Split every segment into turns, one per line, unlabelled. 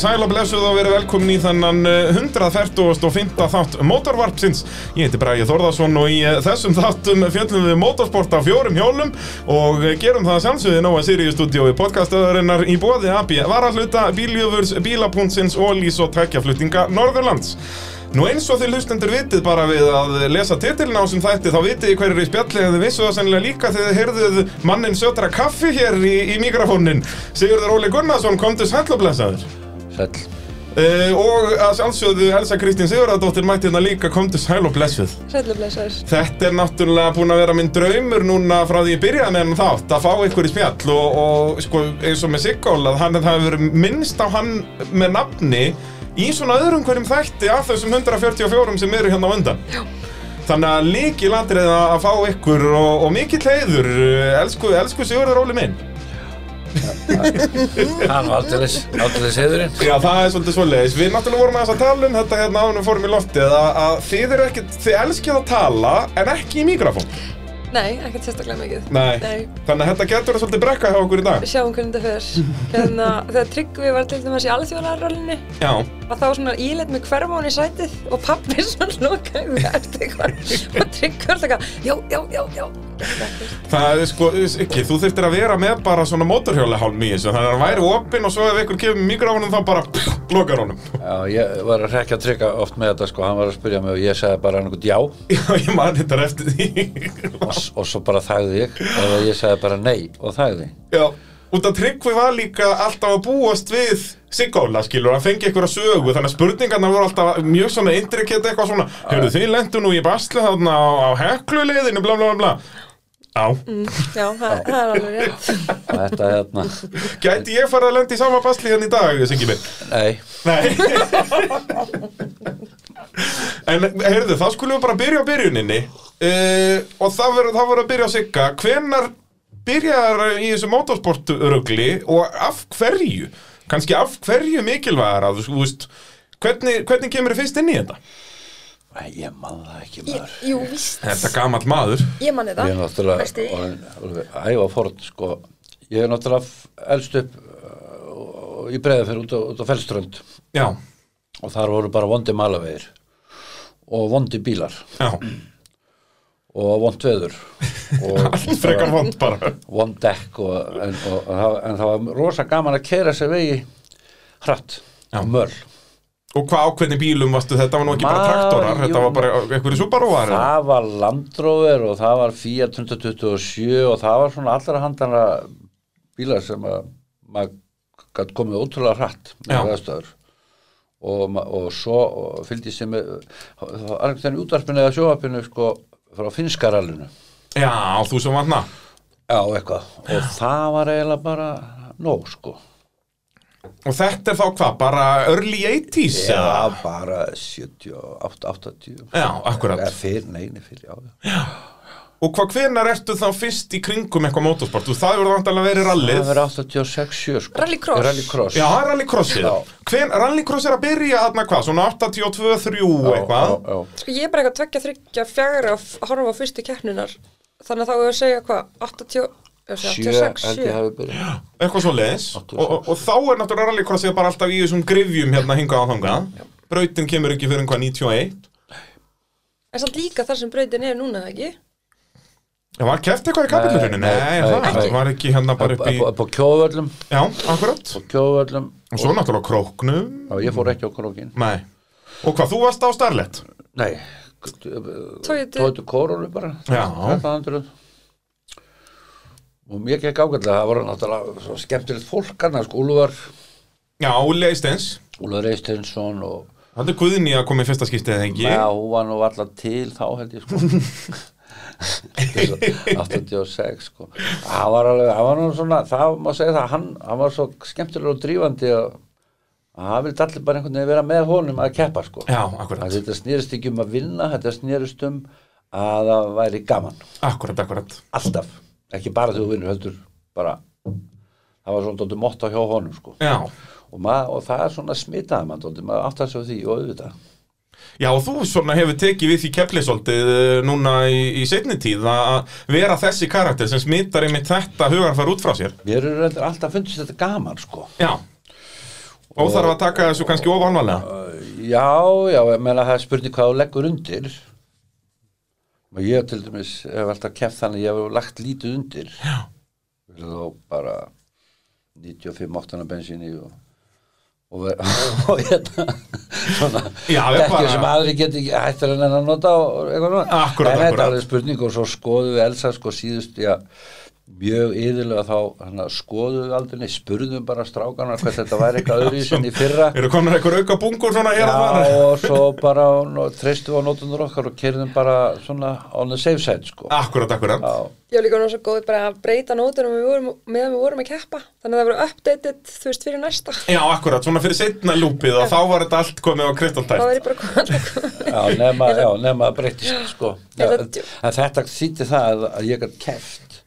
sæla blessuð og verið velkomin í þennan eh, 145. þátt mótorvarpsins. Ég heiti Bræði Þórðarsson og í eh, þessum þáttum fjöllum við mótorsport á fjórum hjólum og eh, gerum það sjálfsögði nóa Sirius-stúdíói podcastöðarinnar í bóði AB, varahluta, bíljöfurs, bílapúntsins og lís og tækjaflutninga Norðurlands. Nú eins og þið hlustendur vitið bara við að lesa titilin á sem þætti þá vitið þið hverjir í spjalli en þið vissu það sennilega líka þegar þið heyrðuð mannin sötra kaffi hér í, í mikrofónin Sigurður Óli Gunnarsson kom til sælloblesaður
Sæll
uh, og að sjálfsögðu Elsa Kristín Sigurðardóttir mætti hérna líka kom til sælloblesuð
Sætla blessaður.
Þetta er náttúrulega búin að vera minn draumur núna frá því ég byrjaði með hann þátt að fá ykkur í spjall og, og sko, eins og með Siggól að hann, það hefur verið minnst á hann með nafni í svona öðrum hverjum þætti af þessum 144 sem eru hérna á undan. Já. Þannig að líki landrið að fá ykkur og, og mikill heiður, eh, elsku, elsku Sigurður Óli minn.
Hann var aldeilis, aldeilis heiðurinn
Já, það er svolítið svoleiðis. Við náttúrulega vorum aðeins að tala um þetta hérna áðunum fórum í loftið að, að þið eru ekkert, þið elskið að tala en ekki í mikrofón.
Nei, ekkert sérstaklega mikið.
Nei. Þannig að þetta getur að svolítið brekka hjá okkur í dag.
Sjáum hvernig þetta fer. Hérna, þegar Tryggvi var til dæmis í alþjóðararrollinni,
Já,
að þá svona íleitt með hverfón í sætið og pappi svona lokaði við eftir eitthvað. Og Tryggvi var alltaf eitthvað, já, já, já, já. Ekkert.
það er sko, ekki, þú þurftir að vera með bara svona mótorhjóla hálm í þessu, þannig að hann væri opinn og svo ef einhver kemur mikrofonum þá bara pff, lokar honum.
Já, ég var að rekja að tryggja oft með þetta sko Hann var að spyrja mig og ég sagði bara einhvern já og,
Já, ég man þetta eftir því.
s- og svo bara þagði ég Eða ég sagði bara nei og þagði
Já, út að Tryggvi var líka alltaf að búast við Sigóla, skilur, hann fengi einhverja sögu, þannig að spurningarna voru alltaf mjög svona intrikett eitthvað svona, heyrðu þið lendu nú í basli þarna á, á hekluleiðinu, bla bla bla. bla." Já,
Já, það, það er alveg rétt.
Og Þetta hérna,
gæti ég farið að lenda í sama basli hérna í dag, Siggi minn?
nei
Nei En heyrðu, þá skulum við bara byrja á byrjuninni uh, Og það verður það verður að byrja á Sigga Hvenar byrjar í þessu motorsportrugli og af hverju? Kanski af hverju mikilvægara, þú þú veist Hvernig, hvernig kemur þið fyrst inn í þetta?
Nei, ég man það ekki
Ég-
maður
Jú, víst.
Þetta gamall maður
Ég man
Ég
þetta.
er náttúrulega
Veistu, ég-
orðinn alveg æfa forn sko Ég er náttúrulega f- elst upp uh, í breiða fyrir út á, út á Fellströnd
Já,
og þar voru bara vondi malavegir og vondi bílar
já,
og vond veður og
frekar vond bara
one deck og, en, og, og, en það var rosa gaman að kera sér vegi hratt
Já.
og mörl
Og hvað ákveðni bílum varstu, þetta var nú ekki bara
Maður,
traktorar
jú.
Þetta var bara einhverju súbaróvar
það var landróver og það var Fiat 127 og það var svona allra handana bílar sem að maður gætt komið ótrúlega hratt
Já.
með aðstöður og, ma- og svo og fylgdi sem eh, það var einhvern veginn í útvarpinu eða sjóvarpinu sko frá finskarallinu
Já, þú sem vann það
Já, eitthvað, og það var eiginlega bara nóg, sko.
Og þetta er þá hvað, bara early 80s? eða?
Já, bara 78, 80
Já,
Eða
akkurat.
fyrr, nei, nei, fyrr, já, já.
Og hvað hvenar ertu þá fyrst í kringum eitthvað motorsport? Þú það verður vantanlega verið
Það
rallið.
verið 86, 7 sko
Rallycross.
Rallycross
Já, það er rallycrossið.
Já.
Hven, rallycross er að byrja þarna hvað, svona 82, 3 eitthvað?
Já, já,
Sko, ég er bara eitthvað tveggja, þryggja, fjagra að horfa á fyrstu keppnunar. Þannig að þá er að segja hvað, 80,
já.
ég sé,
Sjö,
86,
held
7.
ég hafi byrjað
Eitthvað svo leiðis. Og,
86.
og, og þá er náttúrulega rallycrossið bara alltaf í þessum grifjum hérna hingað á þangað. Brautin kemur ekki fyrir einhvað 91.
En samt líka þar sem brautin er núna, eða ekki?
Já, var keft eitthvað í kapillurinu?
Nei,
Nei,
nei,
það
nei.
var ekki hérna bara upp í...
Upp á kjóðvöllum,
Já, akkurat.
á kjóðvöllum
Og svo náttúrulega króknum.
Já, ég fór ekki á krókin
Nei. Og hvað, þú varst á Starlet?
Nei,
Toyota
tóðu kórólu bara
Já.
1300. Og mér gekk ágætlega, það voru náttúrulega svo skemmtilegt fólk annars, sko, Úlfar
Já, Úli Eisteins.
Úlfar Eistinsson og
Þannig Guðni að koma í fyrsta skiptið eða ekki
Já, hún var nú alltaf til þá held ég sko 86 sko Það var alveg, það var nú svona það má segja það, hann, hann var svo skemmtilega og drífandi og að hann vildi allir bara einhvern veginn vera með honum að keppa sko
Já, akkurat,
að þetta snýrist ekki um að vinna þetta snýrist um að það væri gaman
akkurat, akkurat
alltaf, ekki bara þegar þú vinnur heldur bara, það var svona dóttir motta hjá honum sko
Já,
og, mað, og það er svona smitaði mann dóttir, maður áttar sig á því og auðvitað
já og þú svona hefur tekið við því kepplisóldið núna í, í seinni tíð að vera þessi karakter sem smittar einmitt þetta hugarfar út frá sér
Mér er reyndar alltaf fundist þetta gaman sko
Já, Óþarf að taka þessu kannski ofanvalega
Já, já, ég meina það er spurning hvað þú leggur undir og ég til dæmis hef alltaf kemst þannig að ég hef lagt lítið undir Já Þá bara 95 áttana bensinni og og, ver- og hérna svona
Já, við
dekkjum
bara-
sem aðri geti ekki hættar en að nota og eitthvað svona
Akkúrat,
en þetta
akkúrat.
er alveg spurning og svo skoðum við Elsa sko síðust já, mjög yðurlega þá hana, skoðum við aldrei, nei, spurðum bara strákana hvað þetta væri eitthvað öðru í sinni fyrra
Eru komin eitthvað auka bungur svona hér og
Já,
þar
og svo bara no, treystu á nótunur okkar og kerðum bara svona on the safe side, sko.
Akkurat, akkurat
Já,
Ég var líka nú svo góð bara að breyta nótunum við vorum, meðan við vorum að keppa þannig að það voru updated, þú veist, fyrir næsta
Já, akkurat, svona fyrir setna lúpið og þá var þetta allt komið á
þá
kristalltætt
er ég bara komið
já, nema, já, nema að breytist, sko. Já,
Ég
en,
það-
en þetta þýtti það að, að ég gætt keft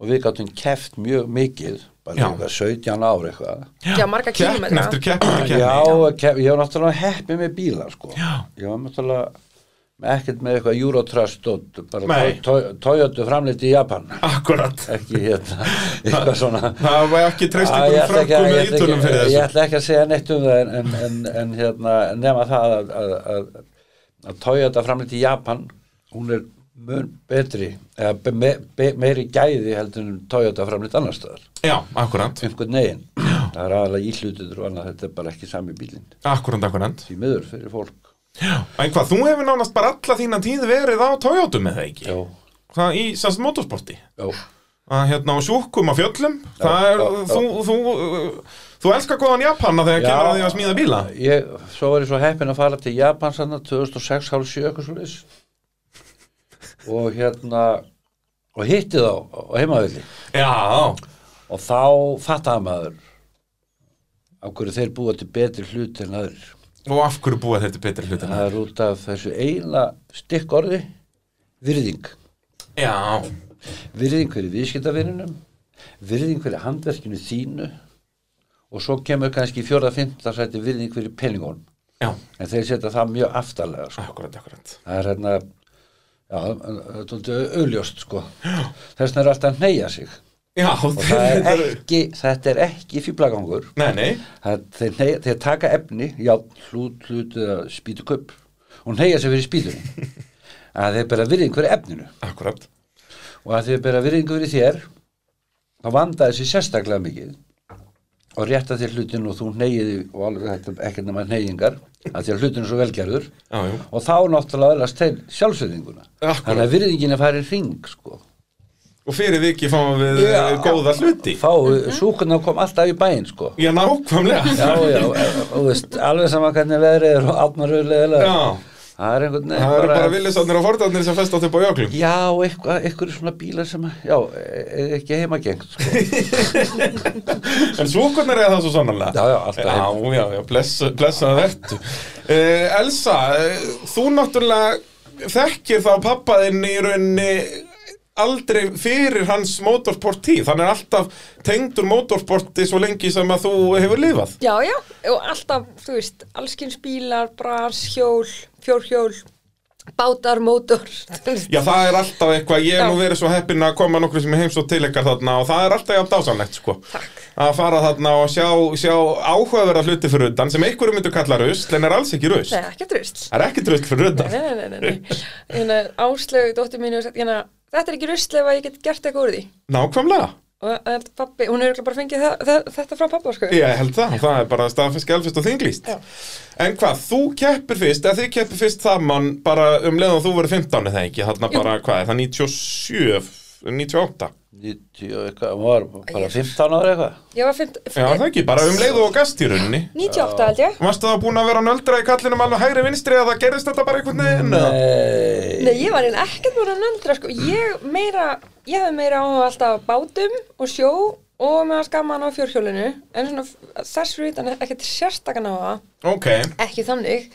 og við gáttum keft mjög mikið,
Já.
bara eitthvað 17 ári eitthvað.
Já, marga
Keppn
kílómetra.
eftir keppn eftir
Já,
keppn
kef, ég var náttúrulega heppið með bíla, sko.
Já.
Ég var náttúrulega ekkert með eitthvað Eurotrust og bara
Nei.
to, to, Toyota framleiti í Japan.
Akkurat
Ekki hérna, eitthvað svona.
Það var ekki treyst
Já, ég
ykkur
ætla ekki að-
frökkum
ég
með
ætla ekki-
ítölum fyrir
Ég
þessu
ætla ekki að segja neitt um það en, en, en, en hérna, nema það að, að, að, að Toyota framleitt í Japan hún er mun betri eða be, me, be, meiri gæði heldur en Toyota framleitt annar staðar
Já, akkurat,
einhvern negin, það er aðalega íhlutur og annað, þetta er bara ekki sami bílinn
akkurat, akkurat
því miður fyrir fólk
En hvað, þú hefur nánast bara alla þína tíð verið á Toyota með það ekki?
Jó,
Hvað, í semst motorsporti?
jó
Að hérna á sjúkum á fjöllum? Það er,
já, já.
þú, þú, þú elskar góðan Japana þegar
Já.
kemur að því að smíða bíla
ég, svo var ég svo heppin að fara til Japan sann 2006, hálf sjö, eitthvað svo og hérna og hitti þá á heimavilli
Já,
og þá fattaði maður af hverju þeir búa til betri hlut en aður
og af hverju búa þetta betri hlutina?
það er út af þessu eina stykk orði virðing
Já,
virðing fyrir viðskiptavinnunum virðing fyrir handverkinu þínu og svo kemur kannski í fjórða fimmta sæti virðing fyrir peningunum
já,
en þeir setja það mjög aftarlega sko.
akkurat, akkurat
það er hérna já, þetta er auðljóst sko þess vegna er alltaf að neyja sig
Já,
og það er ekki, þetta er ekki fýblagangur
Nei, nei,
Það, þeir, nei, þeir taka efni, já, hlut, hlut eða spýtuköp og neyja sig fyrir spýtunni að þeir bera virðing fyrir efninu
akkurat
og að þeir bera virðing fyrir þér þá vandaði sér sérstaklega mikið og rétta þér hlutin og þú neyjiði og alveg þetta ekki nema neyjingar að þér hlutin er svo velgerður
Já, jú,
og þá náttúrulega öðlast þeir sjálfsöðinguna
Akkúrat.
þannig að virðingin er farið hring sko
og fyrir vikið fáum við
Já.
Eh, góða hluti
fá, súkuna kom alltaf í bæinn sko
Já, nákvæmlega
já, já, og veist, alveg sama hvernig veðrið er og átmaröðlega
Já.
það er einhvern veginn
Það eru bara villisarnir og fordarnir sem festast upp á jöklum
já, eitthvað, eitthvað svona bílar sem að- já, er ekki heimagengt sko.
En svúkurnar er það svo sannanlega
Já, já, alltaf
Já, já, já, bless, blessa vertu uh, Elsa, uh, þú náttúrulega þekkir þá pappaðinn í rauninni aldrei fyrir hans motorsport tíð Hann er alltaf tengdur motorsporti svo lengi sem að þú hefur lifað
Já, já, og alltaf, þú veist, allskins bílar, bras, hjól, fjórhjól, bátar, mótor, þú veist.
Já, það er alltaf eitthvað, ég hef nú
Já.
verið svo heppin að koma nokkru sem er heims og til ykkar þarna og það er alltaf jafn dásanlegt, sko.
Takk.
Að fara þarna og sjá, sjá áhugaverða hluti fyrir utan sem einhverju myndu kalla rusl, en er alls ekki rusl.
Nei, ekki drust.
Það er ekkert rusl fyrir utan.
Nei, nei, nei, nei, nei. Hérna, áslögu dóttir mínu, og sagt, hérna, þetta er ekki rusl ef að ég get gert eitthvað úr því.
Nákvæmlega.
Og þetta pappi, hún er örugglega bara fengið það, það, þetta frá pappa, sko.
Ég held það, það er bara staðfisk, elfist og þinglýst.
Já.
En hvað, þú keppir fyrst, eða þið keppir fyrst saman bara um leið og þú verið 15 eða ekki, þarna bara, hvað, er það 97, 98?
90 og eitthvað, hún var bara 15 ára eitthvað
Ég var fint,
Já, það ekki, bara um leið og gast í rauninni.
98 held ég.
Varstu það búin að vera nöldra í kallinum alveg hægri vinstri eða gerðist þetta bara einhvern veginn? eða?
Nei,
Nei, ég var einn ekkert búin að nöndra, sko. Ég meira, ég hefði meira áhuga alltaf á bátum og sjó og með að skamma á fjórhjólinu. En svona, þess fyrir utan ekkert sérstakann á það.
Ok,
ekki þannig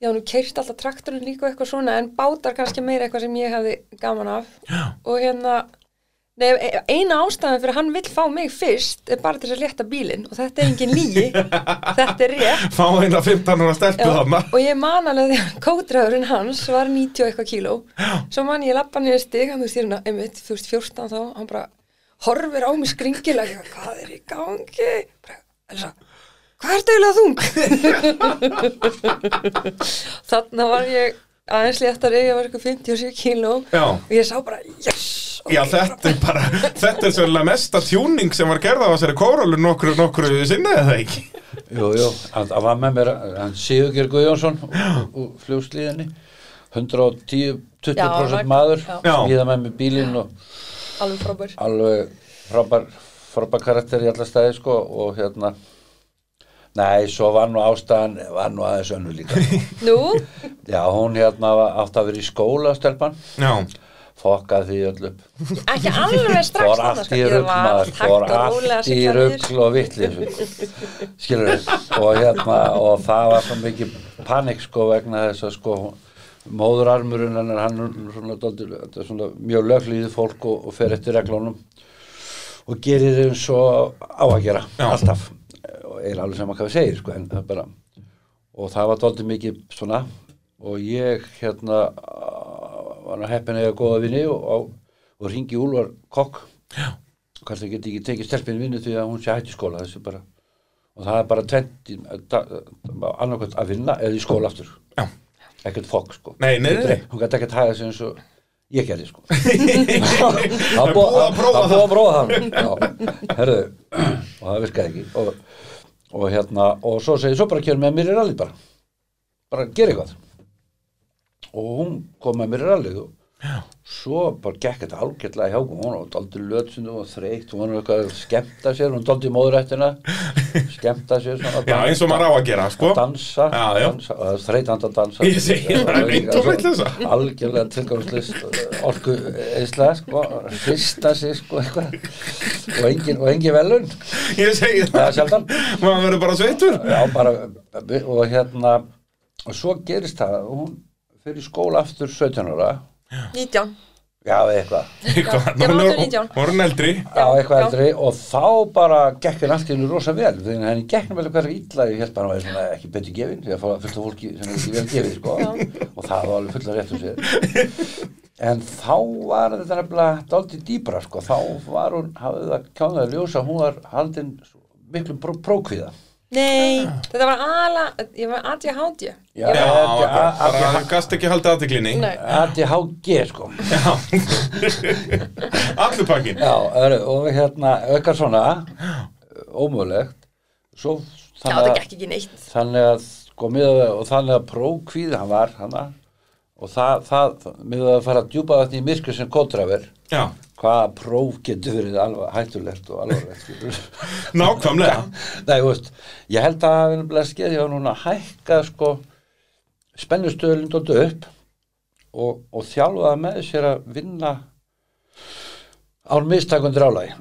já, nú keirt alltaf traktorinn líka og eitthvað svona en bátar kannski meira eitthvað sem ég hefði gaman af já. og hérna nei, e- eina ástæðan fyrir að hann vill fá mig fyrst er bara til að létta bílinn og þetta er engin lígi, þetta er rétt
fá eina 15 ára stelpu
Já,
þarna.
og ég man alveg þegar kótraðurinn hans var 90 og eitthvað kíló svo man ég lappa niður stig hann þú veist, ég er hérna, einmitt, þú veist, 14 þá hann bara horfir á mig skringilega ég, hvað er í gangi? Bara, Elsa, hvað er dægilega þung? Þannig var ég aðeins léttari, ég var eitthvað 57 kíló
Já.
og ég sá bara, yes!
Já, þetta er bara, þetta er svolítið mesta tjúning sem var gerða á þessari kórólu nokkru, nokkru sinni eða ekki.
Jú, jú, hann hann var með mér, hann Sigurger Guðjónsson úr fljóðslíðinni, 110-20%
Já, hann var-
maður,
já.
smíða með mér bílinn og
Alveg frábær.
alveg frábær, frábær karakter í alla staði sko og hérna, nei, svo var nú ástæðan, var nú aðeins önnu líka.
Nú,
Já, hún hérna var- átti að vera í skóla, stelpan,
Já,
fokkaði því öll upp.
ekki alveg strax
fór
þarna,
allt
sko.
í
Ég
rugg
var
maður,
hægt
fór
og rólega að
allt í
sigla niður.
rugg og vitlis skilur við og hérna, og það var svo mikið panik sko vegna þess að sko móðurarmurinn hennar, hann er svona, dálítið- þetta er svona mjög löglýðið fólk og, og fer eftir reglunum og gerir eins og á að gera
Já.
alltaf og er alveg saman hvað við segir sko, en það er bara og það var dálítið mikið svona og ég hérna var nú heppin að eiga góða vinni og, og, og ringi Úlvar Kokk hvort það geti ekki tekið stelpinn vinnu því að hún sé hætti skóla þessu bara og það er bara tventi annarkvæmt að vinna eða í skóla aftur
já,
ekkert fokk sko
Nei, nei, nei, nei.
hún gæti ekkert hæða sig eins og ég gerði sko
Það
það
er búið að prófa
það búið að prófa það Já, herðu, og það virkaði ekki og, og hérna, og svo segi svo bara kemur með mér í rallið bara bara gera eitthvað og hún kom með mér í rallið og svo bara gekk þetta algjörlega hjá hún hún var daldið lötsundu og þreytt hún var nú eitthvað að skemmta sér, hún daldið móðurættina skemmta sér svona
já, eins og maður á að gera, sko.
dansa,
Já, já.
dansa og það er þreytandi að dansa
Ég segi það,
Og
reynd og vitleysa.
algjörlega tilgangslist orku eisla sko, hrista sig sko, eitthvað og engin, og engin velun
Ég segi
það er
það,
sjaldan
maður verður bara sveittur.
já, bara, og hérna og svo gerist það og hún fyrir skóla aftur 17 ára
19.
já, eða eitthvað
Eitthvað,
ég var
nú-
átján, nítján.
nú er hún eldri.
Já,
Já,
eitthvað
já.
eldri og þá bara gekk henni allt í henni rosa vel því að henni gekk henni vel eitthvað illa ég held bara að hann væri svona ekki betur gefin því að fóra fullt af fólki sem er ekki vel gefið sko. og það var alveg fulla rétt um sér en þá var þetta nefnilega dálítið dýbra sko. þá var hún, hafði það kjánaði að ljósa hún var haldin svo miklum pró prókvíða
Nei,
Ah.
þetta var ala, ég var ADHD.
Já,
Já, akkurat, bara
ADHD
hann gast ekki haldið aðtiklinni.
Nei,
ADHD, sko
Já, allur pakkin.
Já, er- og hérna, eitthvað svona ómögulegt svo
já,
að-
það gekk ekki neitt.
þannig að sko miðað og þannig að prókvíð hann var hann og það, það miðað að fara djúpa vatni í myrkur sem kontraver
Já,
hvaða próf getur verið alveg hættulegt og alvarlegt skilur.
nákvæmlega.
Nei, þú veist, ég held að það vilja skeið ég var núna að hækka sko spennustöðlind og upp og, og þjálfaði með sér að vinna án mistakundir álagi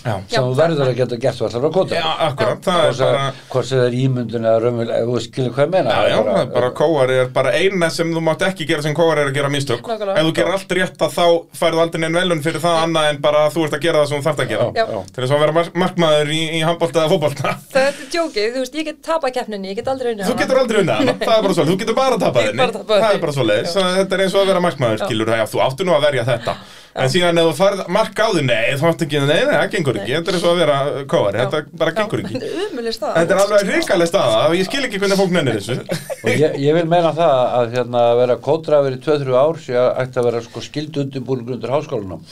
Já,
sem þú verður að geta gert þú ætlar að kontra
já akkurat, það er bara...
hvort sem það er ímyndun eða raunverulega, þú skilur hvað ég meina
Já, já, það er bara kóari er bara eina sem þú mátt ekki gera sem kóari er að gera mistök
Nákvæmlega.
Ef þú gerir allt rétt að þá færðu aldrei neinn velun fyrir það annað en bara að þú ert að gera það sem þú þarft að gera
Já.
Til þess að vera mark markmaður í, í handbólta eða fótbolta
Þetta er djókið, þú veist, ég get tapað keppninni, ég get aldrei unnið
Þú
hana.
getur aldrei unnið hana, það er bara svolítið, þú getur bara tapað
Ég
henni
bara tapað
Það er
henni.
bara svolítið, þetta er eins og að vera markmaður skilur það, já, þú áttu nú að verja þetta En síðan ef þú færð mark á því, nei, þú átt ekki, nei, nei, það gengur ekki Þetta er eins og að vera kóari, þetta bara gengur ekki
Þetta er umulig stað.
Þetta er alveg hrikaleg staða og ég skil ekki hvernig fólk nennir þessu
og ég, ég vil meina það að hérna, að vera kódrafur í 2-3 ár sé að ætti að vera sko skildu undirbúningur undir háskólanum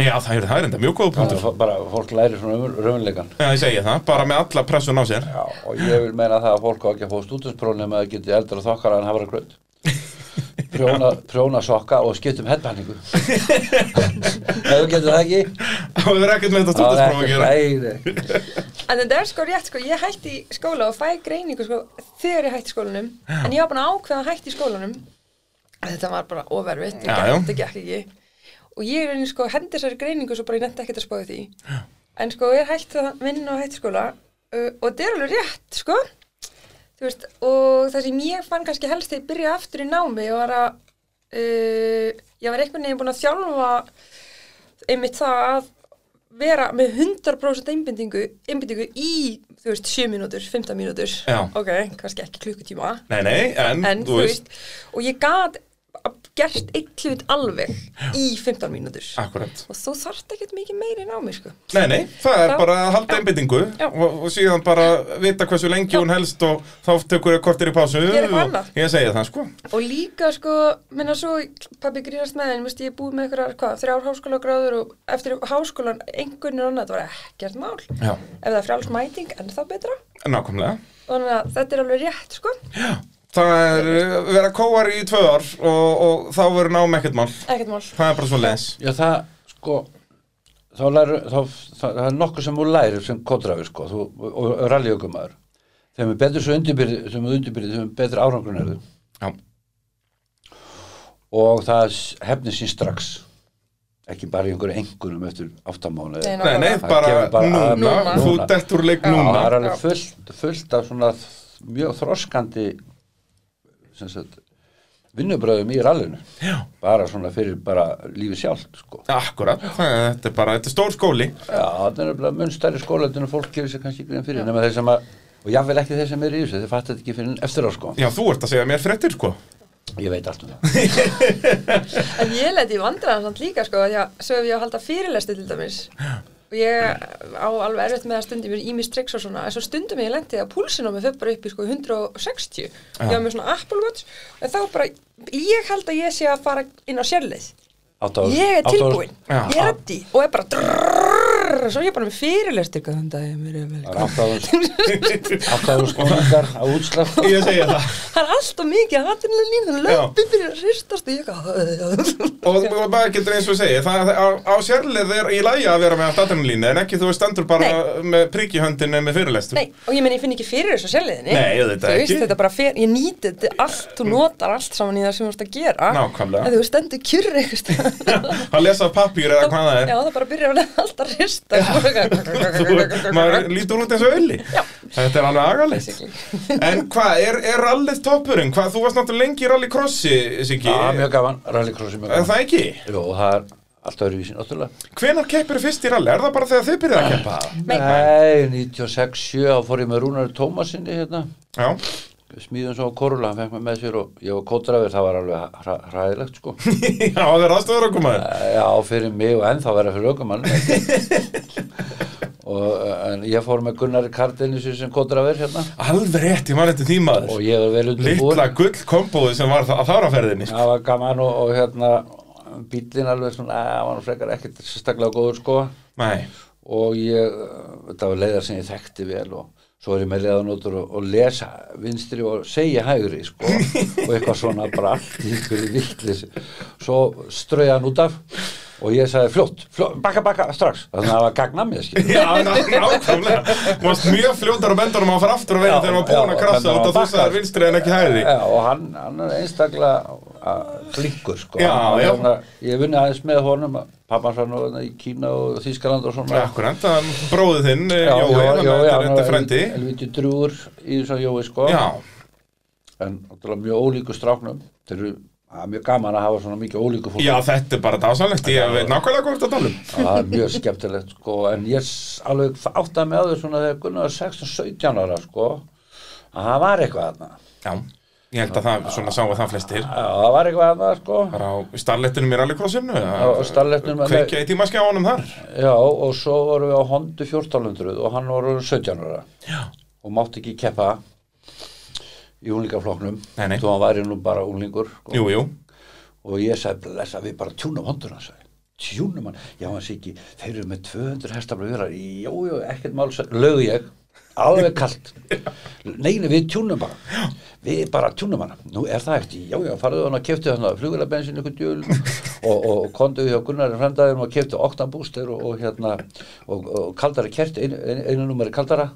Já, það er, það er enda mjög góð
bara,
punktur
fó- bara fólk læri svona raunleikan
Já, ég segi það, bara með alla pressun á sér
Já, og ég vil meina það að fólk á ekki að fá stúdensprónum að geti eldra þokkara en hafra grönd prjóna, prjóna sokka og skiptum headbæningu ef þú getur það ekki
Það er ekkert með þetta
þá er
stúdinspróf að gera
ekki nei, nei.
En þetta er sko rétt, sko, ég hætti í skóla og fæ greiningu sko, þegar ég hætti í skólanum en ég var búin að ákveða að hætti í skólanum þetta var bara ofervitt
Já, já.
þetta gekk ekki og ég er sko, hendi þessari greiningu svo bara ég nefndi ekkert að spáði því en sko, ég hætti að vinna og hætti skóla uh, og þetta er alveg rétt, sko þú veist, og það sem ég fann kannski helst þegar ég byrjaði aftur í námi og var að uh, ég var einhvern veginn búin að þjálfa einmitt það að vera með 100% einbindingu, einbindingu í, þú veist, 7 mínútur, 15 mínútur,
Já.
ok, kannski ekki klukkutíma,
Nei, nei, en,
en þú veist, og ég gat að gert eitt hlut alveg í 15 mínútur
Akkurat.
og þú þarft ekkert mikið meiri en á mig sko
Nei, nei, það er
Þá-
bara að halda einbyttingu
Já.
og, og síðan bara vita hversu lengi hún helst og þá tekur þér kortir í pásu
Gera eitthvað
og
annað.
ég segi það sko
og líka sko, menna svo pabbi grínast með henni, veist, ég er búið með einhverjar hvað, þrjár háskólagráður og eftir háskólan einhvern og annað, það var ekkert mál
Já.
ef það er frjáls mæting, ennþá betra
Nákvæmlega
þannig að þetta er alveg rétt sko
Já. Það er uh, vera kóar í tvö ár og, og þá verður nám ekkert mál
ekkert mál
Það er bara svo leins
Já, það, sko, þá læru, þá, það, það er nokkuð sem þú lærir sem kontrafi, sko, þú, og, og rallyökumar. Þeim er betur svo undirbyrðið, þeim er undirbyrðið, þeim er betur árangrunarðu
Já,
og það hefnir sín strax, ekki bara í einhverju engunum eftir áttamánu.
Nei,
nei, nei,
Það
bara
kemur bara
núna,
að-
Núna.
þú dettur úr leik
Já.
Það
núna
er alveg fullt, fullt af svona þ- mjög þroskandi sem sagt, vinnubröðum í rallinu.
Já.
Bara svona fyrir bara lífið sjálft, sko.
Akkurat, það er- þetta er bara, þetta er stór skóli
Já, þetta er nefnilega mun stærri skólaðin og fólk gefur sér kannski grein fyrir nema þeir sem að, og jáfnvel ekki þeir sem eru í þessu þeir fattu þetta ekki fyrir en eftir á sko
Já, þú ert að segja mér fréttir sko
ég veit allt um það
En ég leti í vandræðan samt líka sko, því að svo ef ég á að halda fyrirlesti til dæmis og ég á alveg erfitt með að stundum ég er ímis triks og svona, en svo stundum ég lenti að púlsinn á mig fyrir bara upp í sko 160 ég var með svona Apple Watch en þá bara, ég held að ég sé að fara inn á sérleið,
Átta ára-
ég er
átta ára-
tilbúin
Já.
ég er addi og er bara drrrr, svo er ég bara með fyrirlesti þannig að ég mér er
það
vel
er átta ára- átta ára skólingar á útslátt
Ég segi það
það er alltaf mikið að hattinlega líf þannig
Já.
löpum fyrir að hristast og ég eitthvað
og, og maður getur eins og segja það, það- á, á sérlið er í lagi að vera með allt adrenalínu en ekki þú stendur bara með prikk í höndinu með fyrirlestur
Nei, og ég menn ég finn ekki fyrir þessu sjálfliðinni
Nei, auðvitað
Þú veist,
ekki.
þetta bara fyrir, ég nýti þetta allt, þú notar allt saman í það sem þú ert að gera
Nákvæmlega.
En þú stendur kjurri eitthvað
að lesa pappýr eða hvað það
Já, það bara byrjar að allt að rista
er þú, maður lítur út eins og ölli þetta er alveg agalegt en hvað, er, er rallið toppurinn? Hvað, þú varst náttúrulega lengi í rallycrossi Siggi,
já, mjög gaman, rallycrossi mjög
er
gaman
það ekki?
Jó, það er alltaf öðruvísi, náttúrulega
hvenar keppir fyrst í rally? Er það bara þegar þið byrjuð að keppa?
Nei.
Nei, 96, 7 þá fór ég með Rúnari Tómasinni hérna
Já,
smíðum svo á Korula, hann fekk mig með sér og ég var kótrafir, það var alveg hra, hræðilegt sko
já það er aðstöður okkur maður
Eh, Já, fyrir mig og ennþá vera fyrir aukumann og eh, en ég fór með Gunnari Kardenissi sem kontraver hérna
alveg rétt, ég man þetta tímaður
og ég var vel
litla
undirbúin
gullkombóði sem var það, að þáraferðinni sko.
það var gaman og, og hérna bíllinn alveg svona, að hann var nú frekar ekkert sérstaklega góður sko
Nei,
og ég, eh, þetta var leiðar sem ég þekkti vel og svo er ég með leiðanótur og, og lesa vinstri og segja hægri sko og eitthvað svona bara allt í ykkur vittlis svo strauði hann út af og ég sagði fljótt, fljótt bakka bakka strax þannig að það var gagna mér skil
já, ná- nákvæmlega Þú varst mjög fljótar á bendunum að fara aftur og veginn
Já,
þegar maður búin að
já,
krasa
þannig
út
að Eh,
að þú
bakka.
sagðir vinstri en ekki hægri
Já, og hann, hann er einstaklega a- flinkur sko
Já,
Hann var
já.
svona- ég vunni aðeins með honum pappan var nú þarna í Kína og Þýskaland og svona
Akkurant, það er bróðið þinn, eh,
Já,
Jói,
já,
þannig að
já,
þetta er
hann
þetta
var
frendi
helvi- helviti drúur í þessu Jói sko
Já,
en náttúrulega mjög ólíku stráknum þeir eru það er mjög gaman að hafa svona mikið ólíku fólk
já, þetta er bara dásanlegt, ég veit nákvæmlega hvað þetta talum
og það er mjög skemmtilegt sko en ég s- alveg áttaði mig á þau svona þegar Gunnar var 16-17 ára sko að það var eitthvað þarna
Já, ég held að það, svona sáu það flestir
Já, það var eitthvað þarna sko
Bara á starlettinum í rallycrossinu
á starlettinum-
Kveikja í tímaskjáunum þar
já og svo vorum við á Hondu 1400 og hann var orðinn 17 ára
Já,
og mátti ekki keppa í unglingafloknum
Nei, nei.
þó hann væri nú bara unglingur sko.
jú, jú
og ég sagði blessa við bara tjúnum honduna sagði. tjúnum hann, já hann sé ekki þeir eru með 200 hestafla viðrar jú, jú, ekkert mál, sagði- lögu ég alveg kalt neina við tjúnum bara við bara tjúnum hann, nú er það ekkert já, já, farðu hann að kefti hann að flugulabensin ykkur djúl og, og, og kondu hjá Gunnari frendaðum og kefti oktanbúster og, og hérna, og, og kaldari kerti einu, einu, einu numeri kaldara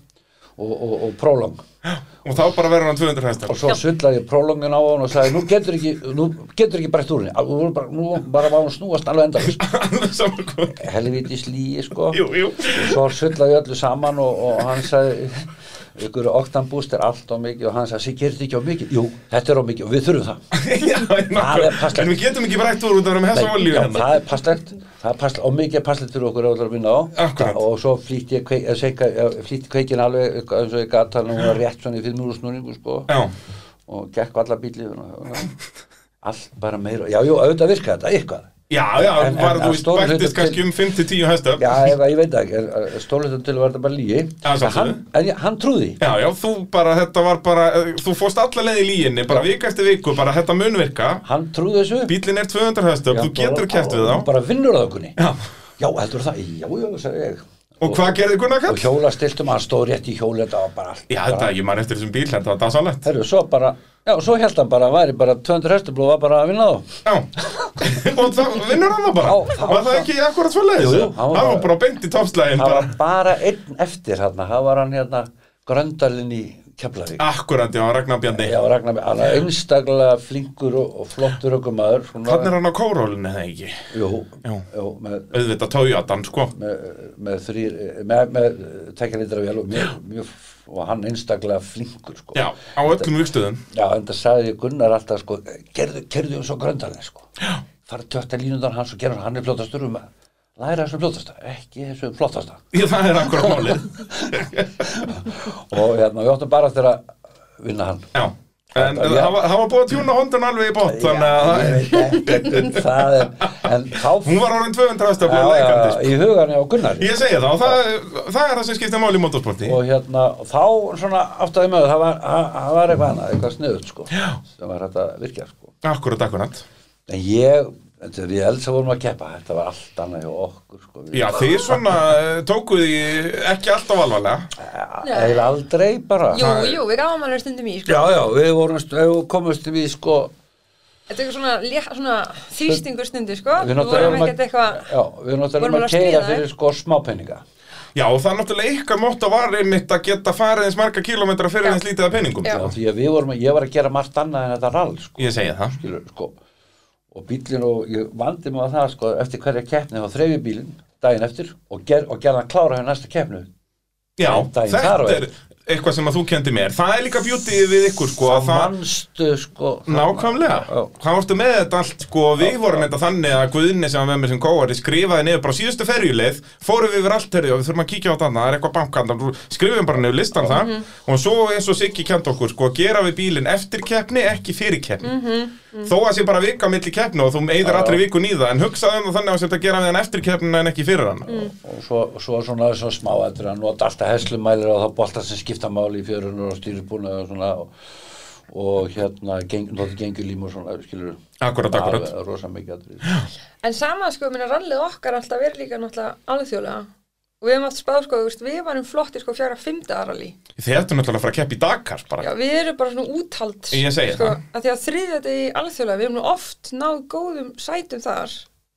og, og, og prólang
Og þá bara verður hann 200
og
hestar
svo sullaði ég prólongin á hann og sagði nú getur ekki, nú getur ekki breytt úr henni Al- nú bara, nú bara var hún snúast alveg endalist
Alveg saman hvað
helvitis líi sko
Jú, jú
og svo sullaði ég öllu saman og, og hann sagði ykkur oktanbúst er allt á mikið og hann sagði sér gerir þetta ekki á mikið, jú þetta er á mikið og við þurfum það
Já, nákvæmlega.
passlegt.
En við getum ekki brætt úr út af þeim
Nei,
hessa olíu
já,
hérna
það er passlegt, það er passlegt og mikið er passlegt fyrir okkur að við vinna á
Akkurat.
og svo flýtti ég kveik, seika, flýtti kveikin alveg eitthvað eins og ég gata hann og hún var rétt svona í fimmur úr snúringu sko
Já,
og gekk á alla bíli og allt bara meira, já, jú, auðvitað virka þetta eitthvað,
Já, já,
En- en
var þú
að
veist,
stóru hluta
bættist
til-
kannski um 5-10 hesta
já, eða ég veit ekki stólutum til var þetta bara lígi
Já,
en hann,
sjálfsögðu.
en ég- hann trúði því.
Já, já, þú bara, þetta var bara, eh, þú fórst alla leið í líginni, bara vika eftir viku, bara þetta mun virka,
hann trúði þessu
bílinn er 200 hestöp, þú getur kæft við
Hann
þá.
bara vinnur það okkurni
Já,
já, heldur það, já, já, sagði ég
og hvað gerði Gunnar
og
Kall?
hjóla stiltum, hann stóð rétt í hjóla þetta var bara allt
Já, þetta, ég man eftir þessum bíl, þetta var dasalett.
Herru, svo bara, já, svo held hann bara, væri bara 200 hestum og var bara að vinna þá.
Já, og það vinnur hann það bara.
Já, það var
Var það
það.
ekki akkurat svo leiðis?
Jú, jú,
Það var bara beint í toppslægin,
Það
bara
var bara einn eftir hérna, það var hann hérna gröndalinn í Keflavík.
akkurat, já, Ragnar Bjarni.
Já, Ragnar, hann er einstaklega flinkur og, og flottur okkur maður.
Þannig er hann á kórólinni, eða ekki?
Jú,
Já.
jú, með,
Auðvitað Toyotan, sko.
með, með þrýr, með, með tekjalitra vel og mjög, mjög, og hann einstaklega flinkur, sko.
Já, á öllum vikstöðum.
Já, en það sagði ég Gunnar alltaf, sko, gerðu, gerðu svo gröndalinn, sko. Já. Fara tjótt að línundan hans og gerðu hann, hann er flottastur um að læra þessum flottasta, ekki þessum flottasta.
Ég, það er akkurat málið.
og hérna, við áttum bara eftir að vinna hann
Já, en
Þetta-
það
já.
var, það var búið að tjúna hóndun alveg í bótt, þannig að það...
ég veit ekkert um það en, en þá
Hún var orðin 200
Já,
aðstaflega
já,
leikandi sko.
í hugan á Gunnari
Ég segi það, og það, það er það sem skiptir máli í motorsporti
og hérna, og þá svona áttaði með það var, það- það var eitthvað annað, eitthvað sniðut sko, sem var hægt að virkja sko.
Akkurat, akkurat
en ég, þegar ég elsa vorum að keppa þetta var allt annað hjá okkur sko. Við-
Já, þið svona eh, tókuð því ekki alltaf alvarlega
eiginlega aldrei bara
Jú, jú, við gáum alveg stundum í, sko.
já, já, við vorum, við komumst við sko
Þetta er eitthvað svona, lé- svona þrýstingur stundu, sko.
við
Við vorum
erum
ekkert eitthvað,
já, við náttúrulega erum
Vorum alveg
að
að
keira
smíða,
fyrir
eh?
sko smápenninga
Já, og það er náttúrulega ykkar mótt að var einmitt að geta farið eins marga kílómetra fyrir
Já.
eins lítið að peningum
Já.
Já, því að við vorum, ég var að gera margt annað en þetta rall, sko,
Ég segi það
skilur, sko. Og bílinn og ég vandi mig að það, sko, eftir hverja keppni þá þreyfi bílinn daginn eftir og, ger, og gerði hann klára hjá næsta keppnu.
Já,
Daginn
þetta
þar á
er eitthvað sem að þú kendi mér Það er líka beauty við ykkur, sko
Og
að það,
mannstu, sko.
Nákvæmlega,
Já,
hvað varstu með þetta allt sko, við vorum þetta þannig að Guðni sem var með mér sem kóari skrifaði niður bara síðustu ferjuleið fórum við yfir allt herri og við þurfum að kíkja á þetta annað, það er eitthvað bankandan, skrifum bara niður listan það
Mhm.
og svo eins og Siggi kent okkur sko, gera við bílinn eftir keppni, ekki fyrir keppni
Mhm,
þó að sé bara vika milli keppni og þú eyðir allri vikun í það en hugsaðu um það þannig að þú sért að gera við hann eftir keppnina en ekki fyrir hann
Mm.
Og svo, svo svona, svo smá eftir að nota alltaf heslumælir og þá boltar sem skipta máli í fjörunur og stýribúna og svona og, og hérna, geng, nota gengjulím og svona, skilur.
Akkurat, akkurat.
Alveg Rosa mikið atrið.
en sama, sko, minna rallið okkar alltaf verið líka náttúrulega alþjóðlega. Og við hefum allt spáð, sko, þú veist, við varum flottir, sko, fjara fymta ralli.
Þið ættu náttúrulega að fara að keppa í Dakar bara.
Já, við erum bara svona úthald
Ég segi
sko,
það.
að Því að þriðja degi alþjóðlega Við erum nú oft náð góðum sætum þar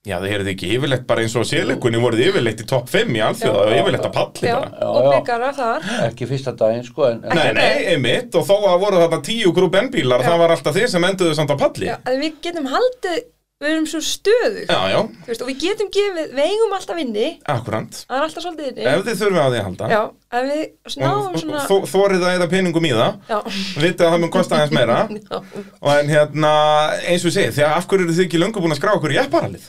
Já, þið heyrðu ekki yfirleitt bara eins og sélegunni voruð yfirleitt í topp 5 í alþjóða og yfirleitt að palli
Já,
bara.
og
já.
byggara þar
Ekki fyrsta daginn, sko, en, en
Nei,
Ekki
nei,
nei.
einmitt, og þó að voru þarna tíu grúp N-bílar, það var alltaf þið sem enduðu samt á palli.
já, að Við getum haldið, við erum svo stöðug
Já, já,
Þú veist, Og við getum gefið, við eigum alltaf inni
akkurant.
Það er alltaf svolítið inni
Ef þið þurfum á því að halda.
Já, að við snáum svona
Og þó- þorið að eða peningum í það,
Já,
vitið að það mun kosta aðeins meira.
já
og en hérna, eins og ég segi, því að af hverju eru þið ekki löngu búin að skrá okkur í epparalið?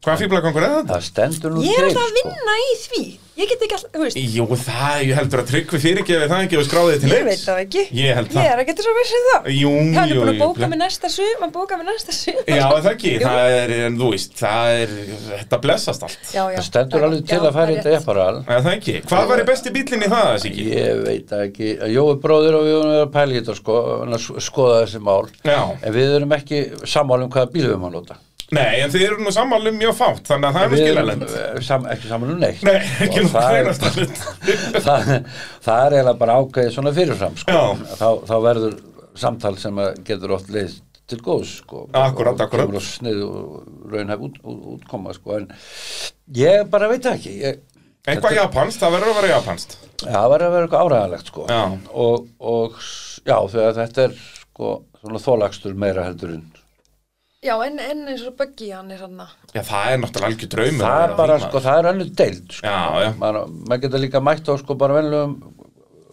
Hvað fýblagangur er þetta?
það stendur nú
Ég
til,
er alltaf að
sko.
vinna í því Ég get ekki alltaf, þú veist
Jú, það, ég heldur að tryggvi fyrirgefið það ekki og skráðið til
Ég veit það ekki
Ég held það.
Ég er að geta svo vissið það
Jú,
Hann er
jú,
búin að
jú,
bóka
ble-
mig næsta sum Hann bóka mig næsta sum
Já, er það ekki,
Jú.
það er, en þú veist, það er, þetta blessast allt.
já, já,
Það stendur alveg til að fara í þetta epparal.
Er það ekki? Hvað var í besti bílinn í það, Siki?
Ég veit það ekki, Jói bróðir og við höfum verið að pæla í þetta sko, en að s- skoða þessi mál.
Já.
En við erum ekki sammála um hvaða bíl við höfum að nota.
Nei, en þið eru nú sammálum mjög fátt, þannig að það er nú
Við
skilalend.
eh, sam, ekki sammála um neitt.
Nei, ekki
Og
nú
það er-
hreinast alveg.
það, það er eiginlega bara ákveðið svona fyrirfram sko.
Já.
Þá, þá verður samtal sem að getur oft leið til góðs sko.
Akkúrat,
Og
akkúrat.
Kemur á snið og raunhæf út, út, útkoma sko. En ég bara veit það ekki. Ég,
Eitthvað japanskt, það verður að vera japanskt.
Já, það verður að vera eitthvað áræðalegt sko
Já.
og, og s- já, þegar þetta er sko svona þólagstur meira heldur en
Já, en, en eins og Böggi hann er hann
Já, það er náttúrulega algjör draumur.
það
að
er
vera
bara
þingmaður.
sko, það er önnur deild sko.
Já, já.
maður, maður getur líka mætt á sko bara venlegum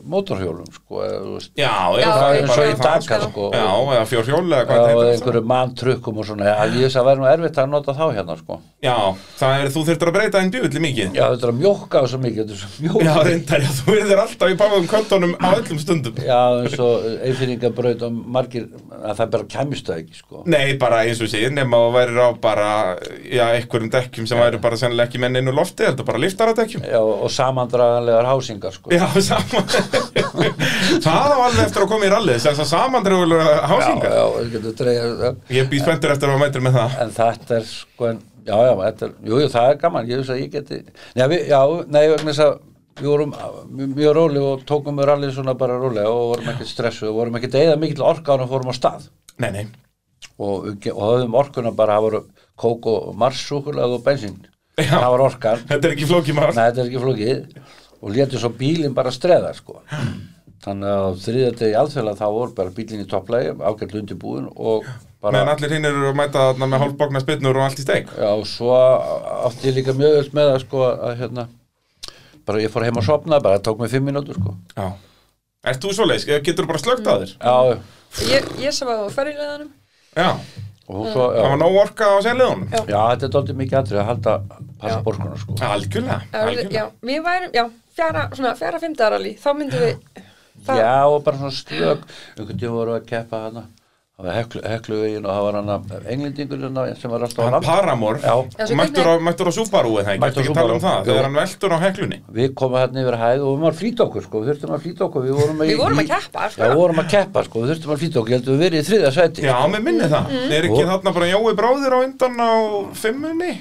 mótorhjólum sko, eða, þú veist,
Já,
Já,
það er
eins
bara
og
í
í
það,
Dakar,
sko.
sko.
Já, eða fjórhjól eða hvað
og
það heitir allt
einhverju manntrukkum og svona, að ég þess að væri nú erfitt að nota þá hérna sko.
saman. Já, það er, þú þurftur að breyta einn bjöfulli mikið.
Já, þetta er að mjókka á svo mikið, þetta er svo
Já,
mjókka
reyndar, já, þú verður alltaf í báðum kvöldunum á öllum stundum.
Já, eins og einfinningabraut og margir, að það bara kemist það ekki sko.
Nei, bara eins og sé, nema að væri á bara, já, einhverjum dekkjum sem væri bara sennilega ekki menn inn úr lofti, þetta bara liftaradekjum.
Já, og samandraganlegar hásingar sko.
Já, saman. það á alveg eftir að koma í rallið, þess að samandröfulega hásingar.
já, já, getur dreigja
Ég býð spenntur eftir að mæta með það.
en þetta er sko en, já, já, þetta er, jú, jú, það er gaman ég veist að ég geti, já, við, já, nei, vegna þess að við vorum mjög- mjög róli og tókum við rallið svona bara rólega og vorum ekkert stressuð og vorum ekkert eða mikill orka ára og fórum á stað
Nei, nei.
og, við ge- og höfðum orkuna bara, það voru kók og marsúkulega og bensín
Já.
það var orkan,
Þetta er ekki flókið mál.
nei, þetta er ekki flókið og létu svo bílinn bara streða sko þannig að þriðja degi alþjóðlega þá voru bara bílinn í topplægi ágætlu undirbúin og bara
Meðan allir hinn eru að mæta þarna með hálfbókna spynnur og allt í steik.
Já, svo átti ég líka mjög öll með það sko að hérna bara ég fór heim að sopna, bara það tók mig fimm mínútur sko.
Já. Ert þú svoleiðis? Getur þú bara slögt
Mm.
að þér?
Já, já.
Ég, ég sem var á ferjuleðanum.
Já.
og hún svo,
Það var
já.
nóg orka á sérleðunum.
Já.
Já, þetta er doldið mikið atrið að halda passa borguna sko.
Algjörlega.
Já,
Algjörlega.
við værum, já, fjara, svona fjara fimmtarali, þá myndum við, það,
Já, og bara svona slök, einhvern tíma voru að keppa hana, það var heklu, hekluvegin og það var hana englendingur hana hérna sem var alltaf á
Hann
land.
Paramor,
Já.
Já, svo
mættur á, mættur á Subaru eða ekki,
Mættur á
ekki tala um
Subaru.
það, þegar
Jú.
hann veltur á heklunni.
Við komum hérna yfir hæð og við varum að flýta okkur sko, við þurftum að flýta okkur, við vorum í-
Við vorum
í-
að keppa, sko.
Já, við vorum að keppa sko, við þurftum að flýta okkur, ég held að við verið í þriða sæti.
Já, með minni það.
Mm.
Er ekki
Og-
þarna bara Jói bráðir á undan á fimmunni?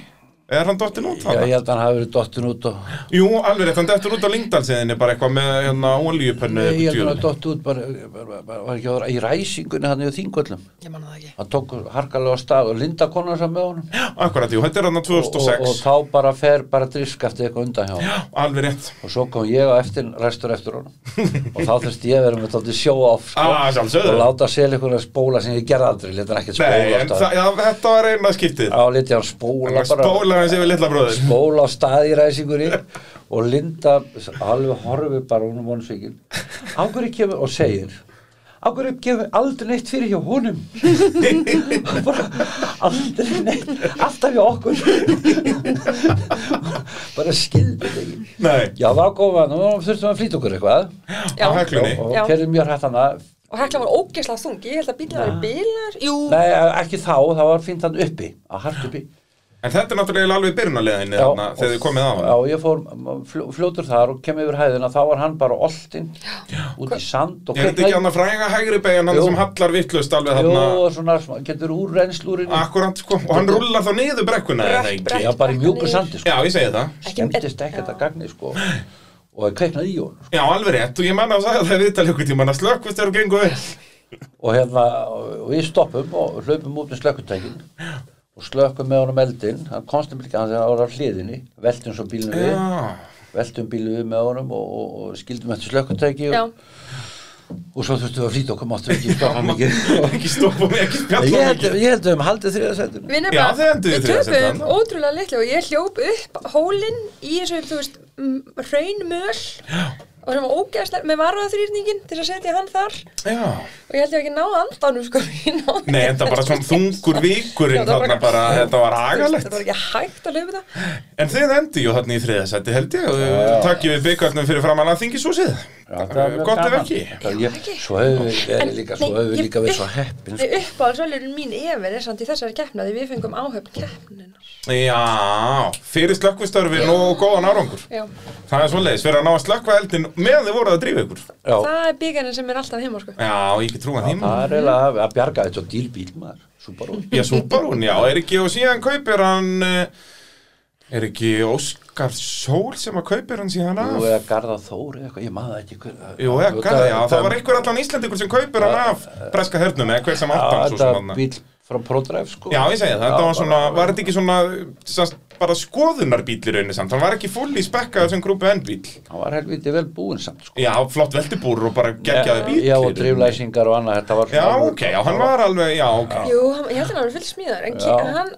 Er hann dottin út
Já,
þarna?
ég held að hann hafi verið dottin út og
Jú, alveg rétt, hann dettur út á Lingdalsiðinni bara eitthvað með hérna ólíupönnu
Nei, ég heldur að
djöfulinn.
dott út bara, bara, bara, var ekki að vera í ræsingunni hann í þingvöllum.
ég manna það ekki.
Hann tók harkalega á stað og Linda konar sem með honum.
Akkurat, jú, þetta er hann
Og, og, og
2006.
þá bara fer bara drisk eftir eitthvað undan hjá hann.
Alveg rétt.
Og svo kom ég á eftir, restur eftir honum. og þá þurfti ég að vera með þátti sjó off, sko.
Ah, sjálfsögðu.
og láta sel ykkur að spóla sem ég gerði aldrei, leta hann ekkert
Nei,
spóla á
en
stað.
það, já, þetta var eina skiptið.
Á, leti hann spóla
Hann
bara.
spólaði hans yfir litla bróðir.
Spóla á stað í ræsingunni og Linda alveg horfi bara hún um vonsvíkin á hverju kemur og segir á hverju kemur aldrei neitt fyrir hjá honum bara aldrei neitt alltaf hjá okkur bara skildi þetta ekki
Nei,
já þá komum við, nú þurftum við að flýta okkur eitthvað
á heklunni.
og
Já.
kerðum mjög hægt hana
Og hekla var ógeðslega þung, ég held að bílar væri bílar, jú,
nei ekki þá, þá var fínt hann uppi að hart uppi
En þetta er náttúrulega alveg byrjunarleðinni
Já,
þarna Hérna, þegar
og-
þið komið á hann.
Já, ég fór fljó, fljótur þar og kem yfir hæðina þá var hann bara oltinn út í sand og
Er þetta ekki
kviknaði-
hann að fræga hægri beigjan hann
Jú.
sem hallar vittlust alveg
Jú,
þarna?
og svona, smá- getur úr reynslúrin
Akkurat, sko, og hann rullar þá niður brekkuna eða
Brekk,
ekki?
brekk.
Já, bara í mjúku sandi sko.
Já, ég segi það.
skemmtist ekkert að gagni sko. og það kveiknaði í honum sko.
Já, alveg rétt, og ég menna að það er viðtal ykkur tíma að slökkvist eru gengu vel.
og hérna, og við stoppum og hlaupum út með slökkutækin og slökkum með honum eldin hann konstum líka hann þegar hann var á hliðinni veltum svo bílinu við
Já,
veltum bílinu við með honum og, og, og skildum eftir slökkutæki
já,
og, og svo þurftum við að flýta okkur máttum við ekki stoppa mikið
ekki stoppa mig, ekki
Ég
spjalla um
held,
mig.
ég held að við höfum haldið þriða sætinu
Já,
við
þið
nefnilega,
enduðu í
við
þriðja sæti
töpum
þarna.
ótrúlega litlu og ég hljóp upp hólinn í þessu, þú veist, m- hraunmöl og sem var ógeðslega, með varðaþrýrningin til að setja hann þar
Já,
og ég held ég ekki ná andanum, sko, ég náði
nei, en það bara svona þungur
Já,
vikurinn
það var
þarna bara, þetta var
Það
agalegt.
var ekki hægt að löfu það
En þið endi jú þarna í þriðasætti held ég, og takkjum við byggarnum fyrir framann að þingi svo síð. Gott ef ekki.
Svo höfum við verið líka, svo
Nei,
höfum við
ég-
líka verið svo
upp-
heppin sko.
Nei, uppáhaldsvöldurinn mín yfir er samt í þessari keppnaði við fengum áhöfn keppninar
Já, fyrir slökkvistörfin og góðan árangur.
Já,
Það er svoleiðis, fyrir að ná að slökkva eldin meðan þið voruð að drífa ykkur.
Já,
það er byggarinn sem er alltaf heima sko
Já, ég get trúið að þeim.
það er eiginlega að- að bjarga þetta og dýr bíl maður Subaru
Já, Subarún, já, er ekki og síðan kaupir hann eh, er ekki Óskar Sól sem að kaupir hann síðan
Nú
af
eða Garða Þór eða eitthvað, ég maður það ekki hver-
Jú, ég,
það-
já, það var einhver allan Íslandingur sem kaupir hann af breska hernum eða hver sem
Já,
átt hann svo
Þetta
sem
er
hann
bíl frá ProDrive sko
Já, ég segi það, þetta
Já,
var svona,
bara-
var þetta ekki svona sast, bara skoðunarbíl í rauninni samt, hann var ekki fulli spekkaður sem grúpu enn bíl
Hann var helviti vel búinn samt sko
Já, flott veltibúr og bara geggjaði bíl
Já,
í
og
rauninni.
driflæsingar og annað, þetta var
Já, ok, já, hann var alveg, já, ok
Jú, hann- ég held að hann var fullt smíðar en,
Já.
en hann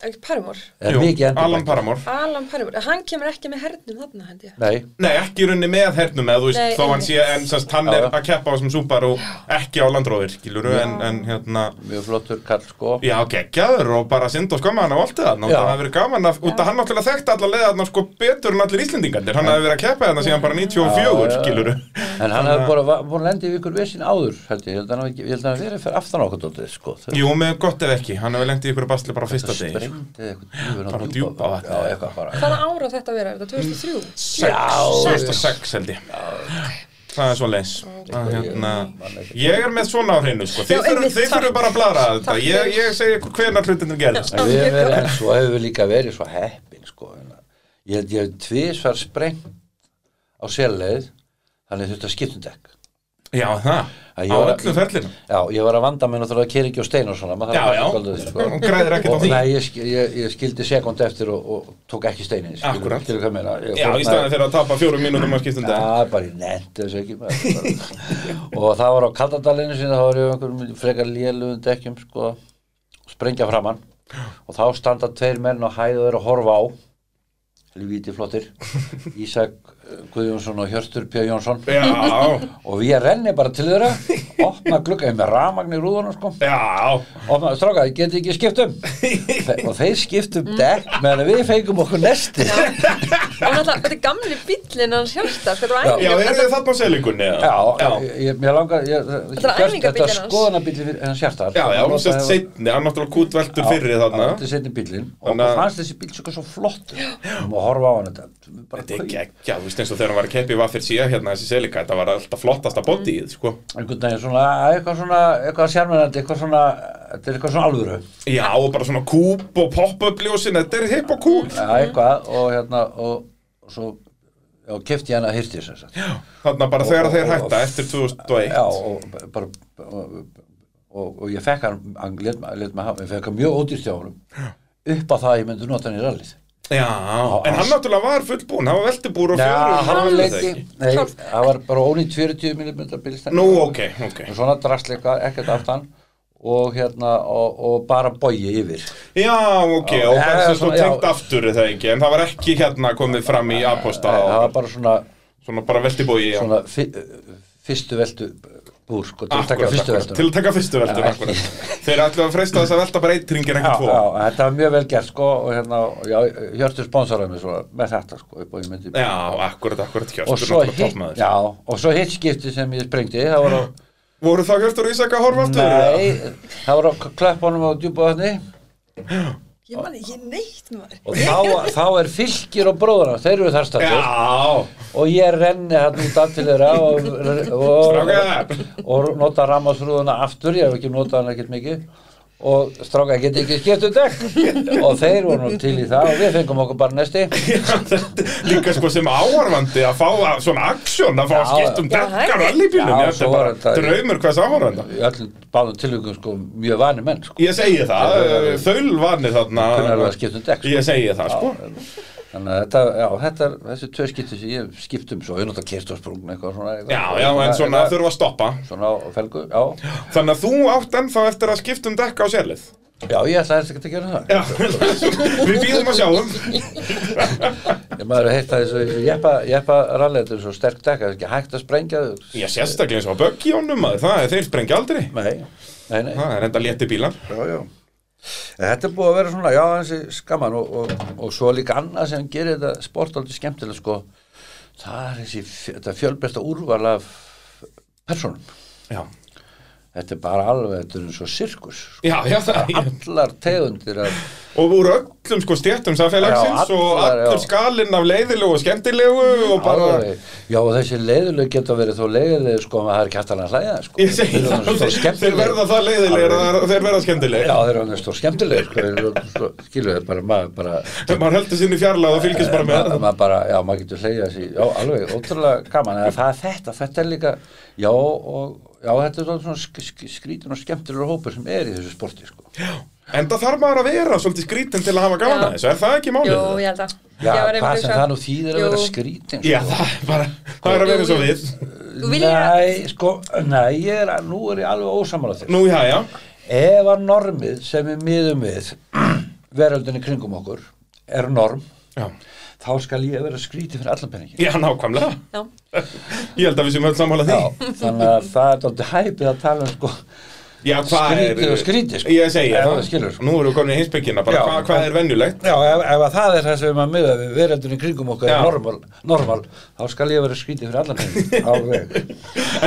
ekki Paramore
Er mikið endurbætt?
Alan Paramore
Alan Paramore, hann kemur ekki með hernum þarna held ég
Nei,
Nei, ekki í rauninni með hernum eða þú veist,
Nei,
þó hann
einmitt.
sé, en sérst, hann
Já,
er
já.
að keppa á þessum Subaru ekki á landróðir, skilur en, en hérna,
mjög flottur kall sko
já, geggjaður og bara synd og skamma hann á allt það, og
Já.
það hefur verið gaman að, út að hann náttúrulega þekkti alla leiðarna sko betur en allir Íslendingarnir, hann hefur verið að keppa hérna síðan bara 94,
Já, já.
skilur
En hann hefði bara va- búin að lendi yfir ykkur vesinn áður, held ég, ég held að hann hafi ekki- ég held að hann verið fyrir aftan okkur dótið, sko. Þau-
Jú, með gott ef ekki, hann hefur lengt í ykkur bastli bara á fyrsta
Það
degi, sko.
sprengdi eða eitthvað djúfur á
Bara
Djúpavatn.
Djúpavatn
Já,
eða
eitthvað bara.
Hvaða ára þetta að vera, er þetta 2003?
Sex,
Já.
2006 held ég Það er svo leis hérna,
Man ekki.
Ég er með svona á hreinu sko. Þið
Já, einmitt,
þurfum þurf
takk.
bara að blara þetta
Takk
Ég,
fyrir.
ég segi ykkur hvenar hlutinir gerðist
En við
Ég-
verið, en svo hefur við líka verið svo heppin, sko. hérna. Ég held ég hef tvisvar sprengt á sérleið, þannig þurfti að skipta um dekk.
Já, það,
Að ég
á
var-
öllum ferlinu
Já, ég var að vanda minn og þurfa að kera ekki á stein og svona. maður þarf
Já,
að
já.
passa dálítið, sko.
Hún græðir ekkert á
Og-
því.
Nei, ég, skil- ég, ég skildi sekund eftir og, og tók ekki steinin.
Akkúrat.
Til hvað meina. Ég
Já, í
fórnaði-
staðan fyrir að tapa fjórum mínútum að skipta um dag
Já, bara í nett þessu ekki maður, bara. og það var á Kaldadalinu sinni þá var ég á einhverjum frekar lélugum dekkjum sko, sprengja framann og þá standa tveir menn á hæð og eru að horfa á helvíti flottir Ísak eh, Guðjónsson og Hjörtur P. Jónsson
Já,
og við renni bara til þeirra opna glugga ég er með ramagn í rúðunum sko
já
opna, stráka, getið ekki skipt um Þe- og þeir skipt um dekk meðan við fengum okkur nesti
Og náttúrulega, þetta er gamli bíllinn hans hjarta, sko, þetta var
Já,
æfingar
eru þið þarna á selingunni? eða?
Já, ég, ég, mér langar ég,
Þetta er æfingabíllinn
Þetta
hans.
skoðanabíli fyrir hans hjartar
Já, já, hún sérst seinni, hann náttúrulega kútveltur fyrri þarna
Þetta er setni bílinn og
Þannig að-
okkur fannst þessi bíl svo svo flott og að horfa á hann þetta við bara
Þetta er
kaup.
geggja, þú veist eins og þegar hann var að keppi var fyrir síða hérna þessi selika, þetta var alltaf flottasta bodyið, sko
einhvern veginn svona, eitthvað svona eitthvað sérmennandi, eitthvað svona þetta er eitthvað svona alvöru
Já, og bara svona kúp og pop-up ljósin, þetta er hip og cool
ja,
Mhm.
eitthvað og hérna og, og svo já, kefti ég hana að hirti þess að
Þannig að bara þegar
Og-
þeir
og-
hætta eftir 2001
já, og b- bara og, og, og ég fekk hann, hann let, let mig hafa, ég fekk hann mjög ódýrt hjá honum upp á það að ég myndi nota hann í rallið
Já, en hann náttúrulega var fullbúinn, hann var veltibúr og fjögur
Já,
og
hann var
það
leiti,
ekki.
nei,
Hálf-
það var bara ónýtt 40 mm bílstæk
Nú, ok, ok
og svona drastleika, ekkert aftan og hérna, og, og bara bogi yfir
Já, ok,
Já,
og
já,
bara
já,
sem svo
svona, já.
tengt aftur er það ekki En það var ekki hérna komið fram í aposta
það var
og
bara svona,
Svona bara veltibúi, já
svona fi, fyrstu veldu búr, sko, til að taka
Akkurat,
fyrstu
akkurat, til að
veldu
taka fyrstu veldur,
Já,
akkurat Þeir ætlaðu að freista þess að velta bara eitt ringir, ekki tvo
Já, þetta var mjög vel gert sko og hérna, já, Hjörtur sponsaraði mig svona með þetta sko upp á ég myndi
Já, akkurat, akkurat,
og
Hjörtur,
svo
náttúrulega
hitt,
toppmaður
já, og svo hitt skipti sem ég sprengdi, það var á
Voru þá Hjörtur og Ísak að horfa aftur?
nei, það var á klöppunum á djúpaðni
Ég man ekki neitt maður
og þá, þá er fylgir og bróðurna, þeir eru
Já,
þar stættir og ég renni hann út af til þeirra og, og,
Strákar.
og nota rammasrúðuna aftur, ég hef ekki notað hann ekkert mikið og stráka geti ekki skipt um dekk og þeir voru nú til í það og við fengum okkur bara næsti
Já, þetta- líka sko sem áhorfandi að fá að- svona aksjón að fá að
Já,
skipta um
já. Já,
dekkar og ellibílum,
já,
þetta er
svo var
bara
þetta-
draumur hvers áhorfanda
í öllum báðum tilvíkum sko mjög vani menn sko
Ég segi það, eh, þaulvarni
kunnar alveg að
þarna
skipta um dekk
Ég
sko.
segi það, sko
þannig að þetta, já, þetta er þessi tvö skipti sem ég skipt um svo, ég nota kert og sprungna eitthvað svona eitthvað,
Já, já, en svona þurfa að stoppa
svona á felgu, já,
Þannig að þú átt ennþá eftir að skipta um dekka á sérlið
já, ég ætla helst ekki að gera það
Já, við býðum að sjáum
Ég maður að heita þessu, þessu jeppa, jeppa rallið, þetta er svo sterk dekka, það er ekki hægt að sprengja þau.
Já, sérstaklega eins og að böggi honum maður, það er þeir sprengja aldrei
Nei, nei, nei,
Það er enda létti bílar
já, já. En Þetta er búið að vera svona, já, þessi skaman og, og, og svo líka annað sem gerir þetta sport aldrei skemmtilega, sko. Það er þessi, fj- þetta fjölbreysta úrval af personum.
Já,
Þetta er bara alveg, þetta er eins og sirkus. sko.
já, já það
Allar tegundir af,
Og úr öllum sko stjættum samfélagsins
Já,
og
allar, já.
allur skalinn af leiðilegu og skemmtilegu og bara
alveg, já, og þessi leiðuleg geta verið þó leiðileg, sko, maður það er ekki hægt að hana hlæða, sko.
Ég segi
Þeir eru
það,
svo
þeir- þeir
skemmtilegir.
verða það leiðilegir að það- þeir verða
Já,
skemmtilegir
þeir eru annars stór skemmtilegir, sko, þeir eru svo, skilu þeir bara, maður bara,
Þegar maður heldur sinni fjarlæð og fylgist bara með
maður maður bara, já, maður getur hleyja þessi, já, alveg, ótrúlega gaman, en það er þetta, þetta er líka, já, og, já, þetta er svolítið svona sk sk skrítin og skemmtilegur hópur sem er í þessu sporti, sko.
Enda þarf maður að vera svolítið skrítin til að hafa gaman að
Já.
þessu, er það ekki
Jú,
málið?
ég held að
Já,
Ég var einmitt
hvað
að
sem
hugsa-
það nú þýðir að
Jú.
vera sko. skrítin,
Já, það er bara, það er að vera eins og við
Þú vilja-
Nei, sko, nei, ég er, nú er ég alveg ósamála þér.
Nú, já, já,
Ef að normið sem við miðum við veröldinni kringum okkur er norm,
Já,
þá skal ég vera skrítið fyrir allan peningin.
já nákvæmlega
Já,
Ég held að við séum öll sammála því
Já, þannig að það er dálítið hæpið að tala um sko,
Já, hvað er
Skrítið og skrítið, sko.
Ég segi
Já,
það,
það skilur, sko.
Nú erum við komin í hinsbyggina bara
Já.
hvað, hvað er venjulegt
já, ef, ef að það er það sem að miða við veröldinni kringum okkur
Já.
er normal, normal, þá skal ég vera skrítið fyrir allan peningin, alveg.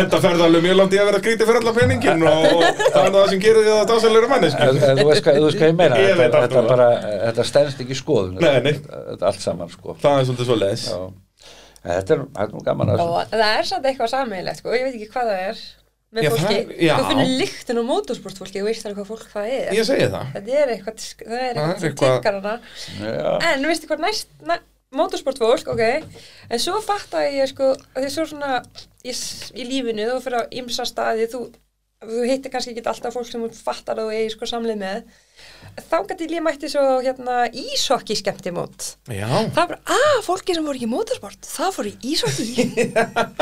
Enda ferða alveg mjög langt í að vera grítið fyrir alla penningin og, og það er það sem gerir því að það dásalega manneski
En, en þú veist hvað þú veist hvað ég meina,
Ég veit
þetta,
nákvæmlega.
þetta, bara, þetta stærnst ekki í skoðun,
Nei, nei.
Þetta, þetta allt saman sko.
Það er svolítið svo leis
Já. En Þetta er, þetta er nú gaman að
og það er samt eitthvað sammeilegt sko, ég veit ekki hvað það er með
Já, það-
fólki,
já.
þú finnur lyktin á mótorsportfólki, þú veist alveg hvað fólk það er
Ég segi það
þetta er eitthvað, sk-
Það
það er
er
eitthvað sem
eitthvað-
tikkar hana
Já.
en veistu hvað næst, næ, mótorsportfólk ok, en svo fattaði ég sko að því svo svona í, s- í lífinu þú fyrir á ymsa staði þú, þú hittir kannski ekki alltaf fólk sem þú fattar að þú eigi sko samleið með þá gæti ég mætti svo á, hérna ísokki skemmti
Já
Það er bara, að, fólki sem voru ekki í motorsport, það fóru í ísvaki.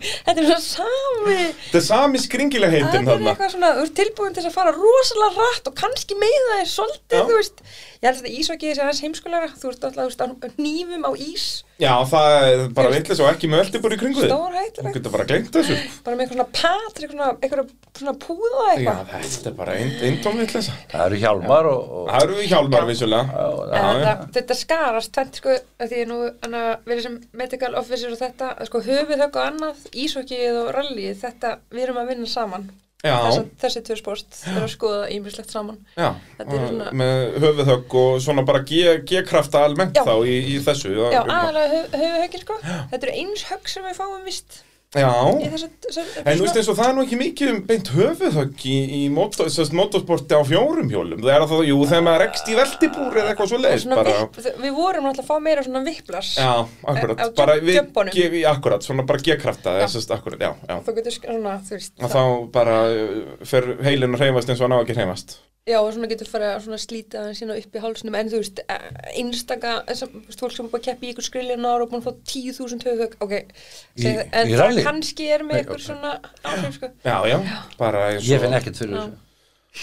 Þetta er svona sami,
Það er sami skringilega
það er
heitin þarna
eitthvað svona, þú ert tilbúin til þess að fara rosalega rætt og kannski meiða þér svolítið,
Já.
þú veist. Ég held að þetta ísvaki sé aðeins heimskulega, þú ert alltaf, þú veist, á nýfum á ís,
Já, það er bara vitlis og ekki með öllibur í kringu þig
stórhættilegt.
Þú getur bara gleymt þessu
bara með eitthvað svona patri, eitthvað, eitthvað svona púða
Já,
eitthvað.
þetta er bara eintóm vitlisa
það eru hjálmar og, og
Það eru við hjálmar vissulega
Já,
En
Já, já.
þetta, þetta skarast tvennt sko af því ég nú hana, við sem medical officer og þetta sko höfuð högg og annað, ísokið og rallið þetta, við erum að vinna saman
Já,
Þessa, þessi tvö sport er að skoða ímislegt saman
já, Mm.
Þetta er svona-
með höfuðhögg og svona bara ge- g-krafta almennt
Já.
þá í, í þessu það-
Já, aðalega höf, höfu höggin sko Þetta eru eins högg sem við fáum vist í
Já,
þessu, þessu,
en þú veist eins og það er nú ekki mikið um beint höfuðhögg í, í mótor, sest, motorsporti á fjórum hjólum það er að það, jú, þegar maður rekst í veltibúr eða eitthvað svo leiðis
svona
bara
vipp, Við vorum náttúrulega að fá meira svona viplars
Já, akkurat,
Á- á
bara
jump-
við,
jumpunum.
ge- við, akkurat, svona bara g-krafta eða
Já.
sest, akkurat, já, já
Þú getur sk- svona, þú veist
og þá bara uh, fer heilin að reyfast eins og hann á ekki að reyfast
Já, og svona getur farið að svona slíta hann sína upp í hálsnum en þú veist, eh, einstaka sem, þú veist, fólk sem er búið að keppa í ykkur skriljanar og búin að fá 10.000 höfug ok,
Í-
segðu- en
í
það
rally?
kannski er með
Nei,
ykkur
ok.
svona áhrif sko
Já, já, bara eins og
ég finn ekkert fyrir þessu.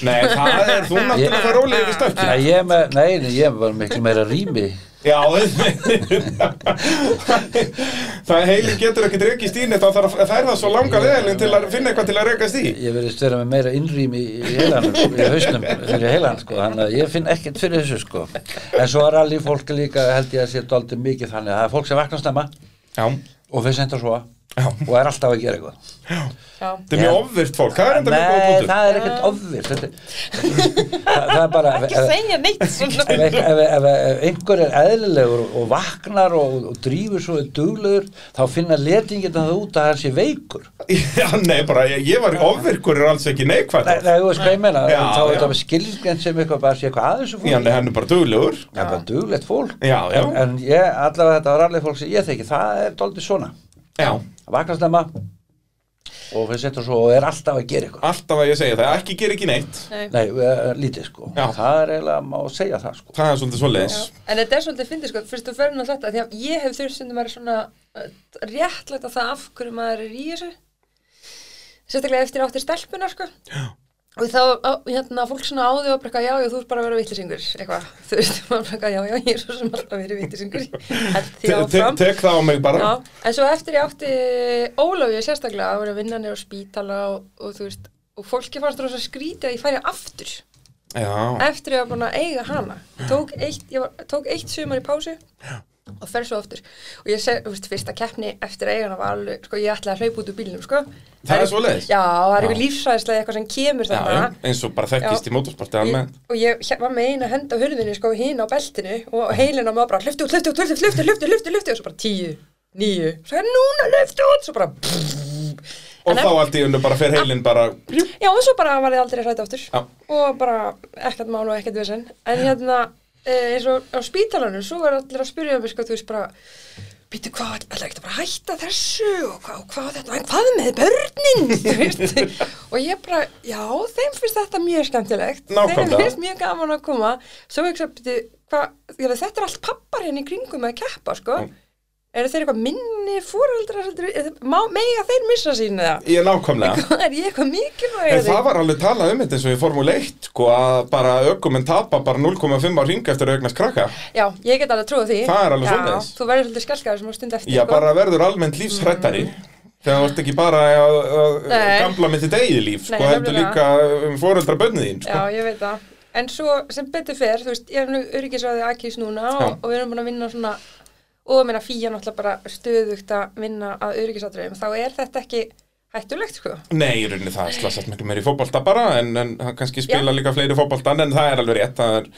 Nei, það er, þú náttúrulega það rólið yfir stökk
Nei, ég er með, nei, nei, ég er bara miklu meira rými
Já, það heilin getur ekki rekist í neitt þá þarf að færða svo langa veðalinn til að finna eitthvað til að rekast í
Ég verðist vera með meira innrými í heilanum, sko, í hausnum fyrir heilan, sko, þannig að ég finn ekkert fyrir þessu, sko. En svo er allir fólk líka, held ég að sé dálítið mikið þannig að það er fólk sem vaknar snemma
Já,
og fyrir senda svo
Já.
og er alltaf að gera eitthvað.
Já,
þetta er mjög ofvirt fólk, það er enda mjög góð
Nei,
punktur
það er ekkert ofvilt. Það, það er bara,
ekki segja neitt svona
ef, ef, ef, ef, ef einhver er eðlilegur og vaknar og, og drífur svo er duglegur, þá finna letingin það út að hann sé veikur.
Já, nei, bara, ég, ég var ofvirkur er alls ekki neikvæð
Nei, nei, þú veist hvað ég meina,
Já,
þá er
já.
þetta með skilgjönd sem eitthvað bara sé eitthvað aðeins og
Já, nei, hann er bara duglegur
Það er bara duglegt fólk.
Já, já,
En, en ég, allavega þetta var allir fólk sem ég þekki, það er doldið svona.
já,
Vaknar snemma og fyrir setja svo og er alltaf að gera eitthvað.
alltaf að ég segja það, ekki gera ekki neitt
Nei.
Nei, eh, lítið sko.
Já.
Það er eiginlega, má segja það sko.
Það er svolítið svo
Já.
leis
En þetta er svolítið fyndið sko, fyrst þú fyrir nú þetta, því að ég hef þurft stundum að vera svona uh, réttlæta það af hverju maður er í þessu, sérstaklega eftir áttir stelpunar sko. Já. Og þá, á- hérna, fólk svona áði og bara eitthvað, já, já, þú ert bara að vera vitlisingur, eitthvað, þú veist, maður bara eitthvað, já, já, ég er svo sem alltaf verið vitlisingur, held því
Te- te-
áfram.
Tek það á mig bara
Já, en svo eftir ég átti Ólafið sérstaklega að vera að vinna nýra á spítala og, og þú veist, og fólki fannst rosa skrítið að ég færi aftur
Já,
eftir ég var búin að eiga hana ég tók eitt, ég var, tók eitt sumar í pásu og fer svo aftur og ég seg, þú veist, fyrsta keppni eftir að eiga hana var alveg, sko, ég ætlaði að hlaupa út úr bílnum, sko
Það er svoleiðis?
Já, það er
Já.
eitthvað lífsræðislega eitthvað sem kemur
já, já,
þarna
eins og bara þekkist
Já.
í mótorsporti almennt
Ég- og ég hér- var með eina hend á hurðinni sko hín á beltinu og heilin á maður bara hluftu út, hluftu út, hluftu, hluftu, hluftu, hluftu, hluftu og svo bara tíu, níu, svo er núna hluftu út, svo bara
Og
En
þá allt í unnu bara fer heilin bara
Já, og svo bara var ég aldrei hrætt aftur
Já.
og bara ekkert mál og ekkert vesen en hérna, eh, eins og á spítalanum svo var allir að spyrja mig, sko, þú veist bara býttu hvað, ætla ekki bara að hætta þessu og hvað, og hvað þetta, en hvað með börnin, þú veist og ég bara, já, þeim finnst þetta mjög skemmtilegt
Nákvæmlega.
þeim finnst mjög gaman að koma svo ekki að býttu, hvað, ég veit, þetta er allt pappar hérna í kringum að keppa, sko
Já.
eru þeir eitthvað minni fóreldrar heldur, eða má, mega þeir missa sín eða
Ég nákvæmlega
er ég eitthvað
En
mikilvægari
það var alveg talað um þetta eins og í Formule 1 sko, að bara ökumenn tapa bara 0,5 á ringa eftir að augnast krakka
já, ég get alveg trúið því
Það er alveg
Já,
svoleiðis.
þú verður svolítið skelkaður sem á stund eftir
Já,
sko.
bara verður almennt lífshrættari þegar þú ert ekki bara að, að
Mm. Nei.
gamla með þitt eigið líf sko,
Nei,
heldur
nefnilega.
líka um foreldra bönnið þín sko.
Já, ég veit það. En svo sem betur fer, þú veist, ég er nú öryggisráðið Akis núna og,
Já.
og við erum búin að vinna svona, og ég meina fíja náttúrulega bara stöðugt að vinna að öryggisátriðum, þá er þetta ekki hættulegt, sko.
Nei, í rauninni það slasast miklu meir í fótbolta bara en, en það kannski spila líka fleiri fótboltan en það er alveg rétt, það er,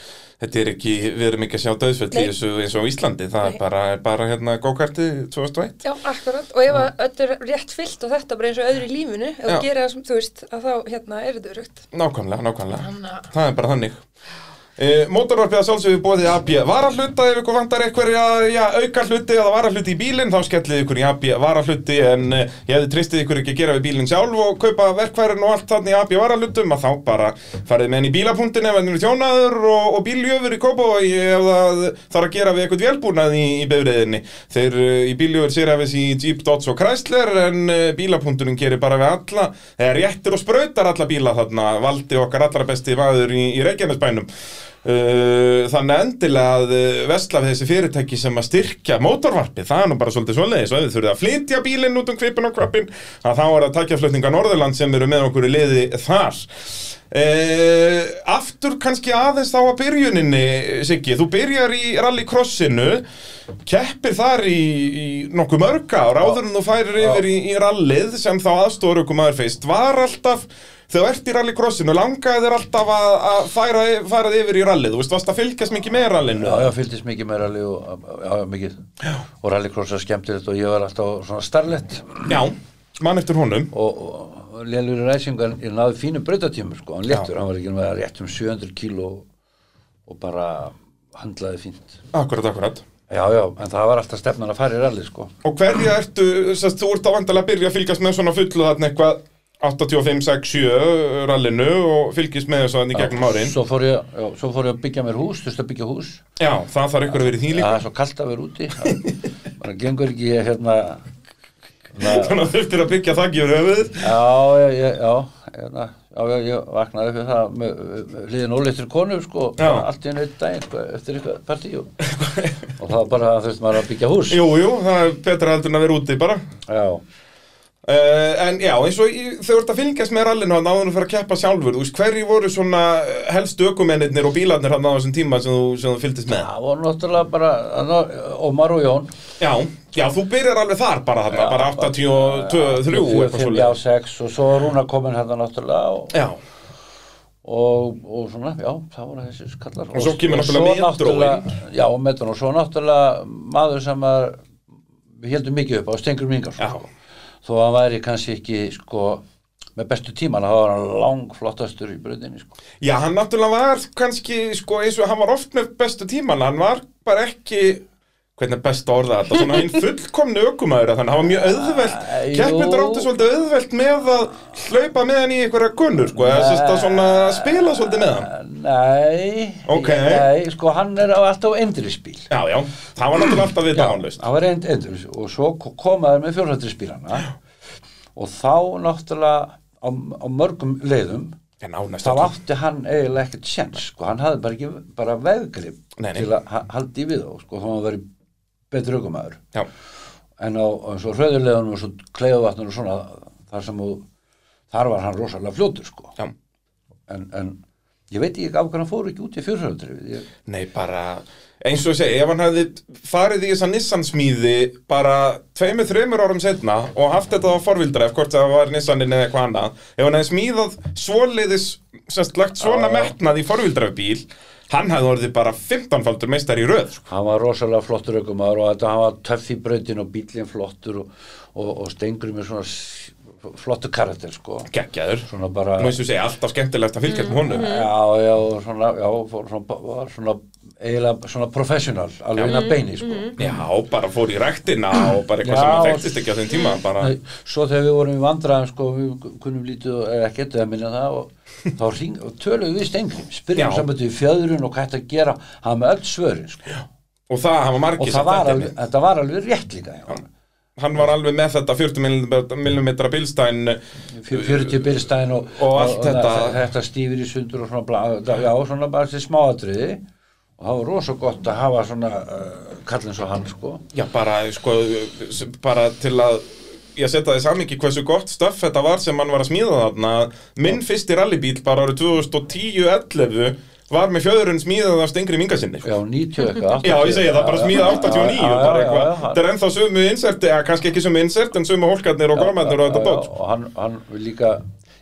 þetta er ekki við erum ekki að sjá döðsfell í
Nei.
þessu eins og á Íslandi, það
Nei.
er bara, er bara hérna gókartið 2001
Já, akkurat, og ef að öllu er rétt fyllt og þetta bara eins og öðru í lífinu, ef
Já.
þú gerir það sem, þú veist, að þá, hérna, er þetta örugt.
Nákvæmlega, nákvæmlega,
Þannig að-
það er bara þannig e, Mótorvarpið að sjálfsögðu bóðið AB varahluta ef ykkur vantar einhverja já, auka hluti eða varahluti í bílinn þá skellið ykkur í AB varahluti en eh, ég hefði tristið ykkur ekki að gera við bílinn sjálf og kaupa verkværin og allt þannig í AB varahlutum að þá bara farið með henni í bílapunktin ef hann er þjónaður og, og bíljöfur í Kópavogi ef það þarf að gera við eitthvað velbúnað í, í bifriðinni þeir eh, í bíljöfur sér að í Jeep, Dodge og Chrysler en eh, bílapunkturinn gerir bara við alla eða réttir og sprautar alla bíla þarna valdi okkar allra besti maður í, í Reykjanesbænum uh, þannig að endilega að eh, vesla við þessi fyrirtæki sem að styrkja mótorvarpi, það er nú bara svolítið svoleiðis og ef þið þurfið að flytja bílinn út um kvipin og krabbin að þá er það takjaflutninga Norðurland sem eru með okkur í liði þar Uh, aftur kannski aðeins þá að byrjuninni Siggi, þú byrjar í rallycrossinu keppir þar í, í nokkuð mörg ár áður en þú færir yfir í, í rallið sem þá aðstóður okkur maður fyrst var alltaf, þegar þú ert í rallycrossinu langaði þér alltaf að, að færa, færa þig yfir í rallið, þú veist, varst að fylgjast mikið með rallinu
Já, já, fylgdist mikið með rally og, já, já, mikið. Já. Og rallycross er skemmtilegt og ég var alltaf svona starlett
já, mann eftir honum
og, og, og lélur ræsingar, ég náði fínum brautatímur, sko, hann léttur, hann var ekki með rétt um 700 kíló og bara handlaði fínt.
akkurat, akkurat
Já, já, en það var alltaf stefnan að fara í rally, sko.
og hverja ertu, sest, þú ert að vandalega að byrja að fylgjast með svona fullu þarna eitthvað 85, 6, 7 uh, rallinu og fylgjast með þessu þannig gegnum árin
Svo fór ég, já, svo fór ég að byggja mér hús, þú veist að byggja hús.
já, það þarf ykkur að vera í því
Já,
líka
það er svo kallt að vera úti. Það bara gengur ekki, ég, hérna, hérna,
þannig að þurftir að byggja þakki yfir höfuð
Já, já, já, já, hérna, já, já, ég vaknaði upp við það með, með hliðin óleittur konu, sko,
Já.
allt í einu einn daginn, sko, eftir eitthvað partí og, og það var bara, þurfti maður að byggja hús.
jú, jú, það er betra heldur en að vera úti bara
Já,
Uh, en já, eins og í- þau ert að fylgjast með rallinu hann áður að fara að keppa sjálfur, þú veist, hverju voru svona helstu ökumennirnir og bílarnir hann á þessum tíma sem þú, sem þú fylgdist með?
það var náttúrulega bara, þarna, Ómar og Jón.
Já, já, þú byrjar alveg þar bara þarna, bara 82, 3 eitthvað
Fimm, já,
svolítið.
sex og svo var hún að komin hérna náttúrulega og,
Já,
og, og svona, já, það voru þessi skallar.
Og svo kemur
svo
náttúrulega metróin.
náttúrulega- Já, metróin og svo náttúrulega maður sem maður, við heldum mikið upp á, Stengur Mingar,
já,
þó að hann væri kannski ekki sko, með bestu tíman þá var hann langflottastur í bröðinni sko.
já, hann náttúrulega var kannski, sko, eins og hann var oft með bestu tíman, hann var bara ekki, hvernig er best að orða þetta, svona hinn fullkomni ökumæður, þannig að hann var mjög auðvelt,
Æ, jú.
keppindur áttu svolítið auðvelt með að hlaupa með hann í einhverja gunnur, sko, eða sérst að svona spila svolítið með hann.
Nei,
Ok.
nei sko, hann er á- alltaf á endrisbíl
Já, já, það var náttúrulega alltaf við dánlaust.
hann var end, endris og svo ko- komaður með fjórhættisbílana og þá náttúrulega á, á mörgum leiðum
En ánæst
þá
alltaf.
átti hann eiginlega ekkert sjens sko. hann hafði bara ekki bara veðgrip
Nei, nei.
til að ha- halda í við þá sko, þá hann verið betri aukumæður
Já,
en á, á svo hröðulegunum og svo kleiðuvatnur og svona þar sem þú, þar var hann rosalega fljótur sko
já.
en, en ég veit ekki af hvernig hann fór ekki út í fjórhjóðdrifið ég,
Nei, bara, eins og ég segi, ef hann hefði farið í þessa Nissan smíði bara tveimur, þreimur árum setna og haft þetta á forvildra, ef hvort það var Nissanin eða eitthvað annað, ef hann hefði smíðað svoleiðis, semst lagt svona metnað í forvildrafbíl, hann hefði orðið bara 15-faldur meistar í röð, sko.
hann var rosalega flottur aukumæður og þetta hann var töff í brautin og bílinn flottur og, og, og stengur með svona s- flottur karakter sko
Gekkjaður.
svona bara
Nú eins og ég segi, alltaf skemmtilegt að fylgjast með honum.
já, já, og svona, já, fór, svona, var svona eiginlega svona professional alveg inn að beini sko
Já, bara fór í rektina og bara eitthvað
Já,
sem hann
og-
þekktist ekki á þeim tíma, bara,
Nei, svo þegar við vorum í vandræðum sko, við kunnum lítið og- eða ekkert eða minna það og þá hring, og tölum við stengum spyrjum
Já.
saman til fjöðrun og hvað þetta að gera hann með öll svörin sko.
og það hafa margir
og
sett
það var
þetta
alveg,
inn.
þetta var alveg rétt líka já.
hann var alveg með þetta 40 mm bílstæn
40 byrstæðin og,
Og allt þetta.
þetta stífur í sundur og svona bla, þetta- já, svona bara þessi smáatriði og það var rosa gott að hafa svona uh, kallin svo hann sko
já bara sko s- bara til að ég setja þess að mikið hversu gott stöff þetta var sem hann var að smíða þarna minn fyrsti rallybíl bara árið 2010-11 var með fjöðurinn smíðað af Stengri Minga sinni
já, 90 eitthvað
Já, ég segi það, bara smíða 89 bara eitthvað, þetta
já, já,
er ennþá sömu inserti, eða kannski ekki sömu insert en sömu hólkarnir og gormarnir og þetta
já,
dót
og hann, hann líka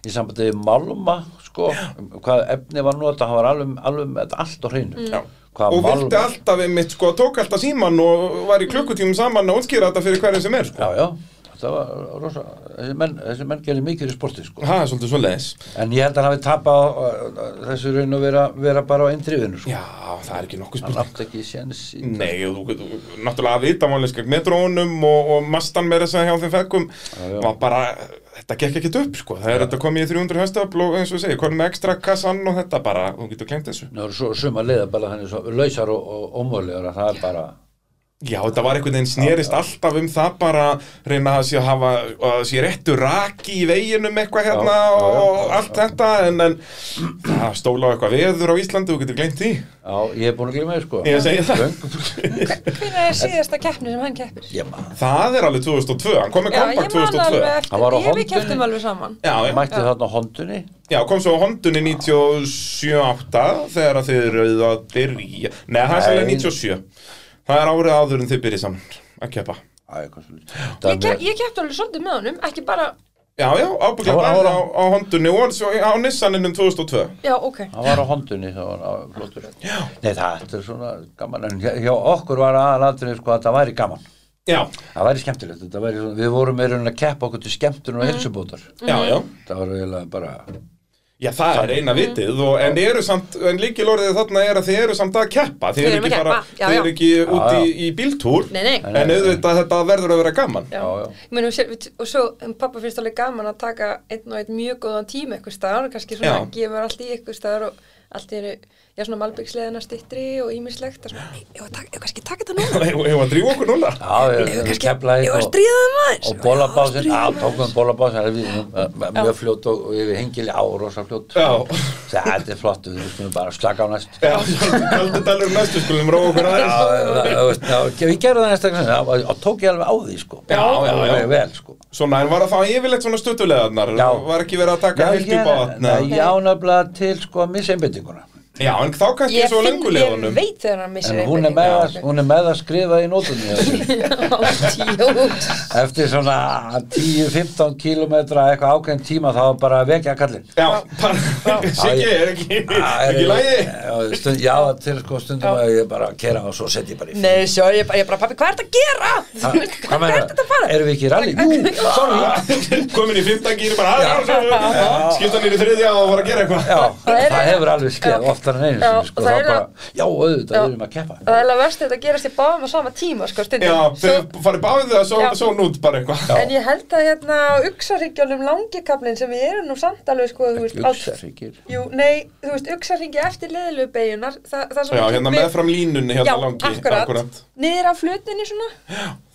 í sambandi við Malma sko, hvað efni var nota hann var alveg, alveg með þetta allt á hreinu
Já.
Hvað
og
Malma-
vildi alltaf einmitt sko, tók alltaf síman og var í klukkutímum saman að útskýra þetta fyrir hverju sem er sko.
já, já, þetta var rosa þessi menn, þessi menn gerir mikið í sporti sko
það er svolítið svo leiðis
En ég held að hann hafi tapað á, á, á þessu raun og vera, vera bara á einn trifinu sko.
já, Mm. það er ekki nokkuð
Hann
spurning
átti ekki séns í
Nei, og þú þú- náttúrulega að vita mánlega metrónum og, og mastan með þess að hjá þeim fekkum
já.
var bara, þetta gekk ekkert upp sko. það er þetta komið í 300 höstöfl og eins og ég segi, komið með ekstra kassan og þetta bara, þú getur glemt þessu
Nú eru svo suma leiða bara þannig svo lausar og, og ómöðlegar að það er bara
Já, þetta var einhvern veginn snerist alltaf um það bara reyna að sé, hafa, að sé réttu raki í veginum eitthvað hérna
já, já,
og
já,
allt þetta en, en það stóla á eitthvað veður á Íslandi, þú getur gleymt því
Já, ég hef búin að glemja þér sko
Ég segi það.
Hvernig er síðasta keppni sem hann keppir?
Ég maður
Það er alveg 2002, hann kom með
Já, ég
kompakt
man alveg
2002
Hann var á
eftir, ég við
Hondunni.
kepptum alveg saman
Já, já,
mætti þarna á hondunni
já, kom svo á Hondunni 97-8 þegar að þið rauðu að byrja Nei, það er sannlega
Nei.
97 Það er árið áður en þið byrjið saman að keppa
Æ, eitthvað svolítið.
Ég,
Það
ke
með-
ég keppti alveg svolítið með honum, ekki bara
Já, já, ábygglega
Það var
bæði
ára.
á, á Hondunni og svo á Nissaninum 2002
Já, ok
Hann var á hondunni þá var hann flottur Já Nei, það er svona gaman en hjá- hjá okkur var aðalatrið sko að það væri gaman
Já,
Það væri skemmtilegt, þetta væri svona, við vorum meira en að keppa okkur til skemmtun og
Mm.
heilsubótar
já,
Mhm.
já
Það var eiginlega bara
Já, það er eina vitið og, en, eru samt, en líkilorðið þarna er að þið eru samt að keppa Þið
Við
eru
erum
ekki,
að
bara,
keppa, já,
þið eru
já.
ekki út
Já,
í, í bíltúr
Nei, nei.
En auðvitað þetta verður að vera gaman
Já,
Já, já.
Ég meina, sér, við- og svo um, pappa finnst alveg gaman að taka einn og einn mjög góðan tíma eitthvað staðar og kannski svona
Já.
að gefa allt í eitthvað staðar og allt í eru, já svona malbyggsleðina stittri og ímislegt og svona, nei, ég var tak, eigum við kannski að taka þetta núna,
Hefur hefur að drífa okkur núna
Já, ég
ég var
við
kannski,
keflaði
ég var að stríða það maður
og bólabásin, já,
Já, að stríða
tókum bólabásin það er við, m- mjög fljótt og, og yfir hengili á, rosa fljótt
Já.
það þetta er flott, við skulum bara slaka á næst
Já, kaldur dalur næstu skulum róa okkur
Já,
aðeins
það- þú veist, já, ég gerði það næsta sinni, já, og tók ég alveg á því sko
Já, já, já.
Alveg vel sko
Svona, en var það þá yfirleitt svona stuttulegarnar?
Já.
Var ekki verið að taka heilt upp á vatna?
nei, ég ánaflaði til sko að missa einbendinguna
Já, en þá kannski
Ég
svo
finn, ég
lengulegunum
veit þegar hann missir
en hún er með, að- hún er með að skrifa í nótunni
Jós,
eftir svona 10-15 kilometra eitthvað ákveðin tíma þá bara að vekja kallinn
Já, bara, Siggi, er ekki,
Já,
ekki lægi?
já, stund, já, til sko stundum að ég bara kera og svo setja ég bara í
nei, sjá, ég bara, ég bara, pappi, hvað er þetta að gera?
Ha,
Þú veist,
Hvað
Hvað er
meina,
þetta að fara?
erum við ekki í rally? Jú, sorry
Komin í fimmtangýri bara "Ah, Skipta nýri þriðja og var að gera eitthvað
Já,
Það er-
það hefur alveg skeð
Já.
oftar en einu
Já,
sinni, sko,
það
þá
er
bara,
að-
já, auðvitað,
Já.
við erum að keppa
Það er alveg verst að þetta gerast í báðum á sama tíma, sko, stundum
Já,
Svo-
þau farið báðið að svo,
Já.
svo nút bara eitthvað
Já.
En ég held að hérna á uxarhyggjálum langikablin sem við erum nú samt alveg sko, þú veist, á-
Uxarhryggir.
Jú, nei, þú veist, uxarhyggi eftir leðilubegunar, það, það sem
Já, hérna
við-
meðfram línunni hérna
Já,
langi
akkurat. Niður á flutinni svona,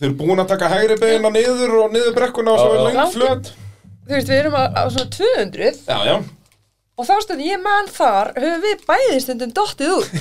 Þau eru búin að taka hægri beina niður og niður brekkuna og svo
Já,
er
já.
lengt flöt
þú veist, við erum á, á svona 200
Já, já
og þá stundum ég man þar, höfum við bæði stundum dottið út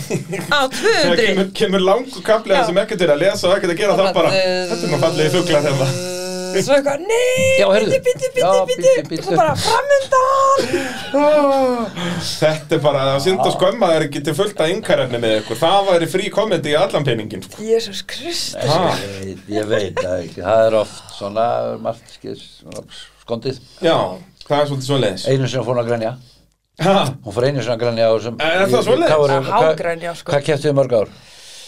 á
Þegar
200
kemur, kemur langu kaplið
Já.
sem ekkert er að lesa og ekkert að gera það bara Þetta er nú fallið í fuglar hérna
uh, Svo eitthvað, nei,
Já, heyrðu.
bíti, bíti,
Já,
bíti,
bíddu,
bíti
bíddu.
Svo bara framundan
Þetta er bara að synda skömma það er ekki til fullt að yngarefni með ykkur Það væri frí komedi í allan peningin sko.
Jésús Kristus
Ha.
Ég veit- Ég veit það ekki, það er oft svona margt skeð, svona skondið
Já, það er svolítið svo leiðis
Einu sinni fór hún að grænja, hún fór einu sinni að grænja á þessum
Er það svoleiðis?
Hágrænja, sko.
Hvað kepptu í mörg ár?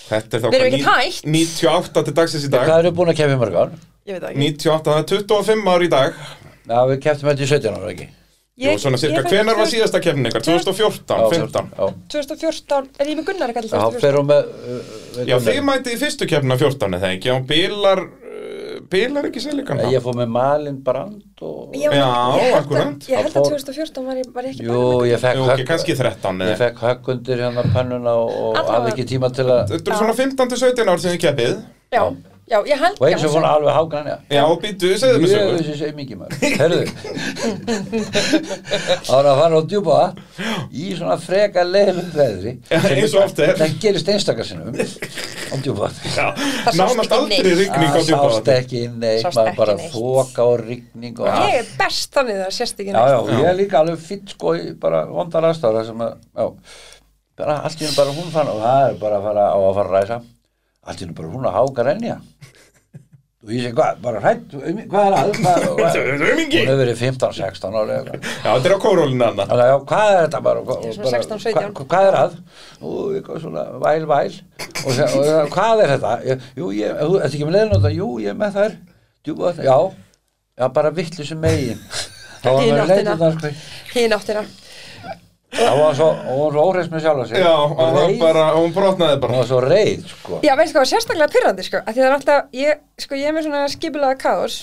Þetta er þá
Við erum
hvað,
ekkert
ní-
hætt.
98 til dagsins í dag
Hvað eru búin að keppa í mörg ár?
Ég veit það ekki
98, það er 25 ár í dag
Já, við kepptum þetta í 17 ára ekki
Jú, svona cirka,
ég-
hvenar var síðasta kefnin ykkar? 2014,
Já,
15
já.
2014, er ég með Gunnar ekki alltaf
Já,
2014?
fer hún með uh,
Já, þið mætið í fyrstu kefna 14 eða ekki, já, bílar uh, bilar ekki selikan
Ég fór með Malin Brand og...
Ég,
Já,
ég held að,
akkúrat.
ég held að
Fór-
2014 var ég, var ég ekki
Jú, ég fekk
Ok, kannski 13
Ég
eða
fekk högg undir hérna pönnuna og, og
Allavega.
hafði ekki tíma til að...
Þetta er svona 15-17 ár sem ég keppið
Já, já, ég held
Og
já,
eins og fór
svo-
alveg hágrænja.
Já, býtu, segðu
Ég
mig
hef
sögur
þessi segi mikið maður. Herðu, ára að fara á djúpa í svona freka leilu veðri.
Já, eins og oft er.
Það gerist einstakarsinnum á djúpa
Já,
sást
Nánast
ekki
aldrei
neitt.
rigning á
Það sást
djúpavatni
ekki neitt,
Sást
maður
ekki
bara
neitt.
þoka og rigning og...
Ég er best þannig það sést ekki
Já, já,
neitt
ég er líka alveg fýtt sko í bara vondar aðstára sem að, já, bara allt í hennu bara hún fann og það er bara að fara á að fara að ræsa, allt í hennu bara hún að háka renja. Og ég segi, hvað, bara hrætt, um- hvað er að, hvað, hvað,
Þetta er
hún
aumingi Já,
hefur verið 15, 16 ára eða eitthvað.
þetta er á kórólinu anna
Þannig að, já, hvað er þetta bara, hvað,
Ég er svona
bara,
16, 17.
hvað, hvað er að, og eitthvað svona væl, væl, og, se, og það, hvað er þetta, Ég- jú, ég, þú, þetta ekki með leiðinóta, jú, ég er með þær, djúpa, já, já, bara vittlisum megin. Þá var
Hina
maður
áttina.
leiðinóta, sko,
Hinn áttina
Það var svo, hún var svo óhreist með sjálfa sig
Já, og það var
Reið,
bara, og hún brotnaði
Hún
bara
var svo reið, sko
Já, veistu hvað, var sérstaklega pyrrandi sko, að því það er alltaf, ég, sko, ég er með svona skipulega kaos,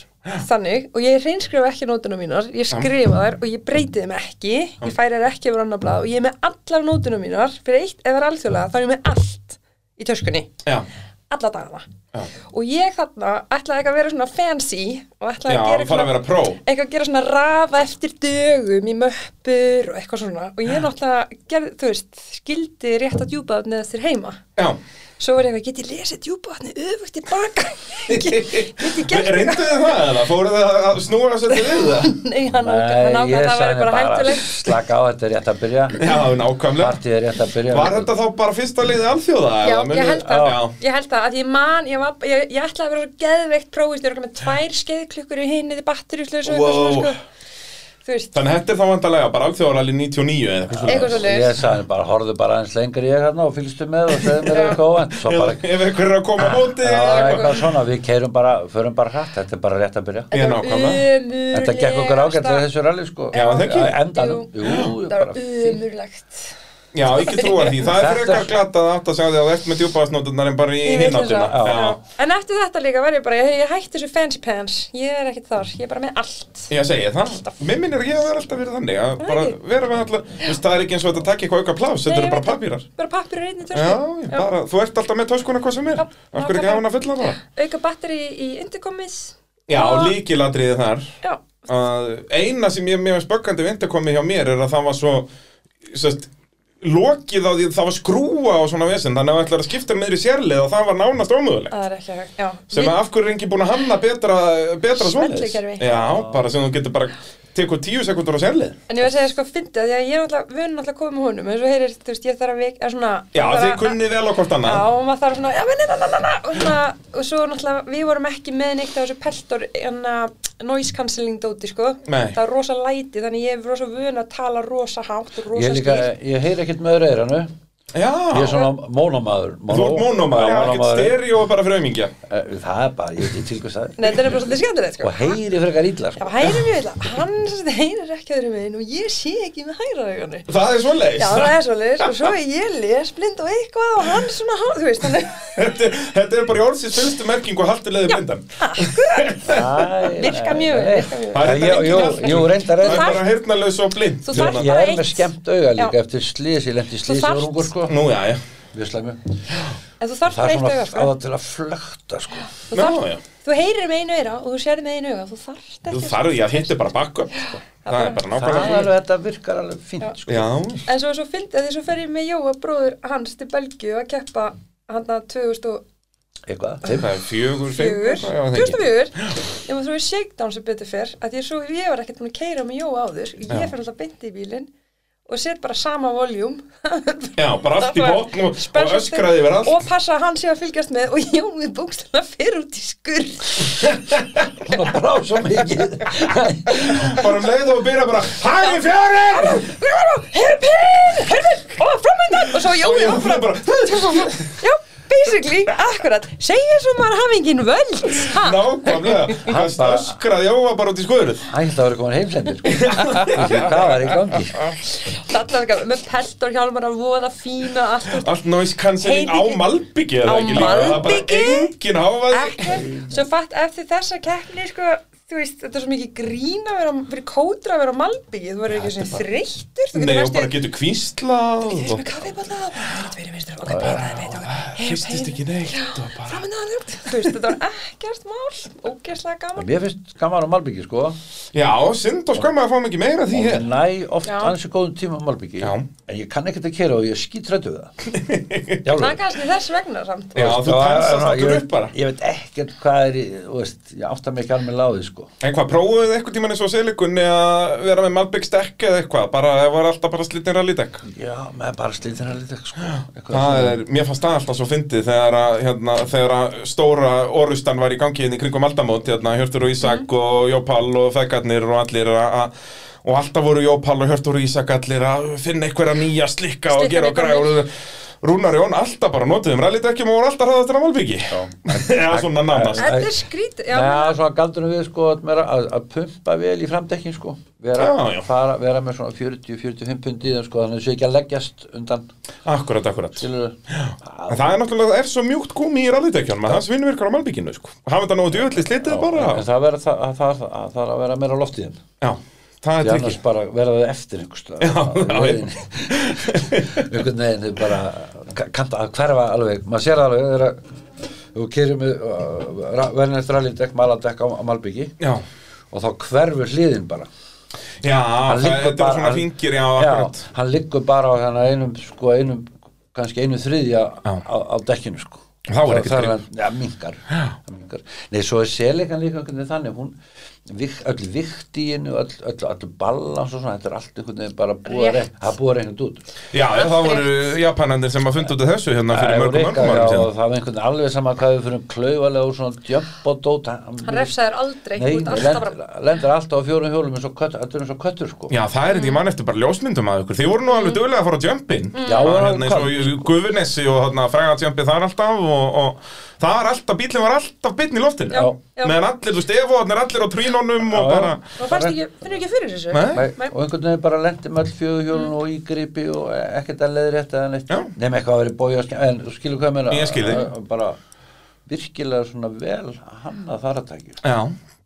þannig, og ég reynskrifa ekki nótunum mínar, ég skrifa þær og ég breyti þeim ekki, ég færi þær ekki yfir annar blað og ég er með allar nótunum mínar, fyrir eitt eða alþjóðlega, þá er ég með allt í töskunni,
Já,
alla dagana.
Já.
Og ég þarna ætlaði ekki að vera svona fancy og ætlaði
já,
að gera
hún fara að vera pró
eitthvað að gera svona rafa eftir dögum í möppur og eitthvað svona og ég náttúrulega, gerði, þú veist, skildi rétt að djúpa af neðastir heima
Já,
Svo var ég að get ég lesið djúbvatni öfugt í baka Get ég gert
reyndu þið það eða? Fóruð þið að snúra sér til við það?
Nei, hann ákvæða
Nei, ég
að það
sagði
væri
henni
bara
bara,
hættulegt
slaka á, þetta er rétt að byrja
Já, nákvæmlega
Partið er rétt að byrja
Var þetta þá bara fyrsta liðið alþjóða?
Já,
eða?
ég
Munið-
held það,
Já.
ég held það, að ég man, ég, var, ég, ég ætlaði að vera svo geðveikt prófist, ég er okkur með tvær skeiðklukkur í hinnið í batterjuslösu og
Wow.
eitthvað svona, sko, þú veist,
Þannig þetta er þá vandalega bara alþjóðaralli 99 eða eitthvað
eitthvað svo
Ég sagði henni bara, horfðu bara aðeins lengur í ég hérna og fylgstu með og segðu mér eitthvað óvænt Svo
svona
bara,
Ef- Ef einhver er að koma á móti
já,
eða eitthvað.
eitthvað svona, við keirum bara, förum bara hratt Þetta er bara rétt að byrja
Ég nákvæmlega
Þetta gekk okkur ágætt að þessu rally, sko
Já, það ekki.
Endanum, jú,
Það
bara
var
fínt
umurlegt
Já, ekki trúa því, það
Þetta
er
er-
frekar glatað að átt að segja því að þú ert með djúpaðasnóturnar en bara í hináttina Já.
En eftir þetta líka var ég bara, ég, ég hætti þessu fancy pants, ég er ekkert þar, ég er bara með allt
Ég segi það, mér minnir ég að vera alltaf verið þannig að bara vera með alltaf, þú veist, það er ekki eins og þetta takk eitthvað auka plás, þetta
Nei,
eru
ég
bara
veit það.
papírar
Bara pappir og einnig
Já, ég bara, þú ert alltaf með töskuna hvað sem er,
Já,
af hverju ekki hafa hana fullan það?
auka batteri í interkomis
Já,
Og-
líkilatriði þar
já,
að eina sem ég mér var spöggandi við interkomi hjá mér er að það var svo sest, lokið á því það var skrúa og svona vesend þannig að það ætlar að skipta meðri sérlið og það var nánast ómöðulegt
það er ekki hægt já.
sem að af hverju er ekki búin að hanna betra, betra svoleiðis
Smellikerfi.
Já, bara sem þú getur bara tekur tíu sekundur á sérlið
en ég var að segja sko fyndið því að ég er náttúrulega vun náttúrulega að koma með honum en svo heyrir, þú veist, ég þarf að vik er svona,
Já,
maður
þið
þarf að-
kunnið vel á hvort
já,
annað
og maður þarf svona, já, menn, na, na, na, na, og svona og svo náttúrulega, við vorum ekki með neitt á þessu peltor, en að noise cancelling dóti, sko,
Nei.
það er rosa læti þannig ég er rosa vun að tala rosa hátt og
Ég
rosa
er líka,
skýrt.
ég heyri ekkert með reyranu
Já,
Ég er svona mónomaður
þú ert mónómaður, ekkert stereo bara frömingja
Eh, Það er bara, ég, ég tilgjóðs það
Nei, þetta er bara svolítið skemmtilegt, sko
og heyri frekar illa
Já,
sko.
hægri mjög illa, hann sem sagt heyrir ekki öðru meginn og ég sé ekki með hægra auganu.
Það er svoleiðis
Já, það er svolítið, og svo er ég les blind og eitthvað og hann svona, há- þú veist, hann er
þetta, þetta er bara í orðsins fyrstu merking og haldilegði blindan
Æ,
Virka
nei,
mjög,
nei.
virka mjög.
Það er
Jú,
engin
jú,
hjálp.
jú, reyndar
Það
er
er
þarft-
bara heyrnalaus og blind
Þú þarft-
Ég er
eitt.
með skemmt auga líka
Já.
eftir slís, ég lendi slís
þarft-
og rungur sko
Nú, já, já
Við slæmum
En þú þarft
Það
bara
er svona
eitt auga,
á
sko
það til að flökta sko
Þú,
Ná,
þarft,
já.
þú heyrir með einu auga og þú sér með einu auga, þú þarft
Þú
ekki
þarf, já, hitt er bara backup sko. Það er bara
Það er
nákvæmlega
alveg, þetta virkar alveg fínt sko
Já,
En svo, svo fyndi að því svo fer ég með Jóa bróður hans til Belgíu að keppa hann að 2004
Eitthvað, þeim
það er fjögur, fjögur já, það er ekki.
2004 Ég maður þú er shakedown sem betur fyrr að því svo ég var ekkert búin að keira með Jóa áður ég
Já.
fer alltaf beint í bílinn og set bara sama voljúm
Já, bara allt í
Það var
botn og, og
spennandi.
öskraði yfir allt
og passa að hann sé að fylgjast með og Jói bókstæðna fer út í skurð
hún að brá svo mikið
Bara um leið og byrja bara Hæri fjörin!
herpinn, herpinn, og framöndan og svo
Og
Jói
ég
áfram
bara
já, basically, akkurat segja svo maður hafi engin völd ha?
Nákvæmlega, hann
bara-
stöskraði á var bara út í skoðuruð
Æ, þetta var eitthvað heimsendir sko. Þessi, Hvað var í gangi?
Dallarka, með pelt og hjálmar að voða fína allt og
Allt noise cancelling á
Heyrðu-
Malbyggi eða
Á
ekki líka Það er bara
malbiki?
engin hávaði
ekkert svo fatt eftir þessa keppni sko, þú veist, þetta er svo mikið grín að vera fyrir kótra að vera á malbyggi þú verður ekki svona þreyttur þú
Nei, og
næstum-
bara getur kvíslað
Þú getur
og
með kaffibólla og bara lít fyrir minnstur ok, peinaði mitt, ok,
hristist ekki neitt og bara
framan að hann þú veist, þetta var ekkert mál ógeðslega gaman
Mér finnst gaman á Malbyggi sko
Já, synd og skömmu að fá mikið meira af því
Ég
hér
næ oft
Já.
ansi góðum tíma á Malbyggi
Já.
En ég kann ekkert að kera og ég skítrættu við það Já,
það er kannski þess vegna samt
Já, þú tensast allur upp bara
Ég veit ekkert hvað er, í- þú veist, ég átta mig ekki alveg láði sko
En hvað, prófuðu þið eitthvað tíman eins og selikunni að vera með Malbygg stekk eða eitthvað bara, það var alltaf bara slittin rallydekk
Já, maður bara slítir hann lítið sko Eitthvað
Það
svona.
er, mér fannst það alltaf svo fyndið þegar að, hérna, þegar að stóra orustan var í gangi inn í kringum aldamót, hérna, Hjörtur og Ísak
Mhm.
og Jópall og Fegarnir og allir að að- og alltaf voru Jópall og Hjörtur og Ísak allir að finna einhverja nýja slikka og
Slikka
gera og
við gamlir.
græða Rúnar Jón alltaf bara notið um rallydekjum og voru alltaf hraðastur á Malbyggi Já, svona nánast
þetta er skrít já,
Já,
menn-
svona galdunum við sko að, meira að, að pumpa vel í framdekkin sko vera,
Já, já.
Fara, vera með svona 40-45 pundið sko, þannig að þessu ekki að leggjast undan
Akkurat, akkurat
skilur
En það er náttúrulega, það er svo mjúkt gúmi í rallydekjunum að það svinur virkar á Malbygginu, sko Hafa þetta nógu djöfulli slitið bara
en það, vera, það, það, það, það er að vera meira á loftið þeim
Já, það
því
er tryggi
annars bara verða þau eftir einhvers staðar.
Já,
Það er
já, já.
leiðin. einhvern veginn þau bara ka- kannta að hverfa alveg maður sér það alveg þegar að þú kýrir með uh, verðin eftir rallindekk maladekk á, á Malbyggi
Já
og þá hverfur hliðin bara
Já,
Hann
það,
liggur
þetta er
bara-
svona
hann-
ringir, já, akkurat
hann liggur bara á hérna einum, sko, einum kannski einum þriðja
Já.
á, á dekkinu sko
Þá er ekkert
það
grín.
hann, já, minkar, minkar Nei, svo er selegan líka einhvern veginn þannig hún, vik, öll viktíinu öll, öll, öll ballans og svona þetta er allt einhvern veginn bara búið að
Rétt.
rek- það er búið að reikna út
Já, já, það voru japanandir sem að funda út af þessu hérna fyrir
Það er
mörgum
reikað,
mörgum árum
já, og
síðan
það var einhvern veginn alveg sama hvað við fyrir klauvalega og svona djömp og dóta
hann refsaður aldrei
Nei,
út alltaf
lendir,
bara
lendir alltaf á fjórum hjólum eins og köttur, þetta er eins og köttur sko
Já, það er
Mm.
þetta, ég man eftir bara ljósmyndum að ykkur Þið voru nú alveg duglega að fara á jumpin
Já,
Það
það
var
var
hérna eins og í Gufunessi og hérna fræga jumpi þar alltaf og, og það var alltaf, bílinn var alltaf bitn í loftinu
Já, já.
Meðan allir, þú stefu, hann er allir á trínunum og
Já, já.
bara
og fannst ekki, finnur ekki fyrir þessu
Nei.
Nei,
Nei. Mm.
og einhvern veginn bara lendi með all fjöðu hjólun og í gripi og ekkert að leiði rétt eða neitt
Já.
nema eitthvað að vera í bója en þú skilur hvað ég meina
Ég skil þig.
Að- að bara virkilega svona vel hanna þaratæki
Já,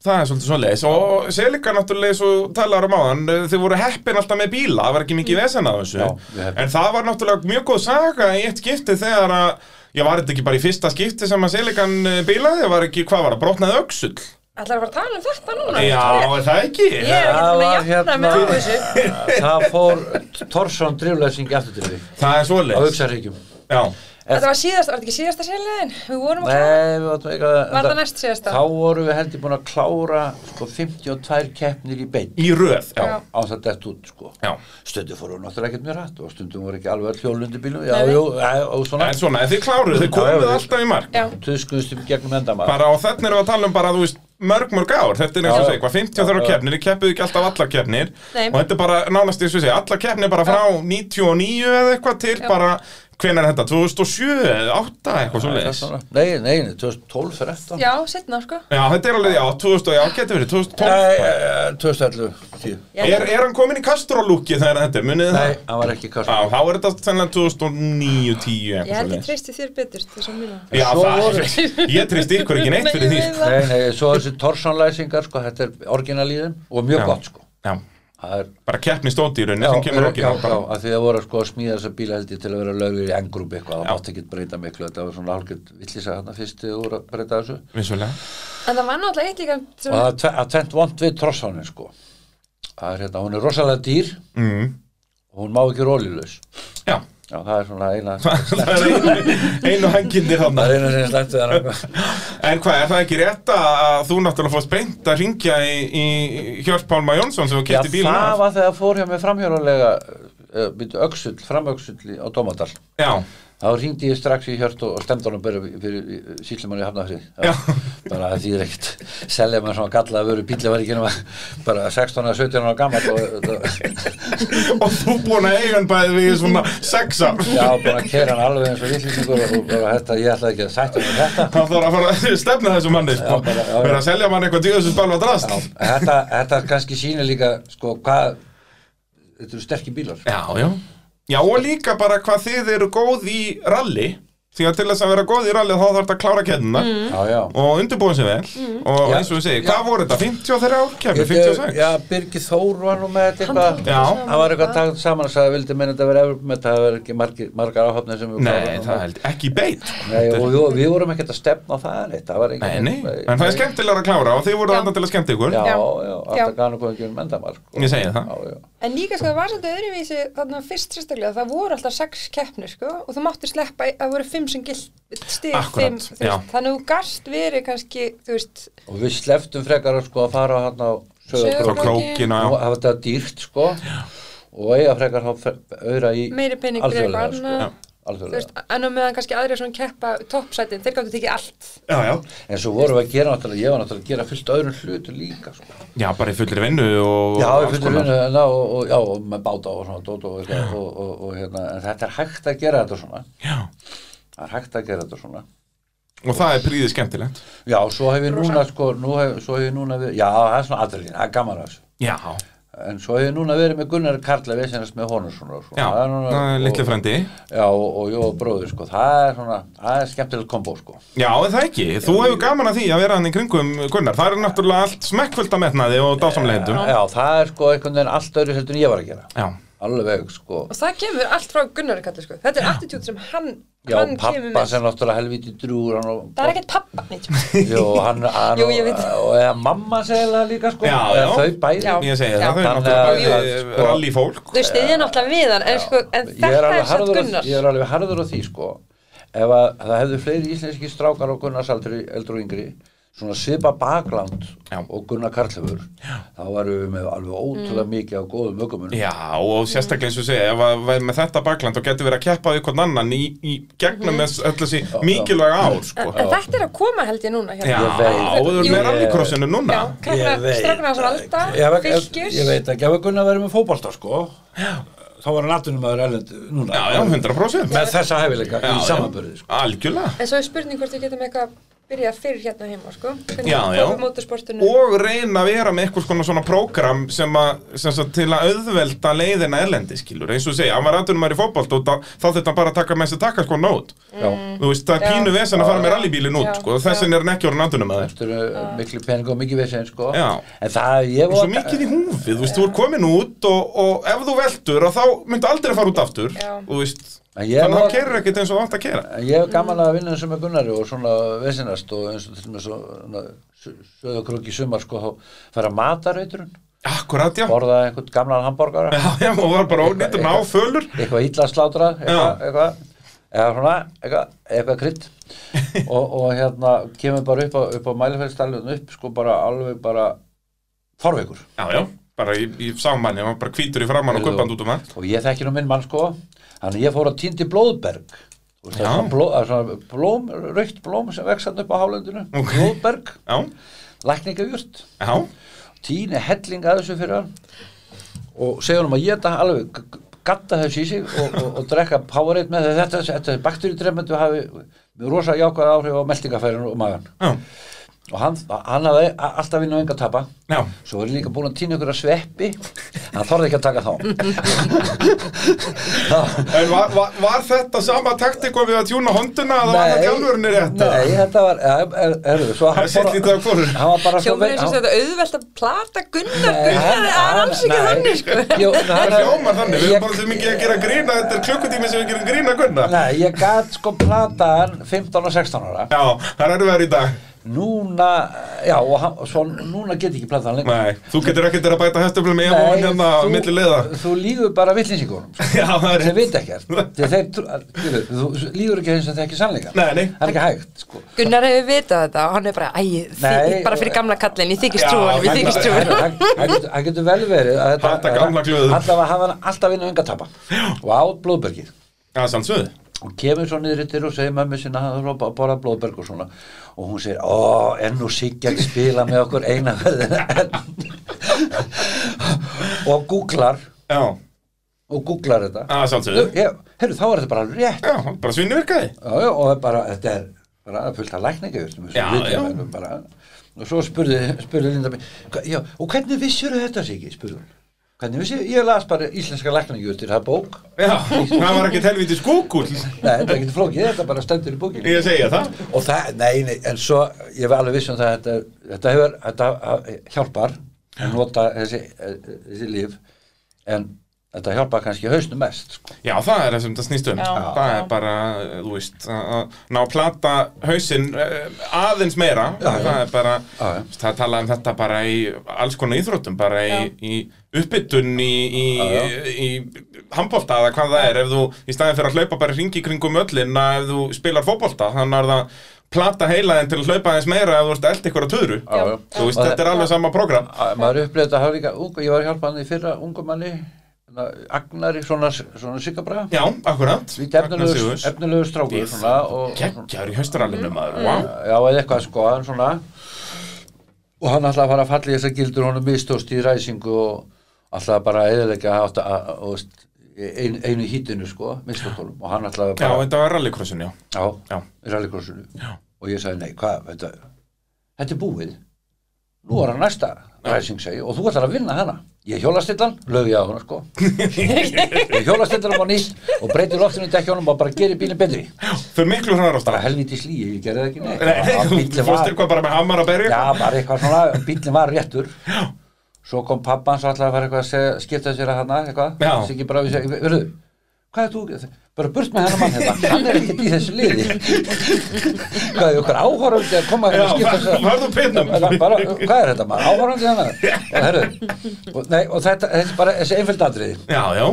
það er svolítið svo leis Og Selika náttúrulega svo talar um áðan Þið voru heppin alltaf með bíla, það var ekki mikið vesen að þessu
Já, við heppin.
En það var náttúrulega mjög góð saga í eitt skipti þegar að Já, var þetta ekki bara í fyrsta skipti sem að Selikan bílaði? Var ekki, hvað var það, brotnaði öxull?
ætlar að fara að tala um þetta núna
Já, er það ekki?
ég er ekki búin að
Það var
jafna mig á
hérna-
þessu
það fór Torsson driflæsing aftur til því
Það er svo
á
leis
Uxarhyggjum
Já,
þetta var síðast, var þetta ekki síðasta sérlegin við vorum að klára
Nei, við áttum ekki að
Var það næst síðasta?
Þá vorum við heldur búin að klára sko 52 keppnir í beinn
í röð, já,
Já.
á það dætt út sko
já.
Stundum fórum við náttúrulega ekkert mjög rætt og stundum voru ekki alveg all hjólundi bílum Já,
Nei, nei.
jú, eh, og svona
En svona, en þið kláruðu, þið
Já, já,
komuð
við-
alltaf í mark
já,
tuðskuðstum gegnum endamað
Bara á þenn erum við að tala um bara, þú veist, mörg mörg ár Þetta er eins og
Já.
segja, hvað, 50 þurra
Já, já.
keppnir, þið keppuðu ekki alltaf allar keppnir
Nei.
Og þetta er bara, nánast eins og segja, allar keppnir bara frá 99 eða eitthvað til bara Hvenær er þetta, 2007 eða 2008 eitthvað svo leis
Nei, nei, nei, 2012, 13
já, setna sko
Já, þetta er alveg, já, 2000, já, getur verið, 2012
Nei, eh, 2011, 10
Já.
Er, er hann komin í Castro-lúki þegar þetta er, munið þið
Nei,
það?
hann var ekki
Já,
kastur
þá er þetta sennilega 2009, 10 eitthvað
ég held
svo
ég treysti þér betur til þess að mína
Já,
Svo
það,
voru-
ég treyst ykkur ekki neitt fyrir því
Nei, ég veit
sko.
það.
Nei, nei, svo þessi Torsson-læsingar, sko, þetta er orginalíðin og mjög
Já.
gott, sko
Já,
Það er
bara keppni stóti í rauninni sem kemur okkur
já, já, að því það voru sko að smíða þessa bíla held ég til að vera lögur í engrúpi eitthvað, það mátt ekki breyta miklu, þetta var svona hálfgjöld villisa þarna fyrst þegar þú voru að breyta þessu
Vissulega
en það var náttúrulega eitt líka
og
sem,
það er tve- að tvent vond við trossánin sko það er hérna, hún er rosalega dýr
mm.
og hún má ekki rólilaus
Já,
já, það er svona eina
það er einu, einu hengindir þarna
það er eina sem slæmt við hann
En hvað, er það ekki rétt að að þú náttúrulega fórst beint að ringja í, í Hjörp Pálma Jónsson sem þú
já,
kipti bílun
það
af?
var þegar fór hjá mig framhjórulega uh, byrju, öxull, framöxull í- á Dómadal
já,
þá ringdi ég strax í hjört og, og stemd honum bara fyrir, fyrir síllumann í Hafnafrið
Já.
bara að því er ekkert selja maður svona galla að veru bíli var ekki nema bara 16 að 17 ára gammal og, og,
og þú búin að eiga hann bæði í svona sex ár
já, bara að keira hann alveg eins og vitlisningur og, og bara þetta, ég ætla ekki að sætta með þetta
hann þarf að fara að stefna þessu manni sko.
bara- já, já.
verið að selja manni eitthvað dýðastu spalva drast
Já, þetta, þetta kannski sýnir líka sko hvað þetta eru sterkir bílar
já, já já, og líka bara hvað þið eru góð í rally því að til þess að vera góð í rally þá þarf þetta að klára kennina
já, já.
Mm. og undirbúin sér vel og
Já.
eins og við segir, hvað voru þetta, 53 ár kemur,
Þetta-
56
já, Birgir Þór var nú með þetta eitthvað
Já.
hann var eitthvað tagt saman og sagði að vildi meina þetta verið Evróp með það verið ekki margir, margar áhafnir sem við
nei, það held ekki í beit sko.
Nei, og við, við vorum ekkert að stefna á það neitt, það var
nei,
engin
nei, en það er skemmtilegra að klára og þið voru
Já.
þarna til að skemmta ykkur
Já, já,
Já. Já.
alltaf gana hvað ekki um endamál sko.
Ég segi það.
Já, já,
En líka sko það var svolítið öðruvísi þarna fyrst sérstaklega það voru alltaf sex keppnir sko og þú mátti sleppa að voru fimm sem gilt stig
Akkúrat,
fimm þú
já.
veist, þannig að þú gast verið kannski þú veist
og við sleftum frekar að sko að fara hann á
frá
Söðukró-
sögur
krókinu já.
og hafa þetta dýrt sko og eiga frekar þá fre- auðra í
meiri pening fyrir
alþjóðlega
eitthvað
sko.
annað Þú veist,
alþjóðlega
en á meðan kannski aðrir svona keppa toppsætin, þeir gáttu tekið allt
Já, já.
en svo vorum við að gera náttúrulega, ég var náttúrulega að gera fullt öðrum hlutu líka sko.
já, bara í fullri vinnu og
já,
alls
við fullur
konar.
vinnu ná, og, og, já, og með báta og svona dót og, og, og, og, og hérna, en þetta er hægt að gera þetta svona
Já.
það er hægt að gera þetta svona
og það er príðið skemmtilegt
já, svo hef ég núna sko, nú hef, svo hef ég núna verið, já, það er svona aðrið það er gaman að þessu
já,
En svo hef ég núna verið með Gunnar Karla Vesenast með honum svona, svona.
já,
Það er núna-
það er litli
og-
frendi
Já, og, og Jó bróður sko, það er svona, það er skemmtilegt kombo sko
Já, er það ekki, þú hefur gaman að því að vera hann í kringum Gunnar, það er náttúrulega allt smekkfullt að metnaði og dásamlegendum
Já, það er sko einhvern veginn allt öðru heldur en ég var að gera
Já,
Alveg sko
og það kemur allt frá Gunnari kalli sko þetta er attitút sem hann,
Já,
hann kemur
pappa
með
sem náttúrulega helviti drúur hann og,
það er ekkert pappa neitt, sko.
Jú, hann, hann
Jú, ég veit.
og, og eða mamma segir það líka sko
Já,
eða
já.
Þau bæði
Já.
ég segi
Já.
það, þau er
Þannig að-
náttúrulega bæði
að, sko-
rallyfólk
þau stiðja náttúrulega við hann en, sko,
Ég
en
er
þetta
alveg
er satt
harður á-
Gunnar
Ég er alveg harður á því sko ef að það hefðu fleiri íslenski strákar og Gunnarsaldri eldur og yngri svona svipa bakland
Já.
og Gunnar Karlöfur þá varum við með alveg
Mm.
ótrúlega mikið á góðum ökumunum
Já, og sérstaklega eins og segja, ef að væri með þetta bakland og getur verið að keppa við hvern annan í, í
Mhm.
gegnum með öll þessi mikilvæga ár, sko.
en, en þetta er að koma held ég núna
Já,
hérna.
Ég veit.
og þú er
Jú.
með rallycrossinu núna.
já, krakkar, stráknar hans
ég,
valda
veit-
fylgjur
ég veit ekki, ef að Gunnar verið með fótbolta sko þá var hann aðtunum aður erlend núna
Já, já, 100%.
með þessa hefileika
Já,
í
já.
samanbörði sko.
Algjörlega.
En svo er spurning hvort við getum eitthvað að byrja fyrr hérna heima, sko. Hvernig
Já, já.
við Motorsportinu.
Og reyna að vera með eitthvað svona, svona prógram sem að, sem sagt, til að auðvelda leiðina erlendi, skilur. Eins og segja, hann var aðdunum maður í fótbolt og þá, þá þetta bara að taka með þessi taka sko nót.
Mm.
já,
Þú veist, það er
Mhm. Já.
pínu vesen að fara með
Já.
rallybílin út,
Já.
sko. Þessin er hann ekki orðin aðdunum maður.
þetta eru miklu pening og mikið vesinn sko
Já.
en það, ég
Og svo mikið í húfið, þú veist, þú er komin út og, og ef þú veldur að þá myndi aldrei fara út aftur,
Já.
þú veist,
En ég
þannig að
var-
það kerir ekkert eins og það átt að kera.
En Ég hef gaman að vinna þessu með Gunnari og svona vesinast og eins og til með svona söðakróki sumar sko þá færa matarauturinn,
Akkurat, já.
borða einhvern gamlan hambúrgara,
Já, já, og var bara ónýttur ná fölur.
eitthvað illa slátrað, eitthvað,
Já.
eitthvað, eða svona, eitthvað, eitthvað krydd og, og hérna kemur bara upp á, upp á mælifælstallun upp sko bara alveg bara forveikur
Já, já, bara í, í samanmanni, hann var bara hvítur í framann og
Heyrðu,
guppand út um allt.
og ég þekki nú minn mann sko, þannig að ég fór að týndi blóðberg Þú veist, það
Já.
er svona bló- það er svona blóm, raukt blóm sem vexan upp á hálendinu,
Ok.
blóðberg,
Já,
lækningajurt.
já,
týni helling að þessu fyrir hann og segja honum að geta alveg g- g- gatta þessu í sig og, og, og drekka Powerade með þegar þetta, þetta bakteríudrefmendu hafi með rosa jákvæð áhrif á meldingafærinu og magan
já,
og hann, hann hafði a- alltaf vinn og enga tapa
já.
svo er ég líka búin að týna ykkur að sveppi hann þorði ekki að taka þá
En var, var, var þetta sama taktika við að tjúna honduna að það var það tjálfurinni rétt?
nei, þetta var, er, er, er, svo hann,
Það er sitt í dag hvorur.
hann var bara
Hljómar eins og
hann-
þetta auðvelt að plata Gunnar,
Nei,
Gunnar er
hann-
alls ekki
nei.
þannig, sko.
Jú,
Það
hann-
hljómar þannig, við
ég-
erum bara svo mikið að gera grína, þetta er klukkutími sem við gerum grína gunna.
Nei, ég gat sko plataðan 15 og 16 ára
Já, það er verið í dag.
núna, já, og, hann, og svo núna get ég ekki plantað hann lengur.
Nei, þú getur ekkert verið að bæta hestöflum með
Nei,
og hérna
þú-
milli leiða
Þú lígur bara villinsingunum, sko,
Já, það er
sem veit ekkert. Þegar þeir, trú- þú, þú lígur ekki eins og þeir ekki sannleika.
Nei, nei.
Það er ekki hægt, sko.
Gunnar hefur vitað þetta og hann er bara, æ, þið,
Nei,
bara fyrir gamla kallin, ég þykist
Já,
trúan, ég
hann-
þykist
hann-
trúan.
Það getur- það getur vel verið að þetta...
Halda gamla glöðum.
Alltaf að hafa hann alltaf inn og enga tapa. Og á blóðbergið.
Já, sannsöðu
Hún kemur svo niður yttir og segir mömmu sinna að það er að borða blóðberg og svona og hún segir, ó, enn og Siggi að spila með okkur eina verðina enn og googlar
Já,
og googlar þetta
að sannsöðu
Ég- heyrðu, þá er þetta bara alveg rétt
Já, bara svinnivirkaði
já, já, og það er bara, þetta er bara fullt af lækninga
Já,
bara, og svo spurði, spurði Linda mig, "Hva- já, og hvernig vissur þetta Siggi, spurði hún hvernig vissur, ég las bara íslenska lækninga það er bók,
Já, það var ekkert helvítið skúkull
nei, þetta er ekki flókið þetta bara stendur í bókinni
Ég segja það
og það, nei, nei, en svo ég var alveg viss um það að þetta, þetta hefur þetta eh, hjálpar að nota þessi, eh, þessi líf en þetta hjálpar kannski hausnum mest sko.
Já, það er það sem það snýst um
Já,
Það
já.
er bara, eh, þú veist að- að ná plata hausinn eh, aðeins meira
Já, já.
Það er bara,
Já, já.
það er talað um þetta bara í alls konar íþróttum bara í, í uppbytun í, í, í, í handbolta eða hvað það er, ef þú, í staðin fyrir að hlaupa bara ringi kringum öllin að ef þú spilar fótbolta, þannig er það plata heilaðin til að hlaupa aðeins meira ef þú ert eld ykkur að töðru
Já, já.
Þú veist, þetta er alveg sama program
Að maður upplifði þetta hafa líka ung, ég var að hjálpa hann í fyrra ungum manni svona Agnari, svona, svona sigabra
Já, akkurat
Lítið efnilegu, efnilegu strákur svona, og,
Gekkjar í haustarallinu maður,
Mm.
wow
já, eða eitthvað sko, hann svona og hann ætlaði að fara að falla í þessar gildur honum mistóst í ræsingu og ætlaði bara að eðilega að, að, að, að ein, einu hítinu sko, mistóttunum og hann ætlaði
Já,
bara
þetta var rallycrossin, já
já,
Já.
í rallycrossinu og ég sagði nei, hvað, þetta, þetta er búið nú er hann næsta ræsing segi og þú ætlar að vinna hana ég hjólastillan, lög ég á hana sko ég hjólastillan á nýtt og breytir loftinu í dekkjónum og bara gerir bílinn betri
Þau miklu hraðar á
bara
stað
helvítið slíi, ég gerði það ekki neitt Að
Nei,
bíllinn
þú fórst eitthvað bara með hamar að berja
Já, bara eitthvað svona, bílinn var réttur Svo kom pappa hans alltaf að fara eitthvað að segja, skipta sér að hana, eitthvað
Já.
Siggi bara við segja, verðu, hvað er þú, bara burt með hennar mann hérna Hann er ekkert í þessu liði Hvað er okkur áhorandi að koma
Já,
hérna að skipta sér að-
farðu pinnum.
Bara, bara, Hvað er þetta maður, áhorandi hérna Og herru, og, nei, og þetta, þetta er bara þessi einföld atriði
Já, já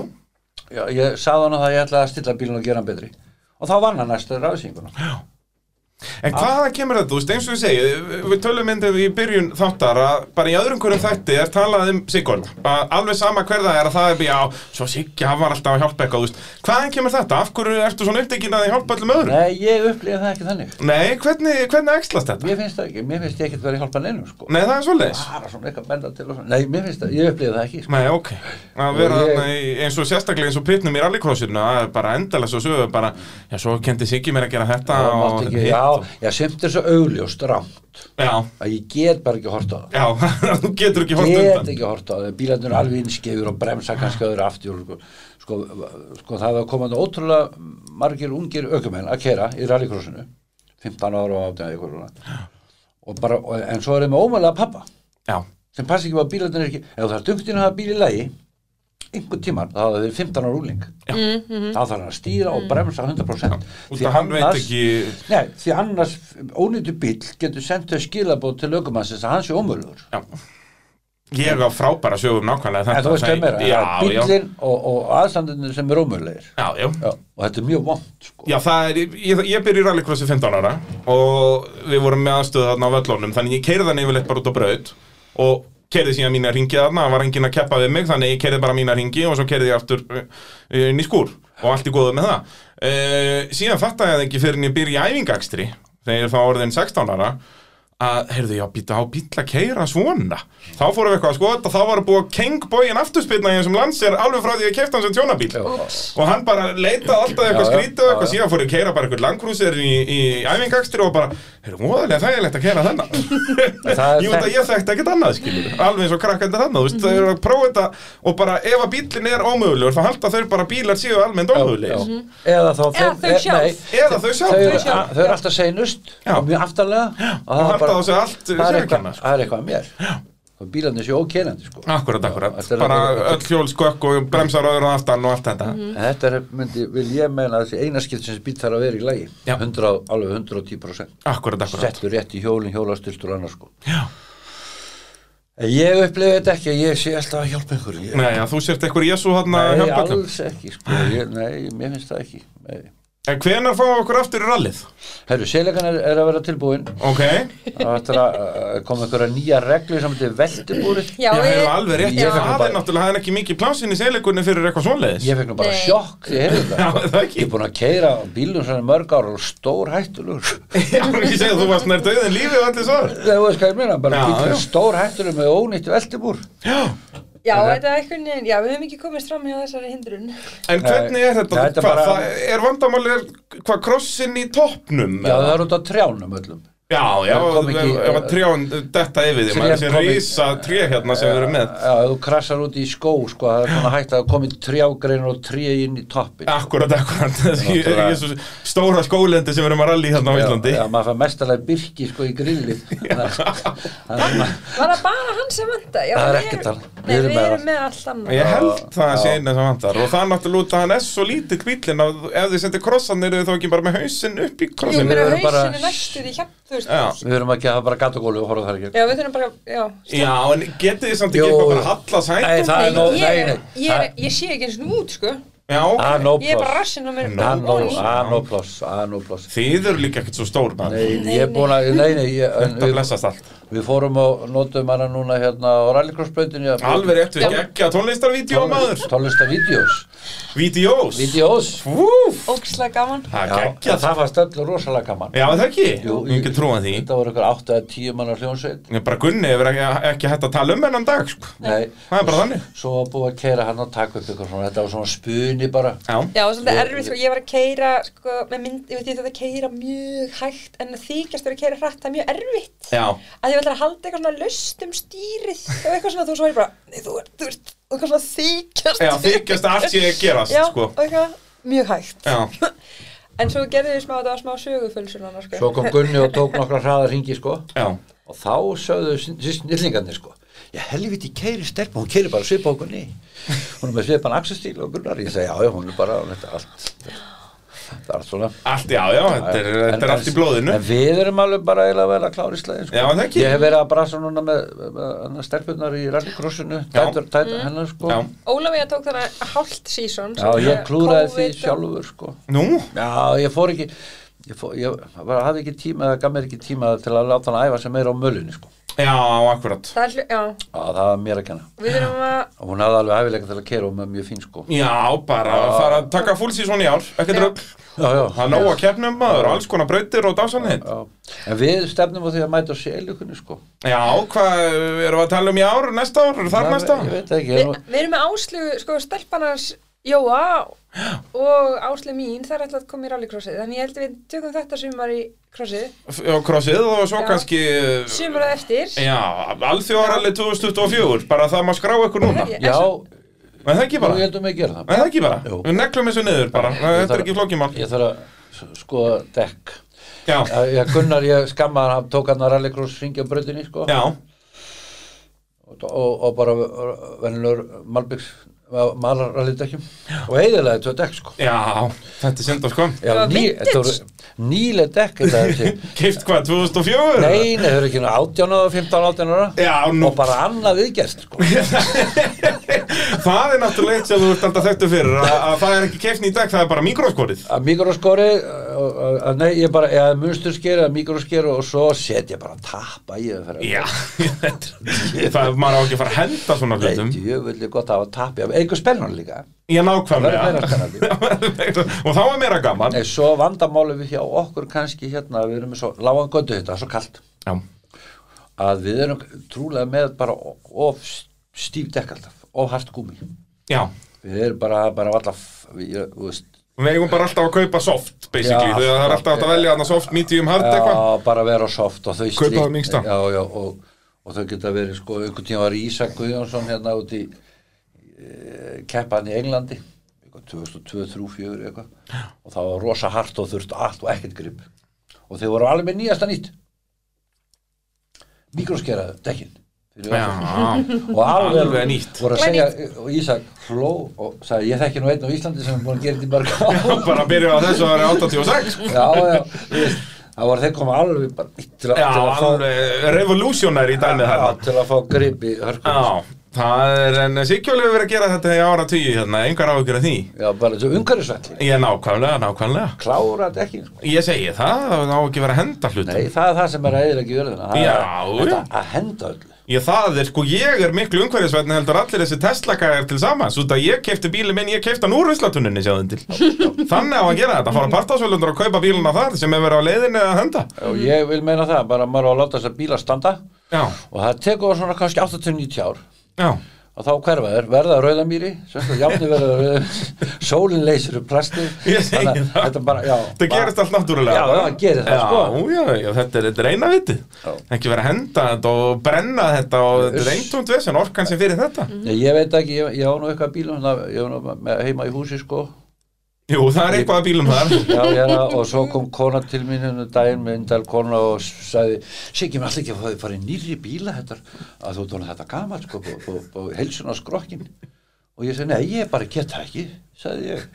Já, Ég sagði hann að það að ég ætlaði að stilla bílinn og gera hann betri Og þá vann hann næstu ráðsinguna
En hvaðan kemur þetta, þú veist, eins og ég segi Við tölum myndið í byrjun þáttar að bara í öðrum hverjum þætti er talað um Sigurd Alveg sama hver það er að það er já, svo Siggi, hann var alltaf að hjálpa eitthvað, þú veist Hvaðan kemur þetta, af hverju ertu svona upptekinn að þið hjálpa öllum öðrum?
Nei, ég upplýði það ekki þannig
Nei, hvernig, hvernig ekslast þetta?
Mér finnst það ekki, mér finnst ég ekkert verið að hjálpa neinum sko.
Nei, það er svoleiðis
bara svona eitthvað benda til og svona nei, mér finnst það, ég upplýði það ekki sko.
Nei, ok, að vera
Og ég-
þarna í eins og sérstaklega eins og pittnum í rallycrossinu, það er bara endalega svo sögur bara, já, svo kendi Siggi mér að gera þetta
Það
og
mátti ekki,
hitt og-
já, já, semt er svo augljóst rámt
já,
að ég get bara ekki horta á það
já, þú getur ekki hort
get
undan
ekki horta á það, bílarnir eru alveg innskefur og bremsa kannski öðru aftur sko, sko, sko það var komandi ótrúlega margir ungir ökumenn að kera í rallycrossinu 15 ára og 18 ára eitthvað svona. og bara, og, en svo er þeim með ómælega pappa
Já,
sem passi ekki að bílarnir er ekki ef það er dungtinn að hafa bíl í lagi einhvern tíman, það hafa verið 15 ára úling
Já.
þá þarf hann að stýra og bremsa 100%
út að hann veit ekki,
nei, því annars ónýttu bíl getur sendt þau skilabóð til lögumannsins að hann sé ómöluður
já, ég á frábæra sögum nákvæmlega
en
þetta
þú veist
það-
hvað meira,
Já, já,
bílinn og, og aðstandinu sem er ómölulegir
já, já
Já, og þetta er mjög vond sko.
Já, það er, ég, ég byrja í rallycrossi 15 ára og við vorum með aðstöðu þarna á völlunum þannig ég keiri þannig yfirleitt bara út á braut og keiri síðan mína ringi þarna, það var enginn að keppa við mig þannig ég keiri bara mína ringi og svo keiri ég aftur eh, inn í skúr og allt í góðu með það uh, Síðan fattaði ég það ekki fyrir en ég byrja í æfingakstri þegar ég er þá orðin 16 ára að, heyrðu, já, býta á bíl að keira svona þá fórum við eitthvað að skoða þetta, þá var búið að kengbógin afturspilna í þessum landsér alveg frá því að kefta hann sem tjónabíl og hann bara leitaði alltaf eitthvað
Já, já,
skrítið og
já,
eitthvað
já.
síðan fór ég að keira bara eitthvað langkrúsir í, í æfingakstri og bara, heyrðu, móðalega þægilegt að keira þennan
Það er
ég veit að ég þekkti ekkert annað, skilur alveg eins og krakkandi þarna, þú veist, þau eru að prófa þetta og bara ef að bílinn er ómögulegur þá halda þau bara að bílar séu almennt ómögulegir
eða þá
Eða þau
eh,
sjálf.
nei,
eða þau sjálf
þau eru,
já,
þau eru alltaf seinust
Já.
og mjög aftarlega og
Og halda
það er bara-
á sig allt
það er
sérkenna,
eitthvað
sko.
það er eitthvað að mér og bílarnir séu ókerandi sko.
Akkurat, akkurat,
þetta er
bara
alveg- Mhm.
öll hjólskökk og bremsar öðru að aftan og allt þetta
En þetta er, myndi, vil ég meina að þessi einaskipt sem þessi bíl þarf að vera í lagi
Já.
100, alveg 110%
Akkurat, akkurat
settur rétt í hjólinn, hjólastiltur og annars sko.
Já.
En Ég upplifði þetta ekki, ég sé alltaf að hjálpa einhverju Ég-
Nei, já, þú sért eitthvað Jésu hann að
Nei,
hjálpa öllum
alls ekki sko. ég, Nei, mér finnst það ekki nei.
En hvenær fáum við okkur aftur í rallið?
Herru, seilegan er, er að vera tilbúin
Ok,
Það ættir að að koma einhverja nýja reglu sem þetta er veltibúrið
Já,
ég hefur
ég-
alveg rétt
Ég
já,
fekk nú
Það
bara-
er náttúrulega, það er ekki mikið plásin í seilegunni fyrir eitthvað svoleiðis
Ég fekk nú bara
Nei.
sjokk því ég heyrði
Já,
þetta
það
Ég
ekki
er búin að keira bílum svona í mörg ára og stór hættulegur
Já, ég segi að þú varst nær döðin lífið og allir svo
Nei, þú veist hvað ég meina, bara
Já,
bílum
já.
stór hættulegur með ónýtt veltibúr
Já,
Já, þetta er einhvern veginn, já, við höfum ekki komist fram hjá þessari hindrun.
en hvernig er þetta?
Nei,
Hvað,
þetta er bara-
það er vandamálið er hvað krossin í toppnum?
Já, það er út á trjánum öllum
já, já
það kom ekki-
ef að trján detta yfir því,
Trén
maður sé
kom ekki-
rísa tré hérna sem við erum með
Já, ef þú krassar út í skó, sko, það er svona hægt að komi trjágreinar og tré inn í toppin
Akkurat, akkurat Ég-
Náttúrulega.
ég er svo Stóra skólendi sem við erum að rally hérna á Íslandi
Já, já, maður fær mestalega birki sko í grilli Það er svona-
Var það bara hann sem vanda? Já,
Það er
við
ekkert
erum-
hann.
Nei, við erum með allt annað.
Ég held það sé eina sem vantar og það er náttúrulega út að hann er svo lítið kvíllin að ef þið sendir krossan eru þið þá ekki bara með hausinn upp í
Jú,
krossin
mér
við
er
erum bara-
hausinu næstur í hjapp, þú veist.
Já.
Við erum ekki að hafa bara gatagólu og horfa þar ekki
Já, við þurfum bara, já.
Já, en getið þið samt ekki
Jú.
eitthvað bara að halla
Nei,
sætum?
það er nóg,
ég,
nei,
er-
nei
Ég, er- ég sé ekki eins og út, sko.
Já,
Það er
ok.
nóg
Ég er bara
pláss
rassinn á mér.
Nó,
Það er nóg-
pláss.
það er nóg pláss, það er nóg pláss
Þið eru líka ekkert svo stór maður
Nei, ég er búin að, nei, nei ég, en
Það
við,
blessast allt
við fórum og notum hana núna hérna á rallycrossbrautinu
Alveg rétt við ekki að tónlistarvídeó maður
Tólesta vídeos
Vídeós
Vídeos
Vúf
Ókslega gaman.
Það er
Já,
ekki að það
það var stöldlega rosalega gaman
Já, er það ekki? Jú,
Jú,
ég ekki trúan því
Þetta voru ykkur 8 að 10 manna hljónsveit
Ég bara Gunni hefur ekki, ekki hægt að tala um hennan dag sko.
Nei,
Það er bara þannig
svo var búið að keira hann og taka upp ykkur svona Þetta var svona spuni bara
Já,
Já, og svolítið
Ég-
erfið, sko, ég var að keira, sko, með mynd, ég veit ég þetta að keira mjög hægt, en að þykjast vera að keira hrætt, það er mjög erfitt.
Já.
Að ég ætla að halda eitthvað svona löst um stýrið og eitthvað svona, þú svo var ég bara, nei, þú ert, þú ert, og eitthvað svona þykjast.
Já, þykjast að allt sé að gerast,
Já,
sko.
og eitthvað mjög hægt.
já,
En svo gerði við smá, þetta var smá sögufölsunana, sko.
Svo kom Gunni og tók nokkra hraðar ringi sko
já
og þá sögðu snillingarnir sko ég helviti keiri stelpa, hún keiri bara svipa á Gunni hún er með svipan axastíl og Gunnar ég segi já, já, hún er bara, hún er allt það er allt svona
Allt, já, já, þetta er,
En-
þetta er allt í blóðinu
en við erum alveg bara eiginlega vel að klára í slæðin sko.
Já, það ekki.
ég hef verið að brasa núna með, með, með stelpunar í rallycrossinu
Já.
dætur, dætur hennar sko
Já,
Ólafía tók þarna hálft sísón.
Já, ég klúraði því sjálfur sko
nú,
já, ég fór ekki ég, fór, ég bara, hafði ekki tíma, það gaf mér ekki tíma til að láta hann æfa sem meira á mölunni sko
já, akkurat
Það er, hlu- já,
já, það var mér að kenna
við erum að,
og hún hafði alveg hæfilega til að kera og með mjög fín sko
Já, bara að fara að taka fullsísón í ár Ekkert
Já.
rögg
já, já,
Það er nóg að keppnum maður, alls konar brautir og dásanheit
já. en við stefnum á því að mæta sélukunni sko
Já, hvað erum við að tala um í ár, næsta ár, þar
Það-
næsta
ég
ár
veit ekki,
við,
ég er nú-
við erum með áslögu, sko, stelpanars Jóa og áslögu mín, það er alltaf að koma í rallycrossið, þannig ég held að við tökum þetta sumar í crossið,
F- Og krossið og svo
Já.
kannski
sumar að eftir.
Já, alþjóðaralli 2024 Bara það má skrá ykkur núna
Ég-
En
en
já,
svo-
það ekki
nú
bara, en
heldum við að gera það
það ekki bara
Jú.
Við neglum þessu niður bara, þetta er
þarf-
ekki flókimál
ég þarf að s- skoða dekk
Já,
Já, ég, Gunnar, ég skammaði hann, hann tók hann að rallycross ringja á bröðinni sko
já,
og, og, og bara venilur malbyggs malar rallydekjum og eiginlega tvö dekk sko
já, þetta er synd og skvam
já,
var
ný,
vintage.
þetta voru nýlega dekk þetta er þessi
Keift hvað, 2004?
Nei, nei, þau eru ekki nú 18 ára, 15 18 ára
Já, nú.
Og bara annað viðgerst sko.
það er náttúrulega eitt sem þú ert alltaf þekktu fyrir að, að það er ekki keifni í dag, það er bara mikroskórið
Að mikroskori að- að- að- Nei, ég bara, eða munsturskeri Að mikroskeri og svo set ég bara Tappa í þau fyrir
Já, það er maður á ekki að fara að henda svona hlutum
Nei, djöfulli gott að hafa tappi af Eitthvað spennur líka
Ég
Það verður
nákvæmlega
meira
Og þá er meira gaman
Nei, svo vandamáli við hjá okkur kannski hérna Við erum með svo lágan göndu þetta, svo kalt
Já,
Að við erum trúlega með bara Of stíf dekk alltaf Of hart gúmi
já
Við erum bara, bara alltaf Við, ég, þú veist,
Við eigum bara alltaf að kaupa soft, basically
Já,
Þegar það er alltaf hægt að velja þarna soft, medium, hard eitthvað
Já, bara vera soft og þau
Kaupa
slíkt-
það minnsta.
Já, já, og, og þau geta verið sko, einhvern tíma var Ísak Guðjónsson hérna út í e, keppan í Englandi eitthvað 2002, 3, 4 eitthvað og það var rosa hart og þurft allt og ekkert grip og þau voru alveg með nýjasta nýtt mikroskeraðu, dekkin fyrir
Já,
öll.
já.
og alveg,
Alveg nýtt.
voru að segja, og Ísak hló og sagði, ég þekki nú einn á Íslandi sem er búin að gera þetta í mörg ár
bara byrja á þessu ári 86 sko.
já, já, þú veist, það voru þeir koma alveg bara nýtt til, að-
Já,
til að fá
alveg revolutionary í dæmið
já,
þarna
til að fá grip í hörku
Já, það er en Sikkjóli hefur verið að gera þetta í ára tíu hérna, engar áhyggjur af því
já, bara þessu umhverfisvætli
Ég nákvæmlega, nákvæmlega
klára þetta ekki, sko
Ég segi það, það á ekki verið að henda hlutum
Nei, það er það sem er að eðilegja jörðina Það
Já,
er þetta
já.
að henda öllu
Ég það er sko, ég er miklu umhverfisvætni heldur allir þessi Tesla-gæjar til samans út að ég kefti bíli minn, ég kefti hann úr Íslatuninni sjáðum til Þannig á að gera þetta, fara partásvölundur og kaupa bíluna þar sem hefur verið á leiðinni að henda
og ég vil meina það, bara maður á að láta þess að bíla standa
Já,
og það tekur svona kannski 80-90 ár
já,
og þá hverfa þér, verða að rauðamýri sem það jafni verða að rauðamýri sólin leysir upp plasti
ég segi
að
það
þetta bara, já
Þetta gerist allt náttúrulega
Já,
bara.
það gerir það,
já,
sko.
já, já, þetta er, þetta er eina viti
Já.
Ekki verið að henda þetta og brenna þetta og þetta er
Uss.
eintómt vesen, orkan sem fyrir þetta
Ég, ég veit ekki, ég, ég á nú eitthvað bílum þannig að ég á nú með- heima í húsi sko
Jú, það er eitthvað að bílum þar
já, já, og svo kom kona til mín hennu daginn með indal kona og sagði Siggi, maður allir ekki að fá þið farið nýrri bíla þetta, að þú tónu þetta gamalt sko, og, og, og helsun á skrokkin og ég sagði, nei, ég bara get það ekki sagði ég,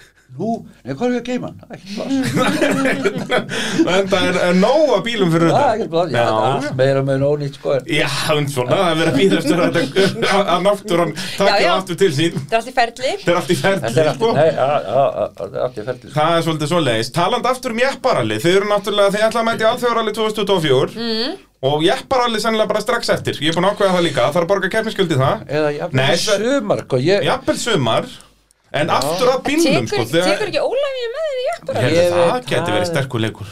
nú, nei, hvað er ég að geima hann? Ekkert pláss,
En það er er nóg að bílum fyrir
það
þetta
er ekkert pláss, já, þetta er
já.
allt meira með nónýtt sko, en
Já, en svona, það er verið að býða eftir að þetta- að að náttúran
Já,
takja
já.
aftur til sín
Þetta er allt í ferli.
Þetta er allt í
þetta
ferli,
er allt,
sko
nei, já, já, já, þetta er allt í ferli sko.
Það er svolítið svo leiðis. Taland aftur um jepparalli, þið eru náttúrulega, þið ætla að mæti alþjóðaralli 2024
Mhm.
mm. og jepparalli sennilega bara strax eftir. Ég er búin að ákveða það líka, það þarf að borga keppniskjöldi það.
eða, já,
Nei,
það
þetta-
er sumar, sko, ég,
Jafnvel sumar, en aftur að bílnum, sko.
Tekur, tekur ekki Ólafíu með þér í jakkur?
Herðu,
Ég
það
veit
geti
það.
verið sterkur leikur.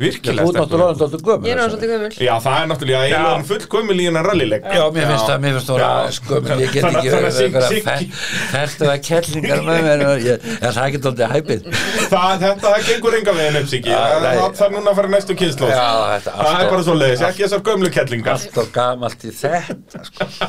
þú
Virkilega
ert
sterkur
náttúrulega
leikur.
dóttur gömur
Ég er náttúrulega svolítið gömul.
Já, það er náttúrulega, ég er hann full í hennar rallileik.
Já, mér finnst það, mér finnst það
Já.
að skömmin, ég get
Þannig-
ekki
þannig að Sig- Siggi-
fært að kellingar með mér og ég, ég, það er ekki tóldið hæpið Já,
Það, þetta, það gengur enga veginn upp, Siggi.
Já,
Það
Ah, nei.
það þarf núna að fara í næstu kynnslóð.
þetta
Það er bara svo leiðis, ekki þessar gömlu kettlingar.
allt og gamalt í þetta sko.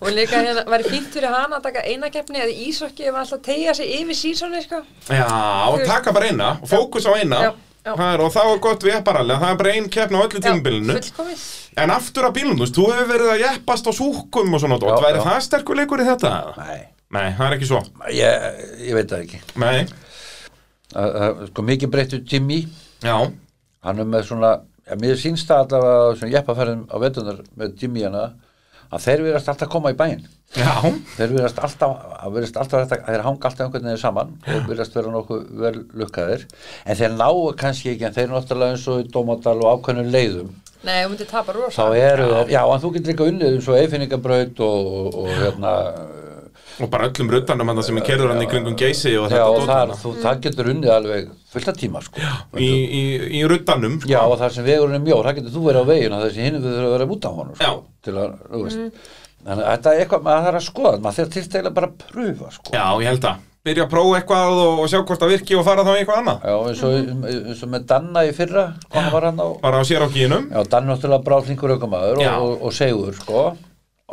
Og líka hérna, væri fínt fyrir hana að taka eina keppni eða ísokki ef hann alltaf tegja sig yfir sísónu, sko.
Já, og taka bara eina, og fókus á eina
Já, já.
Það er, og það var gott við epparalli það er bara ein keppn á öllu tímabilinu
Já, fullkomið.
en aftur að bílnum, þú veist, þú hefur verið að jeppast á súkum og svona dót,
Já,
væri
já.
það sterkur leikur í þetta?
Nei,
Nei, það er ekki svo
ég, ég veit það ekki
Nei,
Að- að- Sko, mikið breyttu Jimmy
já,
hann er með svona, ég, mér sínst það allavega á svona jeppaferðum á vetunar með Jimmy hana, að þeir verðast alltaf að koma í bæinn
já
þeir verðast alltaf, að verðast alltaf þetta, þeir hanga alltaf einhvern veginn saman og verðast vera nokkuð vel lukkaðir en þeir náu kannski ekki en þeir náttúrulega eins og í Dómadal og ákveðnum leiðum
Nei, þú myndir tapa
þá
rosa.
eru þeir, já en þú getur líka unnið eins og eifinningabraut og, og, og hérna
og bara öllum ruttanum hann sem er kerður hann í kringum geysi og
já
þetta
og
dót
þar,
þarna.
þú, það getur unnið alveg fullt af tíma sko
í, í, í ruttanum sko.
já og þar sem vegurinn er mjór, það getur þú verið á veginn og þessi hinn við þurfum að vera út á honum sko,
Já.
til að, þú veist þannig að þetta er eitthvað, maður þarf að skoða maður þarf til dæla bara að pröfa sko
já, ég held að byrja að prófa eitthvað og, og sjá hvort það virki og fara þá í eitthvað annað
Já, eins og, eins og með Danna í fyrra, sko, hann var hann á,
bara á sér á kínum
já, Danna náttúrulega bráðlingur aukumaður
Já.
og, og, og segur, sko,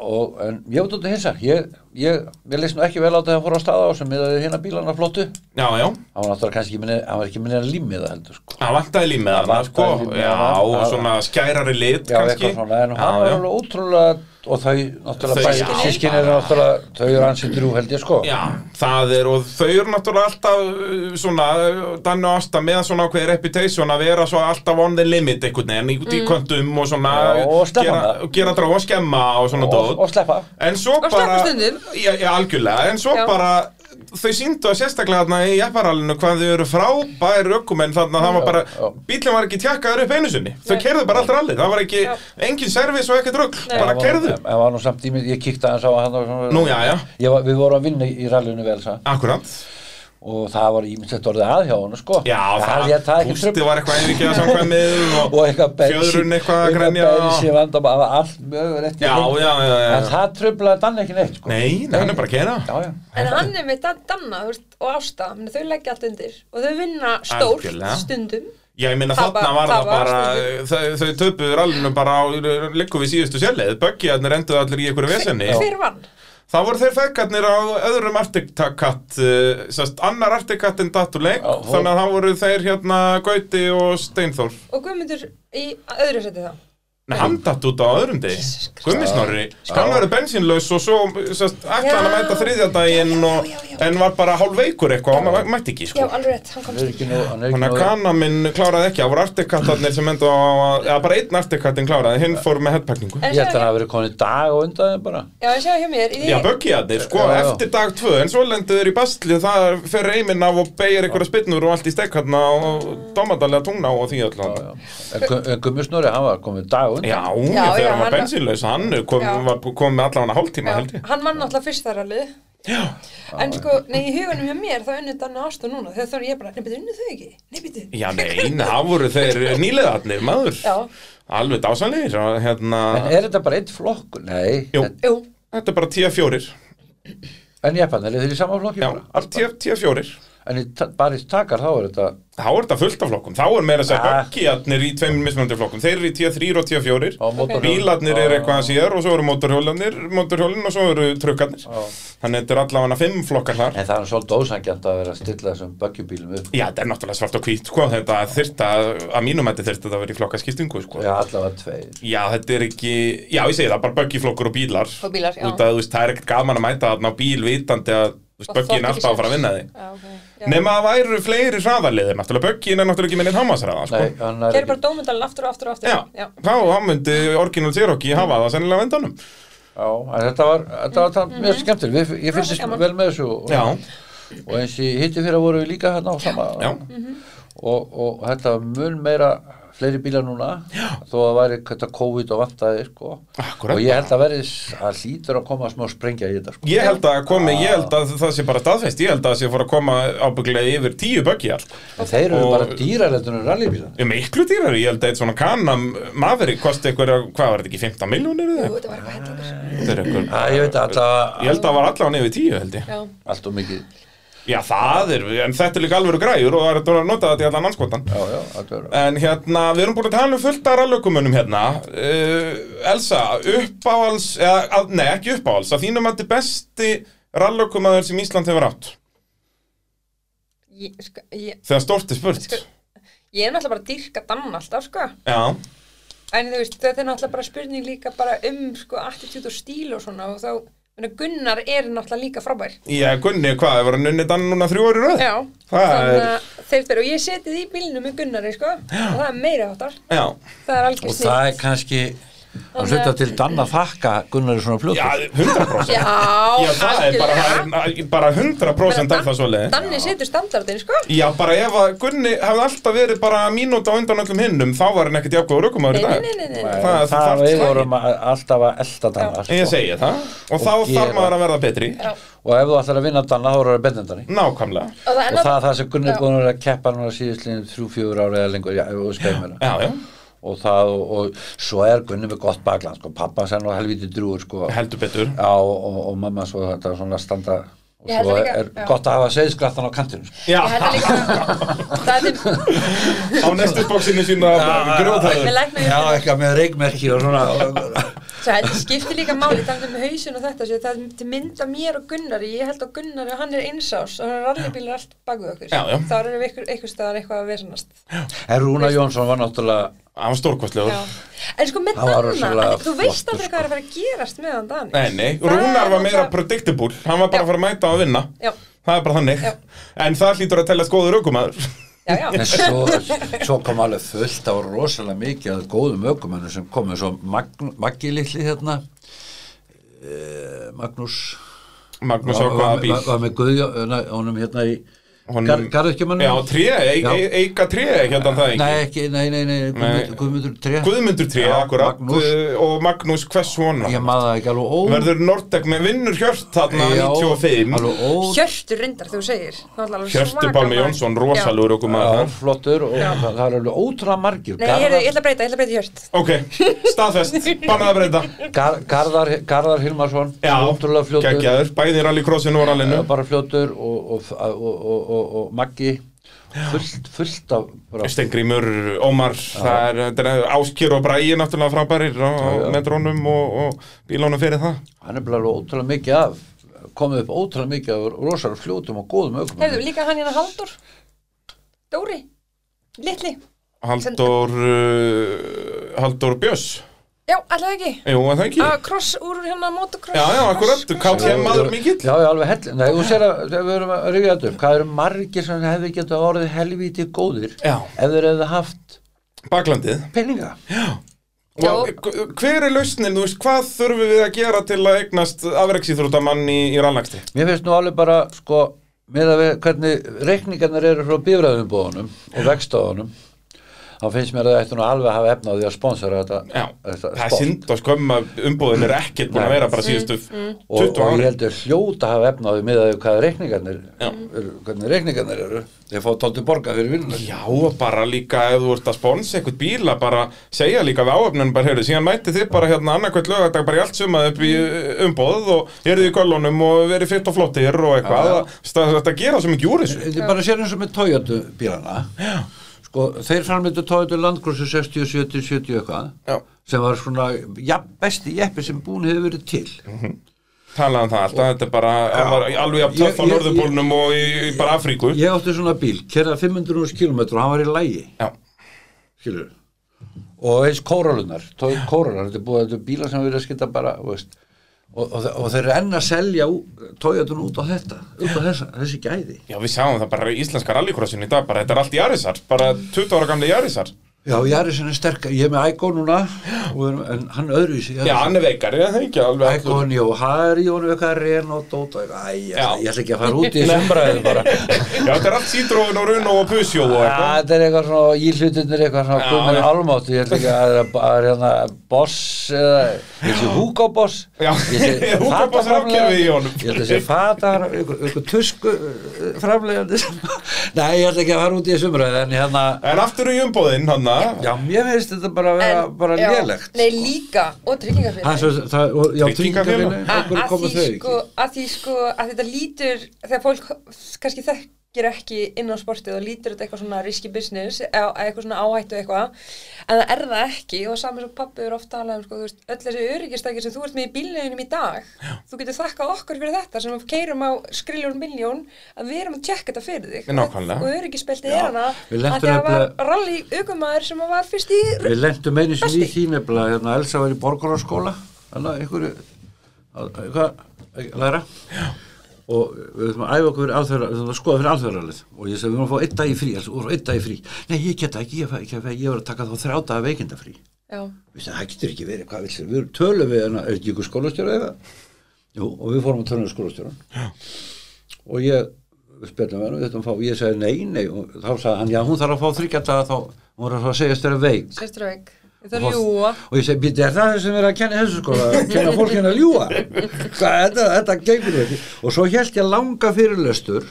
og, en ég veit út að hinsa, ég, ég, ég leist nú ekki vel á þetta að fóra á staða á sem miðaði hérna bílana flottu,
já, já,
hann var náttúrulega kannski, minni, hann var ekki minni að límið það heldur, sko.
Það vantaði límið
Það
hana, sko,
vantaði límið
já,
hana.
og
Það-
svona skærari lit,
Já,
kannski.
eitthvað svona, en
Já,
hann var
já.
alveg ótrúlega, og þau,
Þau-
náttúrulega,
já,
bæði sískinni eru
bara-
náttúrulega, þau eru hans í drú held ég, sko.
Já, það er, og þau eru náttúrulega alltaf uh, svona, uh, Danni og Asta með svona ákveði reputation að vera svo alltaf on the limit einhvern veginn, í- út í kvöndum og svona
Mm. Já, og stemma
gera,
það.
gera drá og skemma og svona
Og,
dót
og sleppa,
En svo
Og
bara
sleppa stundum.
Já, já, algjörlega, en svo
Já.
bara þau síndu að sérstaklega þarna í jepparalinu hvað þau eru frábær ökumenn þarna það var bara,
já.
bílinn var ekki tjakkaður upp einu sinni þau
Nei.
kerðu bara alltaf rallið, það var ekki
Já.
engin servis og ekkert rugg,
Nei.
bara
En var-
kerðu
en- en var nú samt í mig, ég kíkti aðeins á að hann var svona-
Nú, já, já.
Ég var- Við vorum að vinna í rallinu vel, sagði hann.
Akkurat,
og það var ímislegt orðið að hjá honum sko
já,
það, ég, það ekki tröfn
pústi var eitthvað einvikið að samkvæmið og,
og eitthvað
fjöðrun eitthvað að grænja og...
bensin vandum að allt mögulegt í
Já,
kring.
já, já, já,
en
já.
það tröflaði Dan ekki neitt sko.
Nei, nei, hann er bara að kera
já, já.
En hann er með Dan- Danna þú veist, og Ásta, meni, þau leggja allt undir og þau vinna stórt
Algjörlega.
stundum.
Já, ég meina
Það
þarna
var-
var
það
það
var
bara,
stundum.
þau, þau töpuður allinu bara á, liggum við síðustu sjælið, böggiðarnir enduðu allir í einhverju vesenni.
Hver vann?
Það voru þeir fekkarnir á öðrum Arctic Cat, uh, sérst, annar Arctic Cat en datuleik,
Já, hó.
þannig að það voru þeir hérna Gauti og Steinþór.
Og Guðmundur í öðru seti þá.
Nei, hann datt út á öðrum degi
Jesus Christ.
Gummisnorri, hann verður bensinlaus og svo sest, ætla hann að
Já,
mæta þriðja daginn
já, já,
og,
já, já.
en var bara hálf veikur eitthvað og hann mæ- mætti ekki
Já,
sko
alveg rétt, hann komst
er ekki nóg, hann er ekki
Þannig að
nóg
kana minn kláraði ekki, það voru artikattarnir sem enda á að, já bara einn artikattin kláraði, hinn fór með headpackingu
En
Ég ætla að
sjá,
hafa verið konið dag og undan þeim bara
já, en sjá hjá mér í-
Já, böggiðarnir, sko,
Já, já.
eftir dag tvö, en svo lendu þeir í bastli, það fer reimin af og beigir einhverja spinnur og allt í stekkarna og dámadalega tungna og því öllu
Já. En, Gu- en Gummi Snorri, hann var komið dag og undan
Já, já,
Já,
þegar
já,
hann var
hann-
bensinlaus, hann kom,
Já.
var, kom með allavega hálftíma,
Já,
held ég
hann vann náttúrulega fyrst þar alveg en sko, nei, í hugunum hjá mér þá unnið Danna Ást og núna, þegar þá er ég bara nei, betur unnið þau ekki, nei, betur
Já, nein, það voru þeir nýlegaðarnir, maður
Já.
Alveg dásanlegir og hérna,
En er þetta bara eitt flokk? Nei
Jú.
En,
Jú,
þetta er bara 10-4
en ég fann, er þeir í sama flokki
Já,
bara? Allt bara.
10-4
En í ta- bara í takar þá er þetta
Þá er þetta fullt af flokkum, þá er meira að segja
Ah.
höggiðarnir í tveimur mismunandi flokkum Þeir eru í 10-3 og 10-4
á Ah. mótorhjól.
Bílarnir
Já.
eru eitthvað að síðar og svo eru mótorhjólanir, mótorhjólin og svo eru trukkarnir
Já.
Þannig þetta er allavega fimm flokkar þar
En það er svolítið ósangjant að vera að stilla þessum böggjubílum upp
Já, þetta er náttúrulega svart og hvít, sko, þetta þyrfti að, að mínum þetta þyrfti að vera í flokkaskiptingu, sko
Já, allavega tveir
Já, þetta er ekki, já ég segi það, bara böggiflokkur og bílar
Og bílar, já.
Út að þú veist, það er ekkert gaman að mæta þarna á bíl vitandi að þú veist,
Og
böggin
þorði
alltaf að
ekki
fara að vinna þig
já, ok já.
Nema að væru fleiri hraðarliðir, náttúrulega böggin er náttúrulega ekki minninn hámasraða, sko
Nei, hann er
Gerðu bara
ekki
dómundalinn aftur og aftur og aftur
Já, þá, þá myndi orginal Cherokee hafa það sennilega vendanum
Já, en þetta var, þetta var mm mjög skemmtileg Við- Ég
Rosa
finnst
gaman.
vel með þessu og,
Já,
og eins í hitti fyrir voru við líka hérna á sama
já,
og, og þetta var mun meira fleiri bílar núna já. þó að væri þetta COVID og vantaði sko.
Akkúrat.
og ég held að verði að hlýtur að koma smá sprengja í þetta sko.
Ég held að komi, ég held að það sé bara staðfest, ég held að það sé fór að koma ábygglega yfir tíu böggjar sko.
en þeir eru
Og-
bara dýrarættunum rallybílar
Um miklu dýrari, ég held að eitt svona kanam maferi kosti eitthvað, hvað var þetta ekki, 15 miljónir eða?
Jú, þetta var eitthvað hellingur
Þetta er eitthvað-
ja, ég veit að
Ég
alltaf
held að það var allavega nefnir tíu held ég
Já,
allt og mikið já,
Já það er, en þetta er líka alveg græjur og það er hægt að nota þetta í allan anskotan
já, þetta er
En hérna, við erum búin að tala um fullt af rallaukumunum hérna uh, Elsa, uppáhals, eða, að, nei ekki uppáhals að þínum að þetta er besti rallaukumæður sem Ísland hefur átt
ég, sko, ég,
Þegar stórt er spurt
Sko- ég er náttúrulega bara að dýrka Danna alltaf, sko
Já,
En þú veist, þetta er náttúrulega bara spurning líka bara um, sko, attitude og stíl og svona og þá, menna, Gunnar er náttúrulega líka frábær
ég kunni hvað, það var að nunni þannig núna þrjú orður öð
Já,
Það er-
þannig að þeir fyrir og ég setið í bílnum með Gunnari, sko og það er meira áttar,
Já,
það er algjör
og
snill
það er kannski að
Þannig
hluta
að-
til Danna þakka Gunnar er svona
já,
plötur
100%
Já,
Já, það er bara, það er, bara 100% er það svoleiði
Danni setur standardin, sko
Já, bara ef að Gunni hefði alltaf verið bara mínúta á undan öllum hinnum, þá var hann ekkert jákvæður aukumæður
Nei,
í dag.
nei, nei, nei, nei.
Það, það,
það
þarf-
við vorum að- alltaf að elta Danna
Ég
sko.
segi það. Og, þá
gera.
þarf maður að verða betri.
Já.
og ef þú ætlar að vinna Danna þá voru að benda Danni
Nákvæmlega.
Og það er
og það er það sem Gunnar
Mm.
er
Já.
búin að vera að keppa núna síðustliðin þrjú, fjögur ára eða lengur, já, og skæmur
Já, já.
og það, og, og svo er Gunni með gott bakland, sko, pappa sem nú helviti drúur, sko, já,
Heldur betur.
og, og, og mamma svo þetta er svona standa og
Ég held
svo
það líka,
er
já.
gott að hafa segðskrattan á kantinu, sko
Já,
Ég held að líka Það er
á næstu bóksinu sína grjóðhæður.
með læknum
Já, eitthvað með reikmerki og svona og-
Svo þetta skiptir líka máli talað um hausin og þetta, svo það er til mynda mér og Gunnari, ég held að Gunnari, hann er einsás og hann er rallybílar allt bakið okkur
Já, já.
þá erum við ykkur, ykkur staðar eitthvað að vesanast
En Rúna Jónsson var náttúrulega
Það var
Já.
stórkostlegur.
En sko með
Hann var
Danna,
rosalega
þú veist
flottur, sko.
aldrei hvað er að fara að gerast með hann Danni
Nei, nei.
Það er
Rúnar var meira
náttúrulega-
predictable. Hann var bara
Já.
að fara að mæta og vinna.
Já,
Það er bara þannig.
Já.
En það hlýtur að tellast góður aukumæður.
já, já,
en svo, svo kom alveg fullt á rosalega mikið að góðum ökumennum sem komu svo Magn, Maggi litli hérna eh, Magnús
Magnús
var,
ákvaða
var,
bíl.
var, var með Guðjón honum hérna í Gar, Garðkjumann
Já, tré,
Já.
eika tré, hérna það ekki.
Nei, ekki, nei, nei, nei, Guðmundur, Guðmundur 3
Guðmundur 3,
Já,
akkurat
Magnús.
uh, og Magnús hvers svona
Ég maður það ekki alveg ó
verður Nordek með vinnur Hjört þarna
Já,
95
Alveg ó
hjörtur reyndar þú segir Það var alveg
Hjörtu
svaka
Pálmi
maður.
Jónsson, rosalegur okkur maður
Já,
þar
flottur og það, það er alveg ótrúlega margir
Já. Nei, heyrðu, ég ætla að breyta, ég ætla að breyta í hjört
Ok, staðfest, bannað að breyta
Gar, Garðar, Garðar Hilmarsson ótrúlega
Já,
fljótur
geggjaður, bæði í rallycrossinu og rallinu
eh, bara fljótur og, og, og, og, og, og Maggi fullt, fullt af bara,
Stengrimur, Ómar, það er, þetta er Áskir og Bræi náttúrulega frábærir og, og með drónum og, og bílónum fyrir það
hann er bara alveg ótrúlega mikið af komið upp ótrúlega mikið af rosalega fljótum og góðum ökum
Heyrðu, líka hann hérna Haldur Dóri, litli
Haldur, uh, Haldur Björs
Já, alltaf ekki
Jú, að það ekki
Að kross úr hérna motocross
Já, já, akkurat, KTM maður mikill
Já, já, alveg hell Nei, þú sér að við erum að rifja þetta upp Hvað eru margir sem hefði getað orðið helvíti góðir
Já.
ef þeir hefði haft
Baklandið
peninga
Og eh, hver er lausnin, þú veist, hvað þurfum við að gera til að eignast afreksíþróttamann í, í rannlagsti?
Mér finnst nú alveg bara, sko með að við hvernig reikningarnar eru frá bifræðumbóðunum og vextáðunum þá finnst mér að þetta nú alveg að hafa efna á því að sponsora þetta,
Já,
þetta
það er
sport.
synd og skömm að umbúðin er ekkert búin að
Nei.
vera bara síðustu 20
og, og ég
ári
heldur hljóta að hafa efna á því með að við hvað reikningarnir
Já.
eru, hvernig reikningarnir eru þeir fá tóltu borga fyrir vinnuna
Já, og bara líka ef þú ert að sponsa eitthvað bíla, bara segja líka við áöfnunum bara, heyrðu, síðan mæti þið bara hérna annarkvæmt lögadag bara í allt sumað upp í umbóð og heyrðu í köllunum og verið fyrst og flottir og eitthvað,
Já, já.
það, það, það gera svo mikið úr þessu
Þetta er bara sér eins og með Toyota bílana Já. sko, þeir framlýttu Toyota Land Cruiser 60, 70, 70 eitthvað
Já.
sem var svona ja, besti jeppi sem búin hefur verið til
Talaði um það alltaf, þetta er bara hann var alveg að
Ég-
töffa
ég-
norðurbólnum og í, í bara Afríku
ég átti svona bíl, kerða 500 km og hann var í lægi,
Já,
skilur og eins kóralunar, Toyota kóralunar þetta er búið þetta er bílar sem verið að skita bara þú veist, og, og, og þeir eru enn að selja Toyotun út á þetta út á þessa, þessi gæði
já við sjáum það bara í íslenska rallycrossin í dag, bara þetta er allt Jarisar, bara 20 ára gamli Jarisar
Já, Jarisin er sterk, ég er með Ægó núna og, við erum- en hann öðru í sig
Já, hann er veikari, það er ekki alveg allur.
Ægón, jú, það er Jón eitthvað reyn og dót og eitthvað, æ, ég
Já.
ég ætla ekki að fara út í þessu umbræðin bara.
Já, þetta er allt sítróin og runn og pusjó og
Æ,
eitthvað
Ah, Þetta er eitthvað svona, íhlutinir eitthvað svona
Já,
komin
já.
álmátt, ég ætla ekki að að- að hérna boss eða, ég sé Hugo Boss.
Já, Hugo Boss er ákefið í honum.
Ég ætla að sé fata, eitthvað eitthvað tusku eh, framleiðandi sem, nei, ég ætla ekki að fara út í þessu umbræðin, en hérna,
En aftur í umbóðinn, hann að
já, mér finnst þetta bara að vera
En-
bara
já.
lélegt.
sko.
Nei, líka,
Það
og
er
tryggingafyrir
svo- það- og- Já,
Tryggingafélag.
tryggingafélagin, okkur
að
koma
því
þau
sko,
ekki.
að því sko að þetta lítur, þegar fólk kannski þekkir ekki inn á sportið og lítur þetta eitthvað svona risky business eða eða eitthvað svona áhættu eitthvað en það er það ekki og saman sem pappi er ofta alveg um sko, þú veist, öll þessi öryggistækir sem þú ert með í bílneginum í dag Já. þú getur þakkað okkur fyrir þetta sem við keirum á skriljón miljón að við erum að tjekka þetta fyrir þig
Nákvæmlega.
og öryggispeltið er hana
Við lentum
að því að var
nefnilega-
rally aukumæður sem var fyrst í
Við lendum einu sinni í
Besti.
því nefnilega hérna Elsa var í borgarháskóla þannig að einhverju að- eitthvað að læra og við höfum að æfa okkur fyrir alþjóðra við höfum að skoða fyrir alþjóðralið og ég sagði við höfum að fá einn dag í frí Elsa, og einn dag í frí Nei, ég geta ekki, ég, fæ, ekki, ég, ég var að taka þá þrjá daga veikinda frí
Já.
Við sagði, það getur ekki verið, hvað viltu Við erum tölum við hérna, er ekki ykkur skólastjóra eða? Jú, og við fórum að tölum við skólastjóran og ég við spjallum við hann og þetta um fá, ég sagði nei, nei og þá sagði hann, já hún þarf að fá þryggjadaga þá, hún var að fara að segjast þér veik
Sestur veik. Þetta er
Og-
ljúa.
og ég segi, býtti, er það sem er að kenna þessu skóla að kenna fólk hérna að ljúa Hvað, þetta, þetta gengur ekki og svo held ég langa fyrirlöstur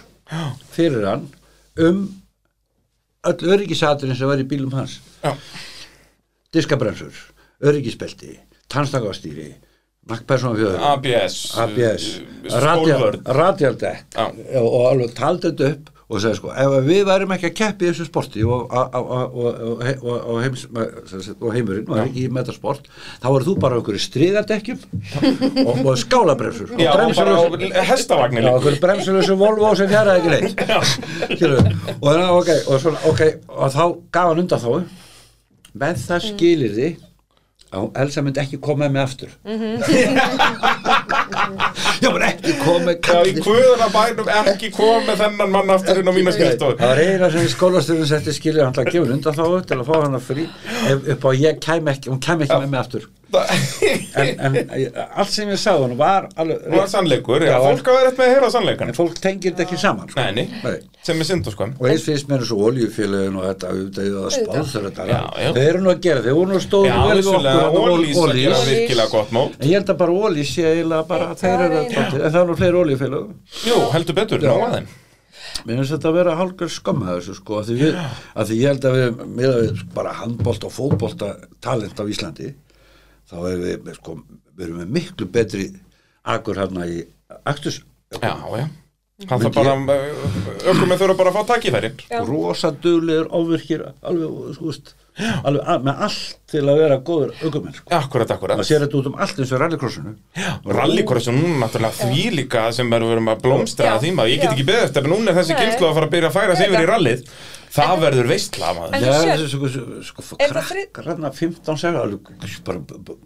fyrir hann um öll öryggisaturinn sem var í bílum hans
Já.
diskabremsur, öryggisbelti tannstangastýri makkpersonafjöður,
ABS
ABS
uh, Skólvörn
radialdekk
Eh, Já.
og alveg taldi þetta upp og sagði sko, ef að við værum ekki að keppi þessu sporti og, og, og, og, og, og, heims, sem sagt, og heimurinn var ekki í metasport, þá er þú bara okkur stríðadekkjum og, og skálabremsur sko,
Já,
og
og bara á
bremsur
hestavagnir
Já,
líka
okkur bremsulösu Volvo sem fjaraði ekki neitt Skilur við. og, þannig að, okay, og, svona, okay, og þá gaf hann undan þá með það skilir þið að hún- Elsa myndi ekki koma með mig aftur Já, menn ekki koma með
Já, í
kallið
kvöðuna bænum ekki komið þennan mann aftur inn á mína skrifstofu
Það var eiginlega sem skólasturinn setti skilur hann til að gefa henni undan þá til að fá hann að frí ef, upp á ég kæm ekki, hún kæm ekki með mig aftur
Það
en, en ég- allt sem ég sagði hann var alveg
var sannleikur, já,
Já,
fólk hafa verið með að heyra sannleikan
en fólk tengir þetta ekki saman sko.
Nei,
Nei.
sem er synd sko. og skömm
og eins finnst mér eins og oljufélagin og þetta auðvitað að spánsur þetta
Já, já.
þau eru nú að gera þau voru nú stóð
Já, vissulega, Ólís að gera
Ólís.
virkilega gott mál
en ég held að bara ólís sé eiginlega bara
Já,
þeir eru
já.
að tóttir en það er nú fleiri oljufélagum
Jú, heldur betur, ná aðeim
Mér finnst þetta að vera hálfur skamma þessu sko, að því, við, að því ég held að við, með að við bara handbólt og fótbólta talent á Íslandi, þá erum við, með, sko, við erum við miklu betri akkur hérna í aktus,
Já, já Það þarf bara, ökkur með þurfa bara að fá takifæri
Já.
rosaduglegur, ofvirkir, alveg, sko, veist, alveg að, með allt til að vera góður aukumenn, sko.
Akkurat, akkurat
Það sér þetta út um allt eins og rallycrossinu.
Rallycrossin, hún er náttúrulega því líka sem er verið að blómstra
Já,
að því maður, ég get
já.
ekki beðið eftir en núna er þessi
Nei.
kynslu að fara að byrja að færa sig
Nei,
yfir í
já.
rallið það verður veistla maður.
En
Já,
þú
þessu
sérð-
sko, sko, sko, sko
Er það þrið-
krakkar hann 15 segja alveg, bara,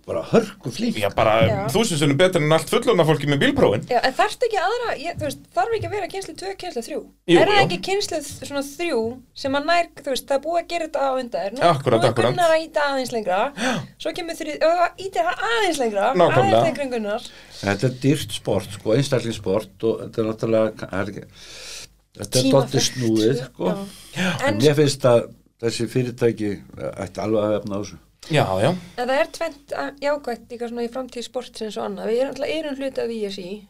bara hörku flýf
Já, bara
Já.
þúsund sinnum betur en allt fullorna fólki með bílprófin.
Já, en þarf ekki aðra, ég, þú veist, þarf ekki að vera kynslu 2, kynslu 3
Jú,
Er það
jú.
ekki kynslu svona 3 sem að nær, þú veist, það er búið að gera þetta á undan þér Nú-
Akkúrat,
Nú er
akkúrat.
Gunnar að íta aðeins lengra Svo kemur þrið, og það ítir það aðeins lengra
Nákvæmlega.
Aðeins lengra en Gunnar
Þetta er dýrt sport, sko, einstaklingssport og þetta er náttúrulega það er ekki- þetta er
Tímafrekt,
dottið snúið,
já.
sko en
En-
mér finnst að þessi fyrirtæki eh, ætti alveg að hefna á þessu
Já, já.
En það er tvent að- jákvætt líka svona í framtíð sportsins og annað Við erum alltaf erum hluti af ISI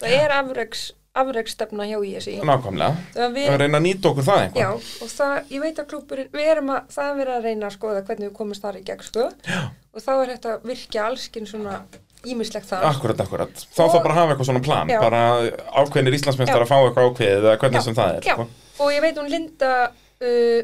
Það er afreks, afreksstefna hjá ISI
Nákvæmlega.
Það við-
Að reyna að nýta okkur það eitthvað.
Já, og það, ég veit að klúpurinn, við erum að, það er verið að reyna að skoða hvernig við komumst þar í gegn, sko. Já. Og þá er þetta virkja allskinn svona ímislegt þar.
Akkurat, akkurat. Þá þarf bara að hafa eitthvað svona plan.
Já.
Bara ákveðinir Íslandsmeistar
Já.
að fá eitthvað ákveðið eða hvernig sem það er.
Já,
sko.
og ég veit hún Linda uh,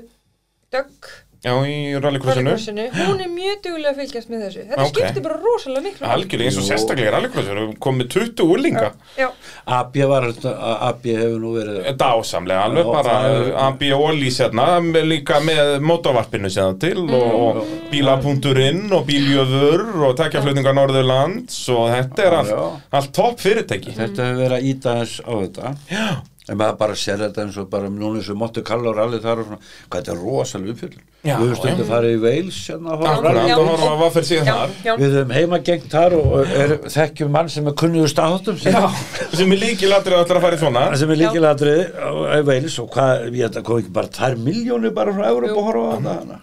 Dögg,
Já, í rallycrossinu.
Rallycrossinu, hún er mjög duglega að fylgjast með þessu. Þetta
Ókei.
skiptir bara rosalega miklu. máli.
Algjörlega eins og
Jú.
sérstaklega í rallycrossinu. Komið 20 úrlinga.
Já,
AB var AB hefur nú verið
Dásamlega, alveg
Já,
bara eh,
það er-
AB Ólís hérna, með- líka með mótavarpinu séðan til og bíla.inn og bíljöfur og tekjaflutningar Norðurlands og þetta er
Já,
allt,
já.
allt topp
Mm.
fyrirtæki
þetta hefur verið að íta þess á þetta
Já,
en maður bara sér þetta eins og bara núna eins og Monte Carlo rally þar og svona hvað þetta er rosalega uppfyllun
Já,
við höfum
já.
stundum farið í Wales hérna, að horfa á
akkurat,
rally.
Já.
og horfa að hvað fyrir síðan
já,
þar
já.
við höfum heimagengt þar og er, þekkjum mann sem er kunnugur staðhóttum sem
Já, sem er líkilatrið að ætla að fara í svona
Það sem er líkilega aðrið í Wales og hvað, ég held að kom ekki bara tvær miljónir bara frá Európa að horfa á hana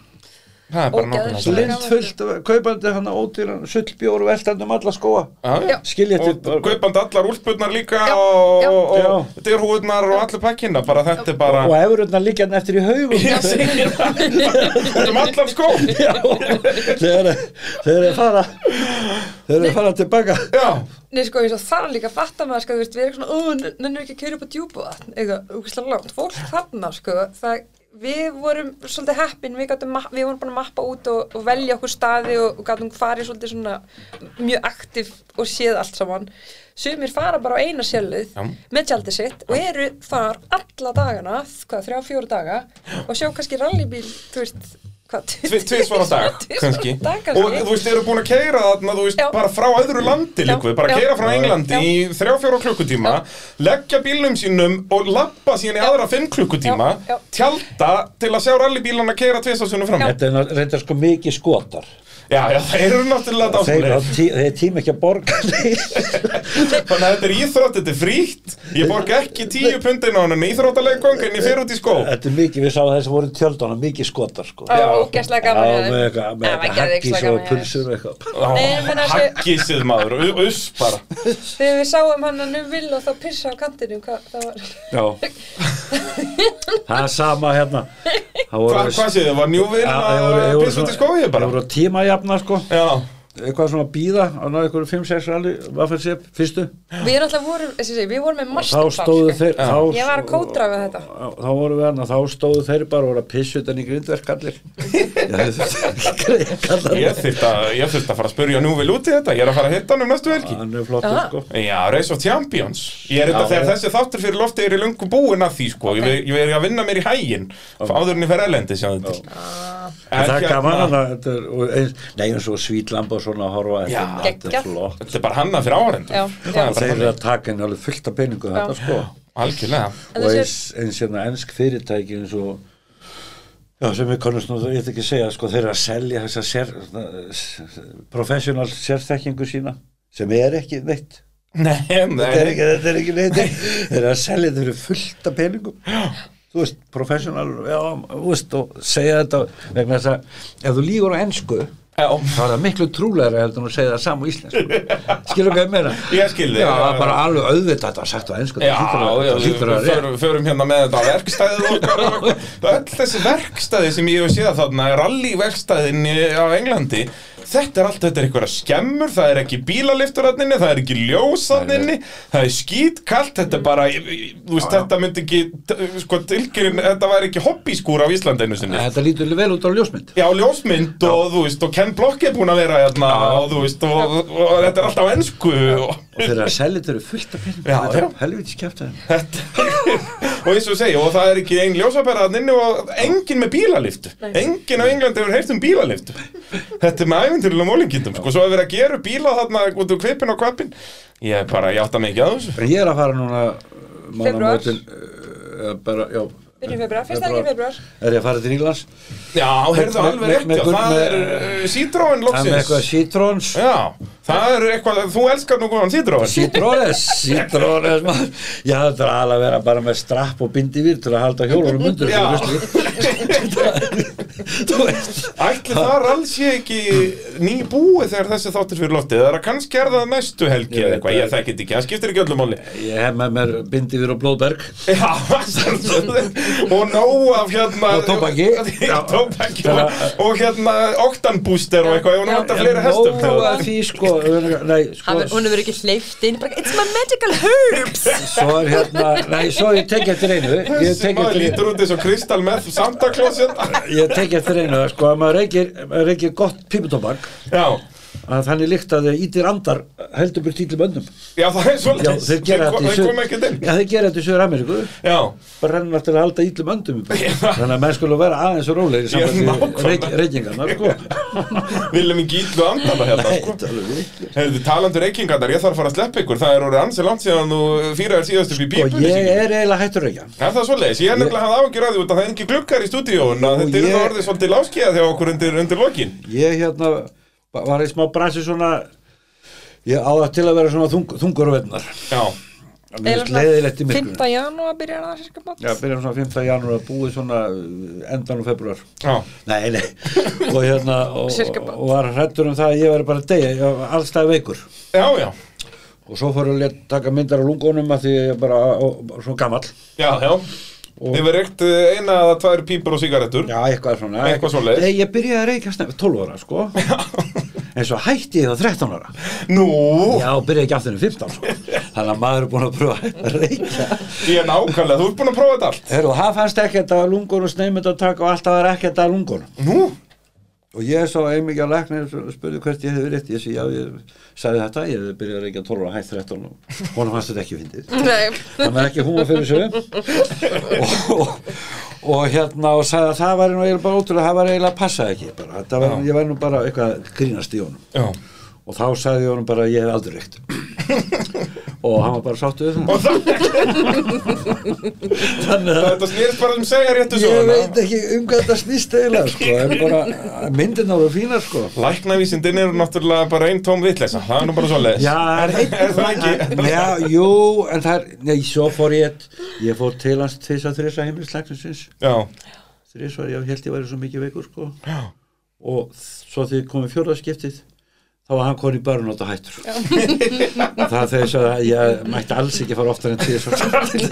Mm-hmm. Það er bara
Ógeðslega.
nákvæmlega
Lin-
það.
blind fullt, af- kaupandi hana ódýran sullbjór og verstandum alla skóa
Já, já.
skilja
Og
þetta og,
kaupandi allar úlpurnar líka
Já,
og,
já.
og, og
Já.
dyrhúðnar og allir pakkinna bara þetta er bara
og efurutna líka hann eftir í haugum
Ég segir það Út um allar skó
Já, þegar þegar þeir fara þegar þeir fara tilbaka
Já,
Nei, sko, eins og það er líka að fatta maður, sko, þú veist, við erum svona, ó, nenn- nennir ekki að keyra upp á djúbuvatn, eitthvað, úkislega langt, fólk þarna, sko, það, við vorum svolítið heppin, við, gátum, ma- við vorum búin að mappa út og, og velja okkur staði og, og gátum farið svolítið svona mjög aktiv og séð allt saman. Sumir fara bara á eina sjálfið
Já.
með tjaldið sitt og eru þar alla dagana, hvað, þrjá, fjóru daga og sjá kannski rallybíl, þú veist, hvað,
tvísvar á dag,
tvisvar á
kannski.
dag, kannski.
og þú veist, eru búin að keira þarna, þú veist,
Já.
bara frá öðru landi
Já.
líku, bara
Já.
keira frá
Já.
Englandi
Já.
í þrjá fjóra klukkutíma, leggja bílnum sínum og lappa síðan í aðra fimm klukkutíma,
Já. Já.
tjálta til að sjá rallybílana keira tvisasunum fram. Já.
þetta er ná- reyndar sko mikið skotar
já, það eru náttúrulega
þeir,
dásamlega.
tí, þeir tíma ekki að borga
Þannig að þetta er íþrótt, þetta er frítt, ég borga ekki tíu pundin á henni íþróttaleggang en ég fer út í skó.
þetta er mikið, við sáum þeir sem voru í tjöldunum mikið skotar sko
Já,
Já.
ógæslega gaman
Já,
hjá þeim.
með eitthvað, með
Já,
eitthvað
það er ekki
haggis
ógeðslega
og pulsur og eitthvað.
gaman hjá þeim.
Ó,
Nei, ég meina þessi-
Haggisið maður, u- uss bara.
Þegar við sáum hann að vil og þá pissa á kantinu, hvað það var?
Já. það er sama hérna. Það voru,
Hva, hvað séð þið, var njúvinn
Já,
að
þeir voru- þeir voru
pissa út í
svona-
skóið
Þeir
bara?
voru tíma jafna, sko.
Já,
Eitthvað svona að býða, á náðu eitthvað 5-6 rally, hvað fyrir sér, fyrstu.
Við erum alltaf vorum, þessi segi, við vorum með
Og þá
masterplan.
stóðu þeir,
Já.
þá...
Ég var að kódraga þetta.
Þá voru við hérna, þá stóðu þeir bara og voru að pissu utan í grindverkallir. Já, þetta
Ég þurft að, ég þurft að fara að spurja nú vil út í þetta, ég er að fara að hitta hann um næstu helgi
Hann er flottur,
Aha.
sko.
Já, Race of Champions Ég er þetta
Já,
þegar
já.
þessi þáttur fyrir loftið er í lungu búin að því sko okay. ég, ég er að vinna mér í hægin áður en ég fer elendi sjáðu til En
Það er
hérna-
gaman hana, þetta er, og eins, nei, eins og svítlamb og svona að horfa, þetta
Já.
er- þetta
Geggjað.
er flott.
Þetta er bara hanna fyrir áhærendur
Já, já.
Það er
Þeir
bara
eru
hanna
að taka henni alveg fullt af peningu þetta sko
Algjörlega
En
og
þessi-
eins, eins hérna ennsk fyrirtæki eins og já, sem við konumst nú, ég ætla ekki að segja sko, þeir eru að selja þessa sér, svona, s- professional sérþekkingu sína sem er ekki neitt
Nei,
þetta er
nei
ekki, þetta er ekki neitt þeir eru að selja þeir eru fullt af peningum þú veist, professional já, þú veist, og segja þetta vegna þess að ef þú lígur á ennsku
Já,
þá er það miklu trúlega heldur en að segja það saman á íslensku skilur hvað ég meina
Ég skil þig.
já, það er bara alveg auðvitað þetta var sagt á ennsku
Já, já,
það
við
hlýtur að vera
förum, förum hérna með þetta verkstæðið okkar og eitthvað. Öll þessi verkstæði sem ég hef séð þarna, rallyverkstæðin í- á Englandi Þetta er allt, þetta er einhverja skemmur, það er ekki bílaliftur bílalifturarninni, það er ekki ljósaninni, það er skítkallt, þetta er bara, ég- ég- þú veist, þetta myndi ekki, t- sko, tilkynnin, þetta væri ekki hobbyskúr á Íslandinu sinni.
þetta lítur vel út á ljósmynd
Já, ljósmynd og, þú veist, og Ken Block er búin að vera hérna og, þú veist, og, og, þetta er alltaf ensku og
og þeir eru að selja þetta eru fullt af peningum
Já,
þetta
já.
er helviti skemmt að þeim
þetta, og eins og segja, og það er ekki einn ljósapæra þann inni og enginn með bílaliftu
Nei.
enginn á Englandi hefur heyrt um bílaliftu þetta er með ævindurilega mólingindum sko, svo að vera að gera upp bíla þarna út úr kvipin og kvapin ég bara játta mig ekki að þessu
En ég er að fara núna uh, mánaðamótin, uh, eða bara, já,
Byrjum februar, fyrsta helgi februar
er ég að fara til Englands
já, heyrðu
með-
alveg
með-
rétt
með
já,
gull-
það
með-
er uh, sítróin
Það með eitthvað
loksins
sítrons
já, það er eitthvað, þú elskar nú góðan sítróin
Sítrónes, sítrónes maður. Ég hafði þetta alveg að vera bara með strapp og bindi vir til að halda hjólunum undir
Já.
þú veist. Þú veist
Ætli það alls ég ekki nýbúið þegar þessi þáttir fyrir loftið Það er að kannski er það næstu helgi
Ég
eða
veit
eitthvað,
það.
ég þekki þetta ekki, það skiptir ekki öllum máli
Ég hef með mér bindi vir og blóðberg
Já, sjálfsögðu. og nóg af hérna
Og tóbaki.
Já, tóbaki og, og hérna oktanbúster og eitthvað, ég var
Já.
nota fleiri
Nóg
hestum
að því sko, nei, sko
Hann- Hún hefur ekki hleyft inn bara, It's my medical herbs
Svo er hérna, nei, svo ég tekja eftir einu Ég
Þessi
tekja
maður
eftir einu
lítur út eins og Kristal með samtaklósin
Ég tekja eftir einu, sko, að maður reykir, maður reykir gott píputobak
Já,
að þannig líkt að þeir ítir andar heldur burt ítlum öndum
já það er
Já,
svolítið
þeir gera
kom-
þetta í
þeir koma
Suður-
ekkert inn
Já, þeir gera þetta í Suður Ameríku
Já,
bara rennum alltaf að halda ítlum öndum í bæ. þannig að menn skulle vera aðeins og rólegir í
Já, nákvæmlega.
sambandi reykingarnar sko.
viljum ekki ítlu andana hérna sko.
Þetta er alveg vitlaust.
Herðu, talandur reykingarnar, ég þarf að fara að sleppa ykkur Það er orðið ansi langt síðan þú fýraður síðast upp í
og
bípunni
Sko, ég er eiginlega hættur að reykja
Er það svoleiðis? Ég er nefnilega hafði ágjur að því út að það er ekki gluggar í stúdíón að þetta er
Sko, ég-
það orðið svolítið láskíða þegar okkur undir, undir lokin
ég hérna ba- var í smá bransi svona ég á það til að vera svona þung, þungur og vennar
Já,
leiðilegt í myrkur
5. janúar byrjar það sérskap bát
Já, byrjum svona 5. janúar að búið svona uh, endan og februar
já,
Nei, nei, og hérna og,
Sirka bara.
og var hrættur um það að ég væri bara að deyja, ég var allstæði veikur
já, já,
og svo fór ég að lét- taka myndar á lungunum að því ég er bara og, og, svo gamall
já, já Þið verður reykt uh, eina eða tvær pípur og sigarettur
Já, eitthvað svona
Eitthvað svoleiðis.
Nei, Ég byrjaði að reykja snemma 12 ára, sko En svo hætti ég það 13 ára
Nú,
Já, og byrjaði ekki aftur en 15, sko Þannig að maður er búin að pröfa að hætta að reykja
ég er nákvæmlega, þú ert búin að prófa þetta allt
Herru, það fannst ekkert að lungunum sneymynd að taka og alltaf er ekkert að lungunum
Nú,
Og ég svo einmikið að læknir og spurði hvert ég hefði rétt, ég sé já, ég sagði þetta, ég hefði byrjað að reykja 12 ára, hætt 13 og honum fannst þetta ekki fyndið.
Nei,
Það með ekki húma fyrir þessu og, og, og hérna og sagði að það var nú eiginlega bara ótrúlega, það var eiginlega að passa ekki bara, þetta var, ég var nú bara eitthvað að grínast í honum
já
og þá sagði ég honum bara að ég hef aldrei reykt og hann var bara sáttu við það.
Og það,
Þannig að
þetta snýrst bara sem segja réttu
ég
söguna
veit ekki um hvað þetta snýst eiginlega sko, en bara myndin ára fínar sko.
Læknavísindin eru náttúrulega bara ein tóm vitleysa Það er nú bara svo leiðis
Já, það er einn
Er það ekki?
Já, jú, en það er, nei, svo fór ég ég fór til hans tvisar þrisar heimilislæknisins
Já,
þrisar, ég held ég væri svo mikið veikur sko.
já
og þ- svo þegar komið fjórðarskiptið þá var hann konið í börn og þetta hættur það þegar ég sagði að ég mætti alls ekki fara oftar en tvisar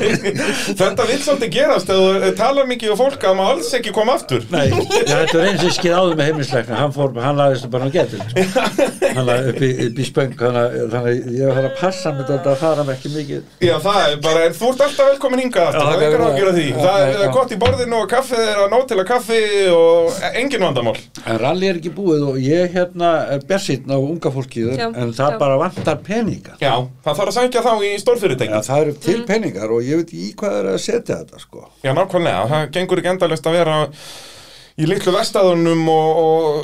Þetta vil svolítið gerast ef þú talar mikið um fólk að maður alls ekki kom aftur
Nei, já, þetta er eins og skeið áður með heimilisleikna hann fór, hann laðist bara á getur sko. hann laði upp í, upp í spöng þannig að- þannig að ég var að passa með þetta að fara með ekki mikið
Já það er bara, en þú ert alltaf velkomin hingað
Já,
aftur, það
þakka
er
fyrir
ágjör að því
það.
Það
Já,
er
já.
gott í borðinu og kaffið er að nót til að kaffi og engin vandamál
En rally er ekki búið og ég hérna er bjarsinn á unga fólkið
Já,
en það
já.
bara vantar peninga.
Já, það þarf að sækja þá í
Já,
stórfyrirtæki Já,
það eru
Mhm.
til peningar og ég veit ekki í hvað það er að setja þetta sko.
nákvæmlega, það gengur ekki endalist að vera í litlu vestaðunum og,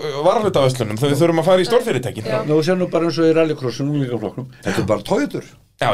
og varhlutaveslunum þegar við þurfum að fara í stórfyrirtækin Já,
Já.
Nú sé nú bara eins og í rallycrossum úlíkaflokknum. Þetta er bara tójutur.
já,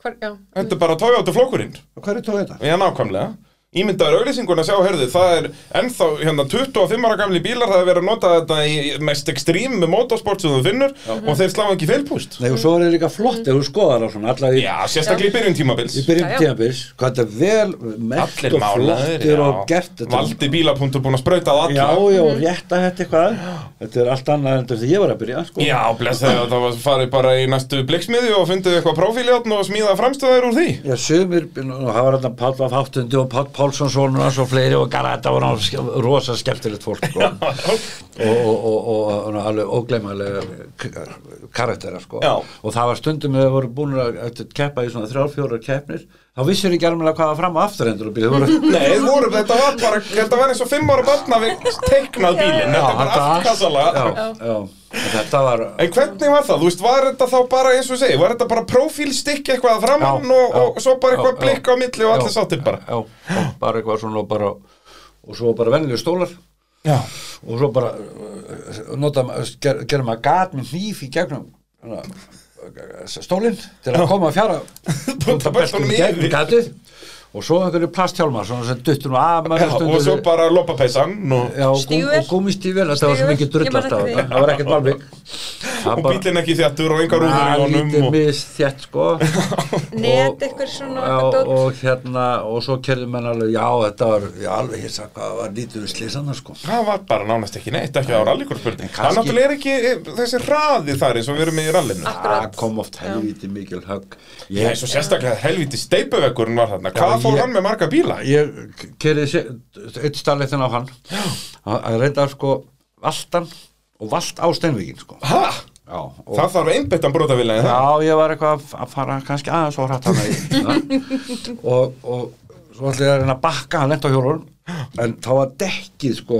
hvar, já
þetta er bara tójáta flokkurinn
Hvað er tójuta?
Já, nákvæmlega Ímyndaður auglýsingun að sjá, herðu, það er ennþá hérna 25 ára gamli bílar það er verið að nota þetta í mest ekstrím með motorsport sem þú finnur og þeir slá ekki feilpúst
Nei og svo er það líka flott ef þú skoðar á svona allavega í,
Já, sérstaklega í byrjun tímabils
í byrjum
Já, já.
tímabils hvað þetta er vel merkt
Allir
og
málaður,
flottir og gert þetta.
Valdi bílapunktur búin að sprauta á alla
Já, já, og rétta þetta eitthvað. Þetta er allt annað en þegar ég var að byrja sko.
Já, bless þegar það var farið bara í næstu blikksmiðju og fundið eitthvað prófíljáttn og smíða framstöðar úr því
Já, sumir, og það var þarna Páll af Háttundi og Páll Pálsson sonur hans og fleiri og gara, þetta voru ske- rosa skemmtilegt fólk sko. og, og, og, og, og alveg ógleymalega k- karaktera sko.
Já.
og það var stundum þegar þeir voru búin að að keppa í svona þrjár, fjórar keppnir þá vissir ekki alveg hvað var fram og aftur endur og byrja, voru,
Nei, þeir voru, þetta var bara, þetta var eins og fimm ára barna við teiknað bílinn, þetta
Já,
er bara
þetta
allt
allt-
kassalega
já, já. En Þetta var
En hvernig var það? Þú veist, var þetta þá bara eins og ég segi, var þetta bara profílstykk eitthvað að framann
Já,
og,
já,
og svo bara eitthvað
já,
blikk á milli og allir sáttir bara?
já, já, bara eitthvað svona og bara og svo bara vennilega stólar
Já.
og svo bara uh, nota, ger, gerum maður gat með hníf í gegnum hana, uh, stólinn til að koma að fjara
Búta beltunum
í
yfir.
gegnum gatið og svo einhverju plasthjálmar svona sem duttur nú af maður
Já,
stundu-
og svo bara loppapeysan og,
Já, og gúm-
Stígvél?
og gúmistífvel, þetta var svo
Stígvél,
mikið
ég
drull
man
alltaf
eftir því.
þetta. það var ekkert malbygg
og bílinn ekki þjattur og engar úður í
Það lítið
honum og,
mis þétt sko
Net,
Og-
eitthvað svona,
já,
eitthvað dót.
og hérna, og svo kerði menn alveg já, þetta var, ég alveg hissa hvað það var lítið slisanna sko
Það var bara nánast ekki neitt, ekki það var allir spurning.
kannski-
Það náttúrulega er ekki eh, þessi hraði þar eins og við erum í rallinu.
Akkurat.
það kom oft helviti mikil högg
Ég er svo sérstaklega helviti steipuvekkurinn var þarna. Hvað
Já,
fór
ég-
hann með marga bíla?
ég kerði eitt stalitin á hann að að reynda sko valtan og valt á steinvíkin sko
Hæ?
já, og,
Það þarf einbyttan brotavilja en það.
Já, ég var eitthvað að- að fara kannski aðeins og hrætt hana og, og svo ætlaði ég að reyna að bakka hann lent á hjólun en þá var dekkið sko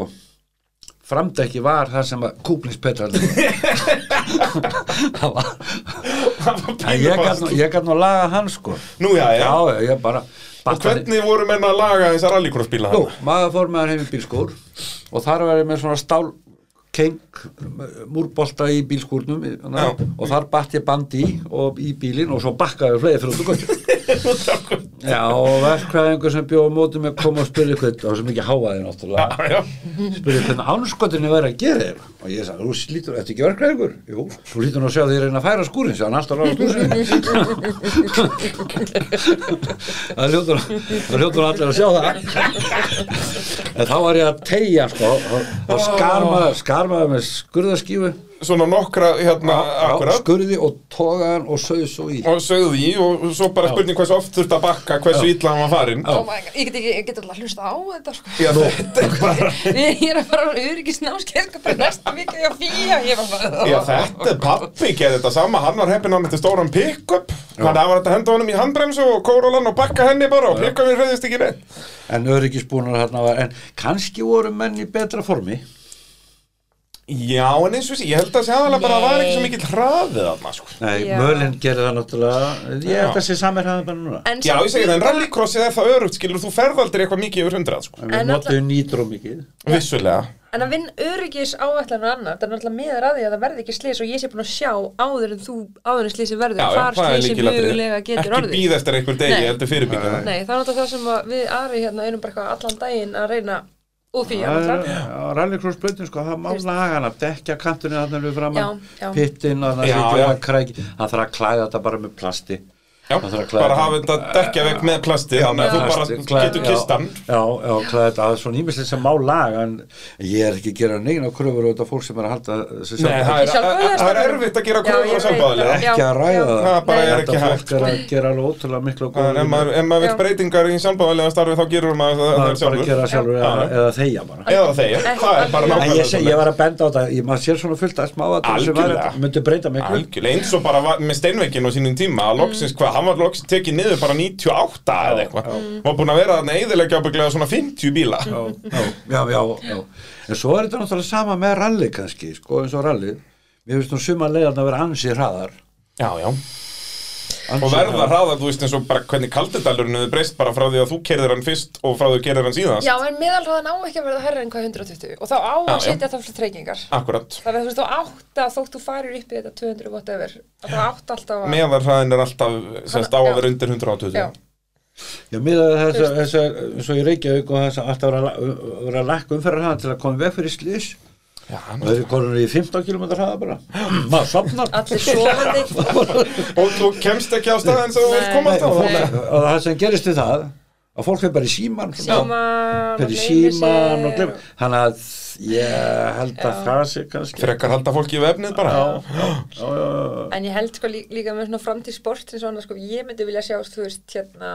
framdekki var það sem að kúplingspetraldi það var
Það var
en ég gat,
pínufast.
nú- ég gat nú að laga hann sko
Nú, já, já.
já, ég bara
Og hvernig voru menn að laga þessar rallycrossbíla
Nú,
þarna?
maður fór með hann heim í bílskúr og þar var ég með svona stál keng, múrbolta í bílskúrnum na,
Já.
og þar batt ég bandi í og í bílinn og svo bakkaði fleið fyrir út og gott Já, og verkfræðingur sem bjóð á móti með kom og spurði hvernig, það var svo mikið hávaði náttúrulega,
Já, já.
spurði hvernig ánskotinni væri að gera þér og ég sagði, þú slítur, þetta ekki verkfræðingur? Jú, þú lítur nú að sjá því að reyna að færa skúrin, sér hann alltaf ráða skúrin Það hljótur, það hljótur allir að sjá það En þá var ég að tegja sko, og, og skarmaði, skarmaði með skurðaskífu
Svona nokkra, hérna, akkurat.
skurði og togaðan og sögðu svo í
og sögðu í og svo bara spurning hversu oft þurft að bakka hversu illa hann var farinn
Oh my God, ég get, ekki- ég get alltaf hlusta á þetta sko.
Já, þetta er bara
Ég ég er að fara á öryggisnámskeið sko, bara næsta vika ég að fýja ég var bara "Oh."
Já, þetta er pappi, gerði þetta sama, hann var heppinn á þetta stóran pick-up Þannig að það var hægt að henda honum í handbremsu og kórólan og bakka henni bara og pick-upin hreyðist ekki neitt
en öryggisbúnar hérna var en kannski voru menn í betra formi
Já, en eins og þessi, ég held að sé aðalega bara að það var ekki svo
Nei.
mikill hraðið þarna, sko
Nei,
Já.
mölinn gerir það náttúrulega ég
Já.
held að sé samir hafði bara núna
En
Já,
samt
ég segi það, en
líka-
rallycrossið er það örugt, skilur, þú ferð aldrei eitthvað mikið yfir hundrað, sko
en við
En
notuðu nýtrú mikið
Vissulega
En að vinna öryggis áætlan og annað, það er náttúrulega miður að því að það verði ekki slís og ég sé búin að sjá áður en þú, áður en slísi verður,
Já, já,
hvar slísi
lykilatriði.
mögulega getur
Ekki
orðið.
býð eftir einhver degi,
Nei.
heldur fyrirbyggja það.
Nei, það er náttúrulega það sem að við aðri hérna erum bara eitthvað allan daginn að reyna og því
Það er-
náttúrulega.
á rallycross blöðin sko, það má
Þú veist.
laga hana dekja kantunni þarna við framann
Já, já.
pittin, þarna
Já,
sitja
já.
að kræki það þarf að klæða þetta bara með plasti
Já,
Það þarf að klæða
bara hafa
þetta.
þetta dekkja veg með plasti þannig að þú bara getur kist hann
já, já, klæða þetta, það er svona ímislega sem má laga en ég er ekki að gera negin á kröfur og þetta fólk sem er að halda þessu
Nei,
sjálf-
það er,
Sjálfboðaliðar-
það er erfitt að gera
Já,
kröfur
ég
á
veit
sjálfbáðilega
Já,
ekki að ræða
já.
Það bara er
þetta
ekki hægt
fólk er að gera alveg ótrúlega miklu og góða
en ef
vinnu.
maður, ef maður vill
Já.
breytingar í sjálfbáðilega starfi þá gerur maður það, það
það er bara að
sjálfur
gera sjálfur
Já.
eða, eða þegja bara
eða þeir, það er bara
en ég,
nákvæmlega
sé, ég var að benda á þetta, ég, maður sér svona fullt að smá að það sem var
Algjörlega.
myndi breyta miklu
Algjörlega, eins og bara var, með steinveikin á sínum tíma að loksins, hvað, hann var loksins tekið niður bara 98 eða eitthvað var búin að vera þarna eðilegja ábygglega svona 50 bíla
já, já, já, já en svo er þetta náttúrulega sama með rally kannski sko eins og rally mér finnst nú suma leiðan að vera ansi hraðar
Já, já
ansi
Og verða hraðar, þú veist eins og bara hvernig kaldidalurinn hefur breyst bara frá því að þú kerðir hann fyrst og frá því að þú kerðir hann síðast
Já, en meðalraðan á ekki að verða herra en hvað 120 og þá á
Já,
að
já.
setja þá fyrir treykingar.
Akkurat
Þannig að þú veist, þú átt að þótt þú farir upp í þetta 200 whatever, að það átt alltaf að...
meðarhraðin er alltaf sérst á
Hann-
að
já.
vera undir 120
Já,
Já, miðað við þess að þess að eins og ég reykja auk og þess að alltaf vera, að- vera að lakka umferðar hraðan til að koma veg fyrir slís
Já,
og þeir eru konur í 15 km hraða bara maður sopnar
allir sofandi.
og þú kemst ekki á stað en þú vil
Nei.
komast á
og,
það
fólk- og það sem gerist við það að fólk er bara í síman
Síman,
fyrir síman og glemur þannig að ég held að það sé kannski
frekar halda fólki við efnið bara
já, já, já.
En ég held sko lí líka með svona framtíð sport eins og annars sko, ég myndi vilja sjá, þú veist, hérna,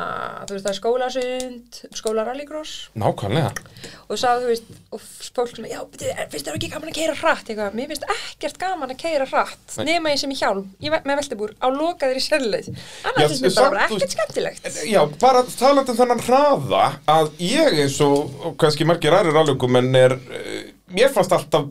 þú veist, það er skólasund, skólarallycross
nákvæmlega
og sagði, þú veist, og fólk svona, já, beti, finnst þér ekki gaman að keira hratt, eitthvað, mér finnst ekkert gaman að keira hratt,
Nei.
nema ég sem í hjálm, ég ve- með veltibúr, á lokaðir í sérleið,
Já,
annars finnst mér
samt,
bara
þú- eh,
ekkert skemmtilegt.
já, bara talandi um þennan hraða að ég eins og og kannski margir aðrir alvegum en er eh, mér fannst alltaf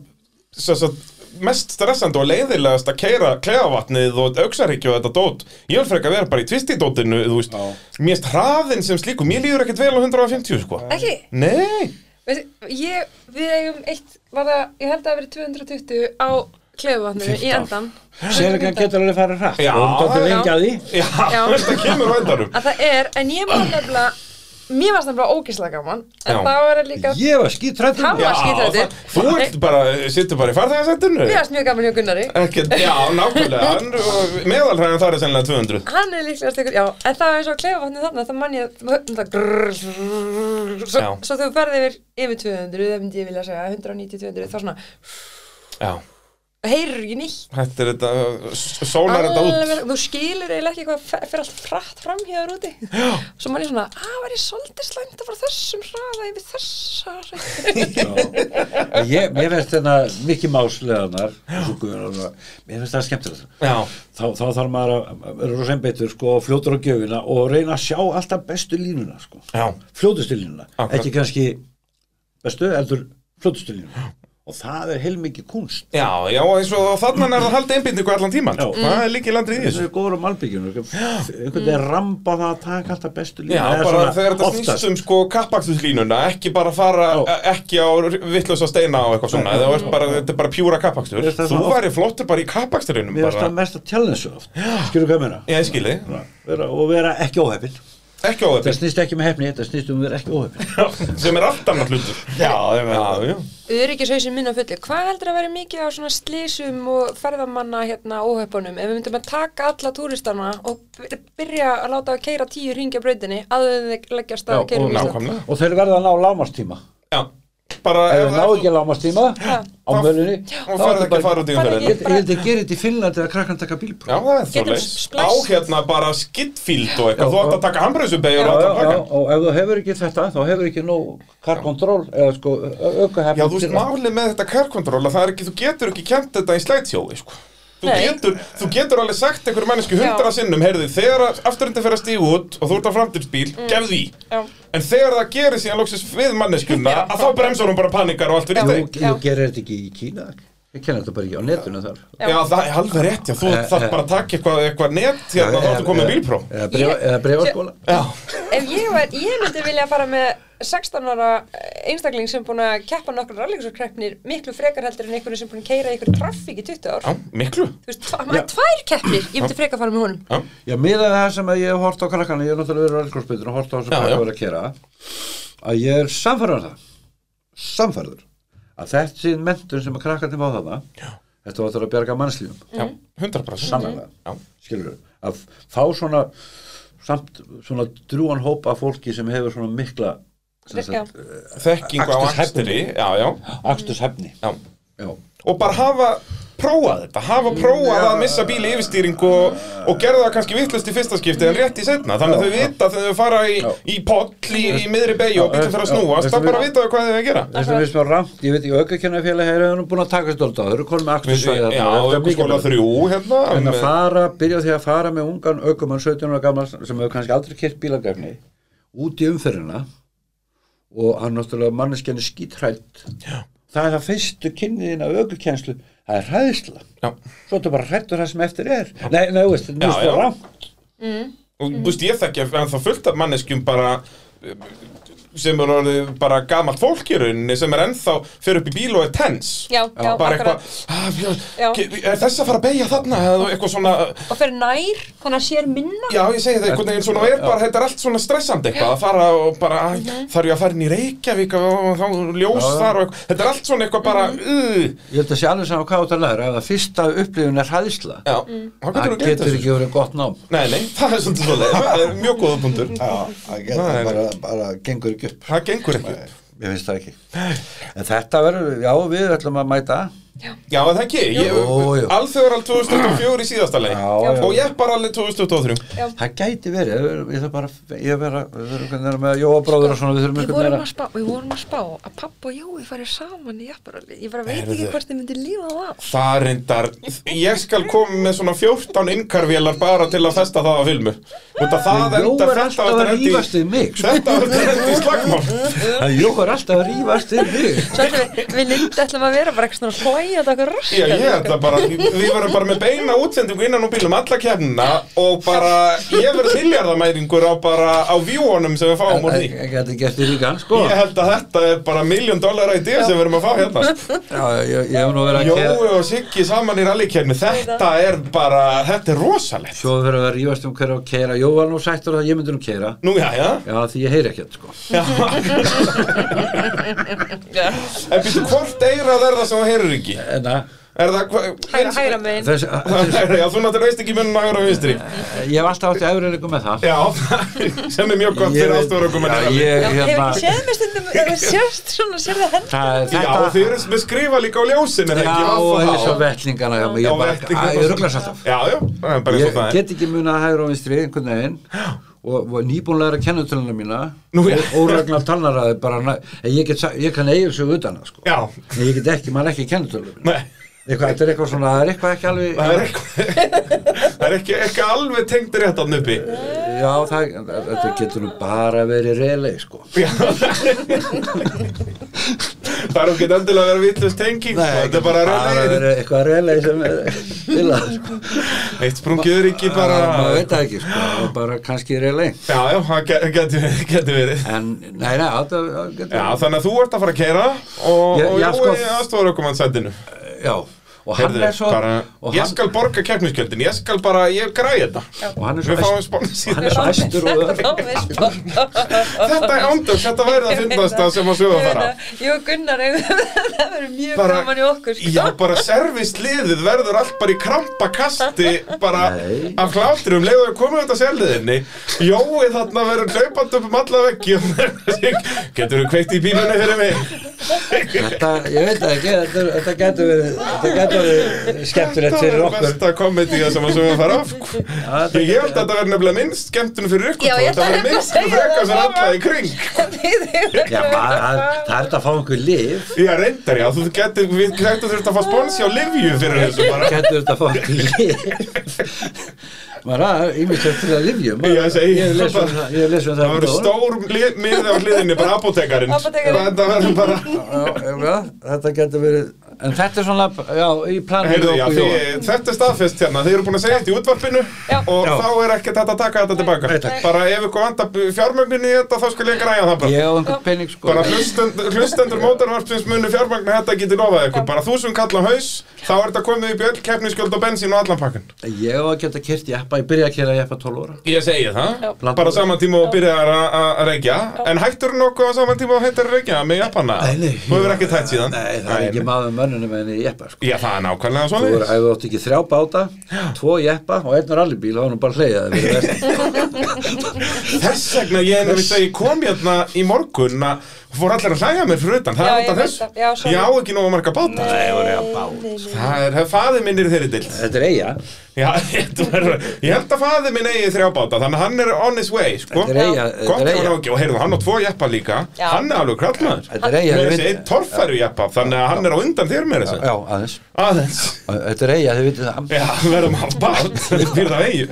sem sagt, mest stressandi og leiðilegast að keira klefavatnið og auksaríkja og þetta dót ég vil freka vera bara í tvistidótinu þú veist,
Já.
mér erst hraðin sem slíku mér líður ekkert vel á 150 sko
Ekki,
Nei,
veistu, ég, við eigum eitt, var það, ég held að það hafi verið 220 á klefuvatninu í
15.
endan.
Selegan getur alveg farið hratt
Já,
og hún tóttir
já.
lengi að því
já,
Já.
þetta kemur á endanum
Að það er, en ég var nefnilega, mér varst nefnilega ógislega gaman, en
Já.
þá er það líka,
Ég var skítrættur
Hann
Já,
var skítræddur.
það- Þú ert bara, sittur bara í farþegarsættinu
mér varst mjög gaman hjá Gunnari.
Ekkert, já, nákvæmlega hann- og Meðalhræðan þar er sennilega 200
Hann er líklegast ykkur, já, en það var eins og klefavatnið þarna, það mann ég, það grrrr, grrrr, svo,
Já.
svo þú ferði yfir, yfir 200, það myndi ég vilja segja, 190, 200, þá svona,
Já,
heyrir ekki nýtt.
þetta er þetta, sólar þetta út
Alveg, þú skilur eiginlega ekki hvað fe- fer allt frætt fram hjá þér úti svo maður er svona, að var ég svolítið slæmt að fara þessum hraða yfir þessa hraða?"
ég, mér finnst hérna þetta mikið másleganar mér finnst það skemmtilegt
Já,
þá, þá þarf maður að að vera rosembeitur sko, og fljótur á gjöfina og reyna að sjá alltaf bestu línuna sko.
já,
fljótustu línuna,
Akkurat.
ekki kannski bestu, heldur fljótustu línuna og það er heilmikið kunst
já, já, eins og þannig er það haldið einbindingu allan tíman
Já. Mm.
Það er líkið landrið í
þess
þessu
að við góður á malbyggjunum sko. einhvern veginn ramba það að taka alltaf bestu línu
Já,
Eða
bara
svona
þegar þetta
oftast.
snýst um sko kappakstuslínuna ekki bara fara,
Já.
e- ekki á vittlösa steina og eitthvað svona, það er bara, þetta er bara pjúra kappakstur,
Mér finnst það
þú
svona oft-
væri flottur bara í kappaksturinn
mér finnst
bara,
það mest að tjálna þessu oft skilur hvað meina
Já, ég skil þig.
Svona, vera, og vera ekki óhefin
ekki á
það
þetta
snýst ekki með hefni, þetta snýst um að vera ekki óhefin
sem er allt annar hlutur Já, já, já
öryggishausin minn á fullu hvað heldur að vera mikið á svona slísum og ferðamanna hérna óhaupunum ef við myndum að taka alla túristana og by- byrja að láta að keira tíu ringja brautinni áður en þeir leggja af stað að keira
nákvæmlega. Nákvæmlega.
og þeir verða að ná lámastíma
Já, bara
ef
ef-
þeir ná ekki lámastíma
Já.
á mölunni
og farið ekki að fara út í
Farðu
ég
umferðina
ég held að gera þetta í Finnlandi að krakkan taka bílpróf
Já, það er svo
Getum
Á
splæst.
hérna bara skidfíld og
Já,
eitthvað Þú átt
já.
að taka hambreðsubegjur og
Já, já,
allt að
já,
plaka
og ef þú hefur ekki þetta þá hefur ekki nóg karkontról eða sko aukaherfn
Já, þú veist, málið með þetta kærkontróla það er ekki, þú getur ekki kent þetta í slætsjói, sko. Þú
Nei.
getur, þú getur alveg sagt einhverju mannesku hundra
Já.
sinnum, heyrðu, þegar að afturindi fer að stíga út og þú ert á framtíðsbíl, gefðu í.
Mm. Já.
En þegar það gerir síðan loksins við manneskuna,
Já.
að þá bremsar hún bara panikar og allt fyrir
Þú,
þeim.
þú
Já.
gerir þetta ekki í Kína Ég kenna þetta bara ekki á netinu þar
Já. það er alveg rétt, já, þú
Eh,
þarf
eh.
bara að taka eitthvað, eitthvað net hérna, þá
Eða-
ertu komið
eða-
bílpró.
Eða bréfa- eða brefaskóla
Já,
ef ég var, ég myndi vilja fara með 16 ára einstakling sem búin að keppa nokkur rallíksarkreppnir miklu frekar heldur en einhverju sem búin að keira einhverju traffík í 20 ár
já, miklu.
þú veist, tva- maður er tvær keppnir, ég myndi frekar fara með honum
Já,
Já, miðað það sem að ég hef hort á krakkana Ég er náttúrulega verið á elgrósbytun og hort á þessum
Já, já.
krakka verið að kera að ég er samfærður það samfærður að þessi mentun sem að krakkandi fá þarna þetta var þetta að bjarga mannslífum
já,
Mhm.
100%.
Sannarlega.
Já,
skilur að fá svona samt svona drúan hóp af fólki sem hefur svona mikla sem
Já.
sagt,
þekkingu á akstri,
Aksturshæfni.
já, já,
aksturs hefni
já.
já.
og bara hafa prófað þetta, hafa prófað að missa bíli yfirstýring og, og gerða það kannski vittlust í fyrsta skipti en rétt í setna þannig að þau vita þegar þau fara í, í poll í, í miðri beigju og bílum fyrir að
Já,
snúast
veistu
þá bara
við-
vita þau hvað þau eiga að gera
þess að við sem ramt, ég veit ekki aukakennafélag hefur hann búin að taka stólt á, þau eru konum með akstursvæði
Já, aukurskóla þrjú hérna
en að
með-
fara, byrja á því að fara með ungan aukumann 17 ára gammal sem hefur kannski aldrei kert bílagræfni út í umferðina og hann náttúrulega manneskjarni skítrætt Já. það er það fyrstu kynniðin af aukukenslu það er hræðisla
Já.
svo þetta bara hrættur það sem eftir er nei, nei, þú veist, þetta
Já,
er
já.
mjög rámt
og
Mhm.
þú veist ég þekki en það fullt af manneskjum bara eh, sem er orðið bara gamalt fólk í rauninni sem er ennþá fyrir upp í bíl og er tens
Já, já,
bara
akkurat.
eitthvað, "Ah, ég-
Já.
er þess að fara að beigja þarna eða eitthvað svona
og fer nær, þannig að sér minna
Já, ég segi það, einhvern veginn svona er bara, þetta er allt svona stressandi eitthvað, að fara og bara, mm
Mhm.
þarf ég að fara inn í Reykjavík og þá ljós þar og eitthvað, þetta er allt svona eitthvað bara,
Mhm.
uh,
ég held að sé alveg saman hvað þetta læra ef að fyrsta upplifun er hræðisla
já,
Mhm.
þá
það
getur þú gett
getur
þessu.
ekki verið gott nám
Nei, nei, það er svolítið svolítið, það er mjög góða punktur,
það
Nei, nei.
bara, bara gengur ekki upp
það gengur ekki.
ég finnst það ekki en þetta verður, já, við ætlum að mæta
Já, er það ekki, ég,
Jú, jú.
alþjóðaral 2024 í síðasta leið
Já, já.
og ég bara alveg 2023.
Það gæti verið, ég verð- ég þarf bara, ég vera, við þurfum hvernig vera með Jóa bróður og svona, við þurfum
Við
einhvern
vorum,
vera.
að spá, við vorum að spá að pappa og Jói farið saman í jafnbaralli. Ég bara veit ekki
Heyrðu.
hvort þið myndi lífa á það.
Það reyndar, ég skal koma með svona 14 innkarvélar bara til að festa það á filmu. Út að Það enda,
Jói er
þetta
alltaf að
enda í-
rífast við mig, sko.
Þetta enda í slagmál.
Jói er alltaf að rífast við mig.
Svo ætlum við, við Linda ætlum að vera bara eitthvað svona græja þetta okkur raskat
Já, ég ætla bara, við verðum bara með beina útsendingu innan úr bílum alla kemna og bara, ég verð miljardamæringur á bara, á vjúunum sem við fáum úr því.
Ég geti gert því líka, sko
Ég held að þetta er bara miljón dólar idea sem við erum að fá hérna. sko.
Já, ég, ég hef nú verið að
Jói og Siggi saman í rallykerni, þetta er bara, þetta er rosalegt.
Svo verið að rífast um hverja að keira Jó var nú sættur að ég myndi nú keira
Nú, já, já.
Já, því ég heyri ekkert, sko
já. en býttu, hvort eirað er það sem þú heyrir ekki?
En að,
Er það, hva-
Hægra, hægra megin
þess, að
Já, þú náttúrulega veist ekki munum hægra og vinstri.
ég hef alltaf átti efriðleikum með það
Já, sem er mjög gott
Ég
fyrir
veit-
aðstofur okkur
Já, ég,
Já, hefur
hérna
ekki séð mér stundum, ef þú sérst svona, sér það hendur
það er
Já,
þetta
þið eru með skrifa líka á ljósin er það
Já,
ekki
og
Vaffa
eins
H?
og vettlingana hjá mig,
Já,
ég bara,
vettlingar
að,
og
ég
svo-
ruglast alltaf
Já, já, það er bara eins og
Ég
það er
get ekki munað að hægra og vinstri einhvern veginn og, og nýbúinlega að kenna töluna mína
Nú, já.
og óregna talnaraði bara, næ- en ég, get, sa- ég kann eigin sig utan það, sko
Já,
En ég get ekki, maður er ekki að kenna töluna mína
nei,
eitthvað, þetta er eitthvað svona, það er eitthvað ekki alveg
það er eitthvað Það er ekki, ekki alveg tengd rétt af nöppi
já, það, þetta getur nú bara verið reyleg, sko
Það er ekki endilega að vera vittlust tenging sko, Þetta er bara reyna
verið eitthvað reyleg sem er vilja, sko
Eitt sprungiður ekki bara
Ah, maður veit það ekki, sko, og bara kannski reyleg
Já, já, það ge- geti geti verið
en, nei, nei, þetta það getur
Já, þannig að þú ert að fara að keira og,
Já,
og
já, sko.
Jói aðstofar okkur mann sættinu
já, og hann
Heyrðu,
er svo
bara,
og
Ég
hann,
skal borga keppniskjöldin, ég skal bara, ég græði þetta
og hann er
Við
svo
fáum spónsið
hann er svo æstur og
Þetta var mér spott
Þetta er ándöks, þetta væri það fyndast að sem að sögum fara
Jú, Hérna, Gunnar, eigum- það verður mjög
Bara-
gaman í okkur sko.
Já, bara servisliðið verður allt bara í krampakasti bara
Nei.
af hlátri um leiðu að koma þetta sérliðinni Jói þarna verður hlaupandi upp um alla veggi og getur þú kveikt í bílunni fyrir mig
þetta, ég veit það ekki, þetta, þetta getur verið þetta getur verið skemmtilegt fyrir
er
okkur
besta komediða sem að sögum fara af
þetta
Ég held að þetta verður nefnilega minnst skemmtun fyrir ykkur
Já,
tvo.
ég
Þetta
ætla
verður
nefnilega
minnst
að segja
freka
það.
sem alla í kring
já, maður, það er- það er þetta að fá einhver lif
Já, reyndar, já, þú getur, við getur þurft að fá sponsi á Livju fyrir þessu bara
getur þetta að fá einhver lif maður er ímyndilegt til að lifjum
Já, ég segi-
ég lesu um það ég lesu um
Það
það
verður stór lið- miði á hliðinni, bara apotekarinn
Apótekarinn.
Þetta verður bara
Já, já, þetta getur verið en þetta er svona, já, í planinu
Heyrðu, já,
okkur
því,
Jóhann.
Þetta er staðfest hérna, þið eru búin að segja þetta í útvarpinu
Já.
og
Já.
þá er ekkert hægt að taka þetta tilbaka
Nei, takk.
Bara ef ykkur vantar fjármögninu í þetta þá skal ég græja það bara
ég á einhvern penning sko
Bara hlustend, hlustendur mótarvarpsins munu fjármagna þetta geti lofað ykkur Bara þúsund kalla haus, þá er þetta komið upp í öll keppnisgjöld og bensín og allan pakkan
ég á að geta kert jeppa, ég byrja að kera jeppa 12 óra
Ég segi það
Já.
Bara saman tíma og byrjar að- að að reykja En hættur nokkuð á saman tíma og hættar að reykja með japana Þú hefur ekki tætt síðan
Nei, það er ekki maður mönnunum en í jeppa sko.
Já, það er nákvæmlega
Þú
svona
voru, ef þú átt ekki þrjá báta, tvo jeppa og einn rallybíl, þá er nú bara hleyðað
Þess vegna ég er nefnist að ég kom hérna í morgun að fór allir að hlæja mér fyrir utan Það
Já,
er
ég
alltaf
veit
þess
það. Já, sorry.
Ég á ekki nógu marga báta
sko.
Það er, hef faði minn er í þeirri dild
Þetta er eiga,
Já, þetta verður- ég held að faði minn eigi þrjá báta Þannig að hann er on his way, sko
þetta er eiga,
Gott
þetta
ef
er
hann á
eiga
ekki, og heyrðu, hann á tvo jeppa líka
Já.
Hann er alveg krallmaður
Þetta er eiga,
Með
þið
þessi einn
vitið
torfæru jeppa, þannig að hann er á undan þér með þessu
Já, aðeins,
Aðeins
þetta er eiga, þið vitið það
Já, verðum á bát, við byrðum að eigi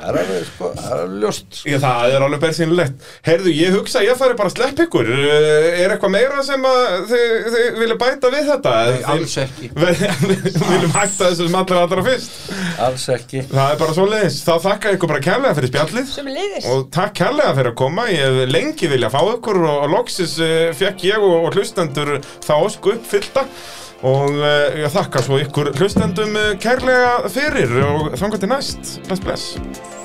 Það er alveg, sko, það er alveg ljóst
Já, það er alveg bersinlegt Heyrðu, ég hugsa að ég fari bara að slepp ykkur Eh, Er eitthvað meira sem að þið, þið vilja bæta við þetta?
Nei, alls ekki.
Við við viljum hætta þessu sem allra allra fyrst
Alls ekki
Það er bara svoleiðis, þá þakka ykkur bara kærlega fyrir spjallið
Sem liðis
Og takk kærlega fyrir að koma, ég hef lengi vilja fá ykkur og, og loksis uh, fekk ég og, og hlustendur þá ósku uppfyllta og uh, eh, ég þakka svo ykkur hlustendum uh, kærlega fyrir og þangar til næst, bless bless